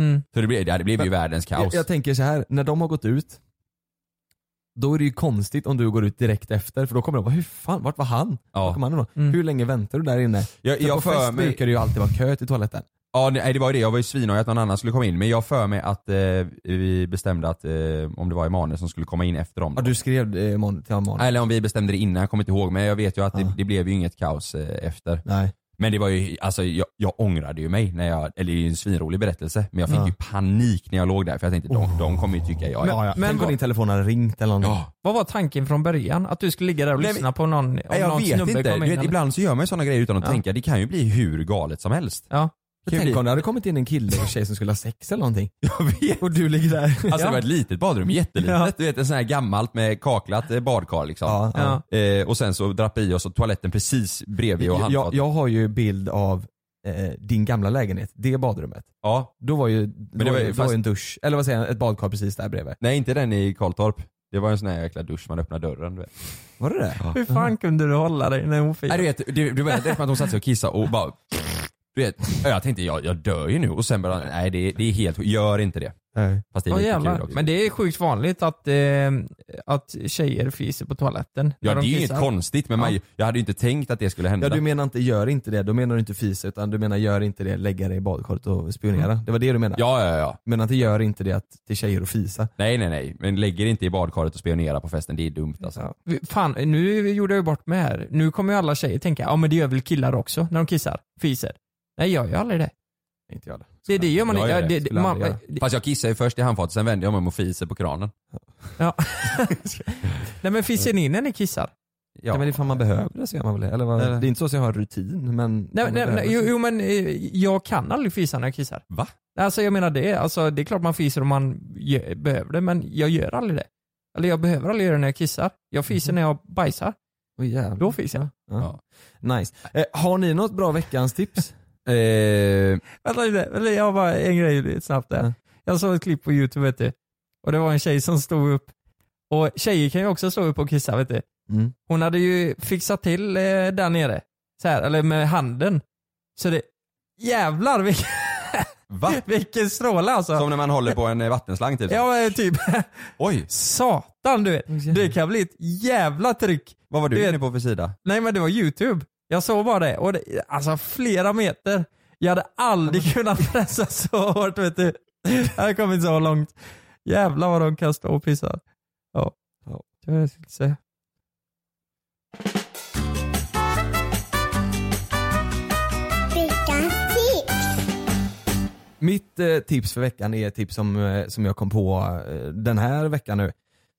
I: Mm.
H: Så det blev, ja, det blev ju världens kaos.
G: Jag, jag tänker så här, när de har gått ut, då är det ju konstigt om du går ut direkt efter för då kommer de bara, hur fan, vart var han?
H: Ja.
G: Var kom han ifrån?
I: Mm.
G: Hur länge väntar du där inne?
H: Jag-
G: För
H: jag
G: på
H: för
G: fest
H: mig-
G: brukar det ju alltid vara kö till toaletten.
H: Ja, nej, det var ju det. Jag var ju svinhoj att någon annan skulle komma in. Men jag för mig att eh, vi bestämde att eh, om det var Emanuel som skulle komma in efter dem.
G: Ja, du skrev eh, imorgon till imorgon.
H: Eller om vi bestämde det innan, jag kommer inte ihåg. Men jag vet ju att det, det blev ju inget kaos eh, efter.
G: Nej.
H: Men det var ju, alltså jag, jag ångrade ju mig när jag, eller det är ju en svinrolig berättelse, men jag fick
G: Ja. Oh.
H: ju panik när jag låg där för jag tänkte de, de kommer ju tycka jag är...
G: Ja, ja. Men, Tänk om din telefon hade ringt eller något.
H: Ja.
I: Vad var tanken från början? Att du skulle ligga där och
H: Nej, men-
I: lyssna på någon, om
H: Nej, jag
I: någon
H: vet
I: snubbe
H: inte,
I: kom
H: du
I: in?
H: vet,
I: eller-
H: ibland så gör man ju sådana grejer utan att
I: Ja.
H: tänka, det kan ju bli hur galet som helst.
I: Ja.
H: Det kan ju
G: Tänk
H: bli,
G: om det hade kommit in en kille och tjej som skulle ha sex eller någonting.
H: jag vet.
G: Och du ligger där.
H: Alltså det var ett litet badrum, jättelitet.
G: Ja.
H: Du vet en sån här gammalt med kaklat eh, badkar liksom.
G: Ja,
H: Eh, och sen så draperi och så toaletten precis bredvid och
G: jag, jag,
H: handfatet.
G: jag har ju bild av eh, din gamla lägenhet, det badrummet.
H: Ja.
G: Då var ju, då
H: det
G: var,
H: var
G: ju,
H: ju-
G: då var
H: fast-
G: ju en dusch, eller vad säger jag, ett badkar precis där bredvid.
H: Nej inte den i Karltorp. Det var en sån här jäkla dusch man öppnar dörren du vet.
G: Var det det? Mm.
H: Ja.
I: Hur fan kunde du hålla dig när hon fick?
H: Nej, du vet, du, du vet, det är som att hon satte sig och kissade och bara Du vet, jag tänkte jag, jag dör ju nu och sen bara, nej det, det är helt, gör inte det.
I: Nej.
H: Fast det är
R: Åh,
H: lite
R: jävlar.
H: kul också.
R: Men det är sjukt vanligt att, eh, att tjejer fiser på toaletten. när
H: Ja det
R: de
H: är ju inget
R: kissar.
H: konstigt men man, jag hade ju inte tänkt att det skulle hända.
I: Ja du menar inte gör inte det, då menar du inte fisa utan du menar gör inte det, lägga dig i badkaret och spionera.
R: Mm.
I: Det var det du menade?
H: Ja, ja, ja.
I: Men att det gör inte det att till tjejer och fisa.
H: Nej nej nej, men lägger inte i badkaret och spionera på festen, det är dumt alltså.
R: Vi- Fan, nu gjorde jag ju bort mig här. Nu kommer ju alla tjejer tänka, ja men det gör väl killar också när de kissar, fiser. Nej, jag gör ju aldrig det.
I: Inte jag det.
R: Det, det gör man
H: Jag
R: inte.
H: gör
R: Ja,
H: det,
R: det, det,
H: skulle
R: man,
H: aldrig göra. Fast jag kissar ju först i handfatet, sen vänder jag mig om och fiser på kranen.
R: ja. Nej men fiser ni när ni kissar?
I: Ja. men ifall man behöver det så gör man väl det. Eller vad?
R: Eller-
I: Det är inte så att jag har en rutin men...
R: Nej,
I: om man
R: nej,
I: behöver
R: nej,
I: så-
R: jo, jo men eh, jag kan aldrig fisa när jag kissar.
H: Va?
R: Alltså jag menar det, alltså, det är klart man fiser om man gö- behöver det men jag gör aldrig det. Eller jag behöver aldrig göra det när jag kissar. Jag fiser när jag bajsar.
I: Åh, jävlar.
R: Då fiser jag.
H: Ja.
I: Nice. Eh, har ni något bra veckans tips?
R: Vänta lite, vänta, jag har bara en grej lite snabbt där. Jag såg ett klipp på youtube vet du. Och det var en tjej som stod upp. Och tjejer kan ju också stå upp och kissa vet du.
I: Mm.
R: Hon hade ju fixat till eh, där nere. Så här, eller med handen. Så det, jävlar vilken,
H: Va?
R: vilken stråle alltså.
H: Som när man håller på en eh, vattenslang typ.
R: Ja men typ.
H: Oj,
R: Satan du vet. Det kan bli ett jävla tryck.
H: vad var
R: Du
H: du
R: vet-
H: inne på för sida?
R: Nej men det var youtube. Jag såg bara det. Och det alltså flera meter. Jag hade aldrig kunnat pressa så hårt vet du. Jag hade kommit så långt. Jävlar vad de kan stå och pissa. Ja. ja. Det var det jag skulle säga.
I: Mitt eh, tips för veckan är ett tips som, eh, som jag kom på eh, den här veckan nu.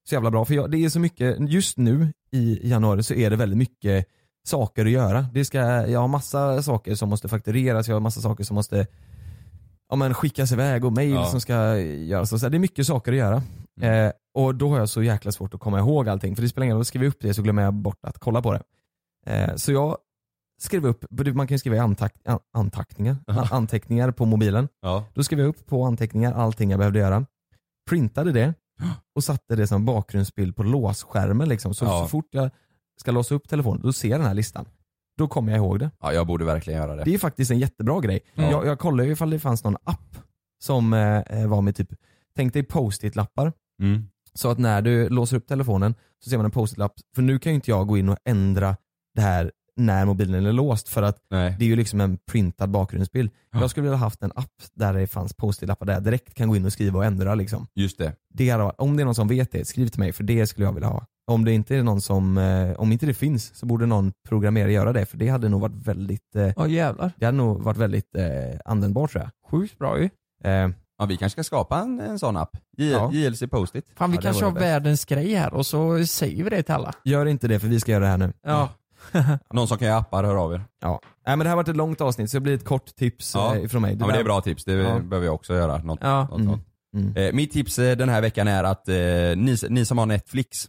I: Så jävla bra för jag, det är så mycket, just nu i januari så är det väldigt mycket saker att göra. Det ska, jag har massa saker som måste faktureras, jag har massa saker som måste ja, men skickas iväg och mail
H: Ja.
I: som ska göras. Och så här, det är mycket saker att göra. Eh, och då har jag så jäkla svårt att komma ihåg allting för det spelar ingen roll, skriver jag upp det så glömmer jag bort att kolla på det. Eh, så jag skrev upp, man kan ju skriva i antack, an, antackningar, an, anteckningar på mobilen.
H: Ja.
I: Då skrev jag upp på anteckningar allting jag behövde göra. Printade det och satte det som bakgrundsbild på låsskärmen. Liksom. Så,
H: Ja.
I: så fort jag ska låsa upp telefonen, då ser jag den här listan. Då kommer jag ihåg det.
H: Ja jag borde verkligen göra det.
I: Det är faktiskt en jättebra grej.
H: Ja.
I: Jag, jag kollade ju ifall det fanns någon app som eh, var med typ, tänk dig post-it-lappar.
H: Mm.
I: Så att när du låser upp telefonen så ser man en post-it-lapp. För nu kan ju inte jag gå in och ändra det här när mobilen är låst för att
H: Nej.
I: det är ju liksom en printad bakgrundsbild. Jag skulle vilja haft en app där det fanns post-it-lappar där jag direkt kan gå in och skriva och ändra liksom.
H: Just det.
I: Det hade, varit- om det är någon som vet det, skriv till mig för det skulle jag vilja ha. Om det inte är någon som, eh, om inte det finns så borde någon programmerare göra det för det hade nog varit väldigt, eh,
R: Ja jävlar.
I: det hade nog varit väldigt eh, användbart tror jag.
R: Sjukt bra ju.
I: Eh,
H: Ja, vi kanske ska skapa en, en sån app. J-
I: Ja.
H: JLC Post-it.
R: Fan vi
I: Ja, det
R: kanske
I: var
R: har
I: det bästa.
R: världens grej här och så säger vi det till alla.
I: gör inte det för vi ska göra det här nu.
R: Ja.
H: Någon som kan göra appar, hör av er.
I: Ja. Nej men det här har varit ett långt avsnitt så det blir ett kort tips
H: Ja.
I: eh, från mig.
H: Ja, men det är
I: där- Mm.
H: bra tips, det
I: Ja.
H: behöver jag också göra. Något,
R: Ja.
H: något, sånt. Eh, mitt tips eh, den här veckan är att eh, ni, ni som har Netflix,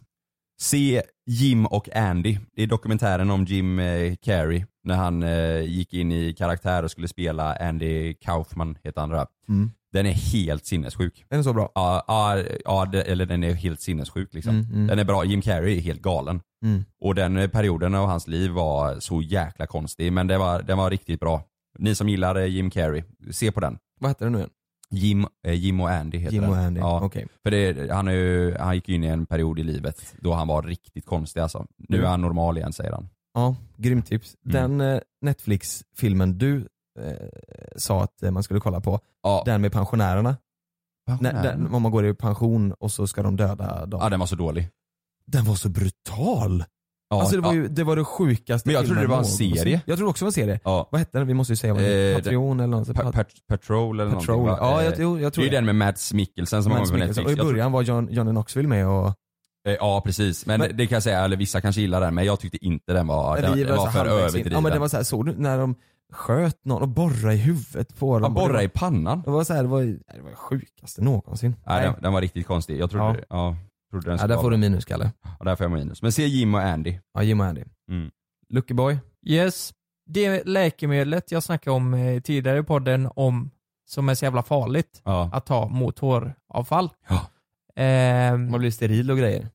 H: se Jim och Andy. Det är dokumentären om Jim eh, Carrey när han eh, gick in i karaktär och skulle spela Andy Kaufman, heter han där.
I: Mm.
H: Den är helt sinnessjuk.
I: Är den så bra?
H: Ja, ja, ja det, eller den är helt sinnessjuk liksom.
I: Mm, mm.
H: Den är bra, Jim Carrey är helt galen.
I: Mm.
H: Och den eh, perioden av hans liv var så jäkla konstig, men det var, den var riktigt bra. Ni som gillar eh, Jim Carrey, se på den.
I: Vad heter den nu igen?
H: Jim, eh, Jim och Andy heter
I: Jim
H: den.
I: och Andy,
H: Ja.
I: okej.
H: För det, han, är ju, han gick ju in i en period i livet då han var riktigt konstig alltså. Nu
I: Mm.
H: är han normal igen säger han.
I: Ja, grymt tips.
H: Mm.
I: Den eh, Netflix-filmen du eh, sa att eh, man skulle kolla på, den med pensionärerna.
H: Pensionärerna?
I: När- Den, om man går i pension och så ska de döda dem.
H: Ja den var så dålig.
I: Den var så brutal!
H: Ja,
I: alltså det var,
H: ja.
I: ju, det var det sjukaste
H: Men jag
I: filmen
H: trodde det var en
I: någonsin.
H: serie.
I: Jag trodde också det var en serie.
H: Ja.
I: Vad hette den? Vi måste ju säga vad den
H: Eh,
I: hette. Patreon eller något.
H: Pa- pat- patrol eller
I: Patrol.
H: någonting va?
I: Ja,
H: Eh,
I: jag- jo, jag tror
H: Det är ju
I: det.
H: den med Mads Mikkelsen som
I: Mads
H: har varit på
I: Mikkelsen.
H: Netflix.
I: Och i
H: Jag tror-
I: början var John, Johnny Knoxville med och
H: Eh, Ja precis, men,
I: Men-
H: det kan jag säga, eller vissa kanske gillar den men jag tyckte inte den var, den, den var
I: så
H: för
I: halvvägs in.
H: överdriven.
I: Ja men det var så här, såg du när de sköt någon och borrade i huvudet på
H: Ja,
I: dem?
H: borra
I: Det var-
H: i pannan.
I: Det var så här, det var, det var det sjukaste någonsin.
H: Nej, Den, den var riktigt konstig. Jag trodde, ja. trodde den
I: Ja, där
H: skulle
I: får du
H: vara-
I: minus Kalle.
H: ja, där får jag minus. Men se Jim och Andy.
I: Ja, Jim och Andy.
H: Mm.
I: Lucky boy.
R: Yes. Det läkemedlet jag snackade om eh, tidigare i podden om som är så jävla farligt
H: Ja.
R: att ta mot håravfall.
H: Ja.
R: Ehm,
I: Man blir steril och grejer.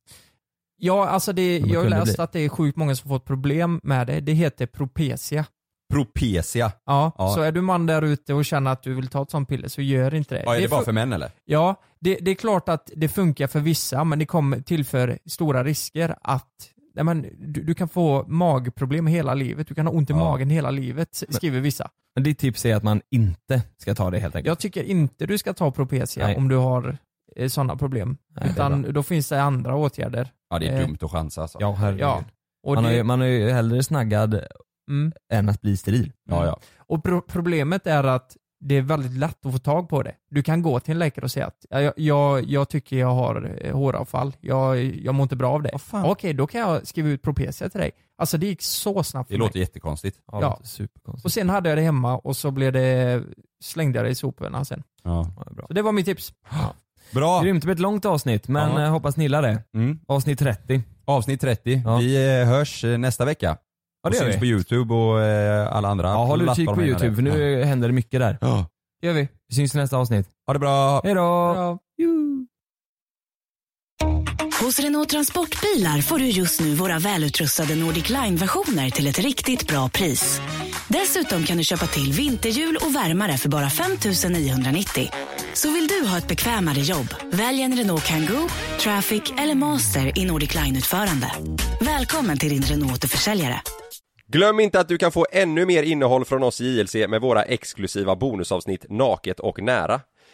R: Ja, alltså det,
I: man
R: jag har
I: kunde
R: läst
I: bli.
R: att det är sjukt många som fått problem med det. Det heter propecia.
S: Propecia.
I: Ja,
S: Ja.
I: så är du man där ute och känner att du vill ta ett sånt piller så gör inte det.
S: Ja, är det bara
I: fu-
S: för män eller?
I: Ja, det, det är klart att det funkar för vissa men det kommer tillför stora risker att nej, men, du, du kan få magproblem hela livet. Du kan ha ont i magen hela livet s- skriver vissa.
T: Men ditt tips är att man inte ska ta det helt enkelt?
I: Jag tycker inte du ska ta Propecia
T: Nej.
I: om du har eh, sådana problem.
T: det är
I: Utan då finns det andra åtgärder. Eh,
S: att chansa alltså.
T: Ja, herregud.
I: Ja, och
T: man,
I: det-
T: har ju, man är ju hellre snaggad
I: Mm.
T: än att bli steril.
I: Ja, ja. Och pro problemet är att det är väldigt lätt att få tag på det. Du kan gå till en läkare och säga att "Ja, jag, jag, jag tycker jag har eh, håravfall, jag, jag mår inte bra av det. Okej, då kan jag skriva ut Propecia till dig. Alltså det gick så snabbt
S: Det
I: för mig.
S: låter jättekonstigt.
I: Ja, det Ja. låter Och sen hade jag det hemma och så blev det, slängde jag det i soporna sen.
S: Ja.
I: Så det var mitt tips.
S: Bra!
T: Grymt, det blev ett långt avsnitt men
S: Ja.
T: eh, hoppas ni gillar det. Avsnitt 30.
S: Avsnitt 30. Vi eh, hörs eh, nästa vecka.
T: Ja, det
S: och
T: gör
S: syns
T: vi.
S: på youtube och eh, alla andra
T: Ja, håll utkik
S: plattformar
T: på
S: menar
T: youtube
S: jag.
T: för nu eh, händer det mycket där.
S: Ja.
I: Gör vi.
T: Vi syns i nästa avsnitt.
S: Ha det bra!
T: Hejdå!
K: Hos Renault Transportbilar får du just nu våra välutrustade Nordic Line-versioner till ett riktigt bra pris. Dessutom kan du köpa till vinterhjul och värmare för bara 5 990. Så vill du ha ett bekvämare jobb, välj en Renault Kangoo, Traffic eller Master i Nordic Line-utförande. Välkommen till din Renault-återförsäljare.
H: Glöm inte att du kan få ännu mer innehåll från oss i JLC med våra exklusiva bonusavsnitt Naket och nära.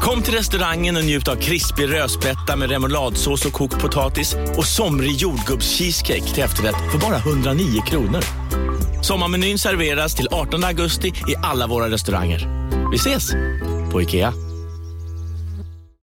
L: Kom till restaurangen och njut av krispig rödspätta med remouladsås och kokt potatis och somrig jordgubbscheesecake till efterrätt för bara 109 kronor. Sommarmenyn serveras till 18 augusti i alla våra restauranger. Vi ses! På IKEA.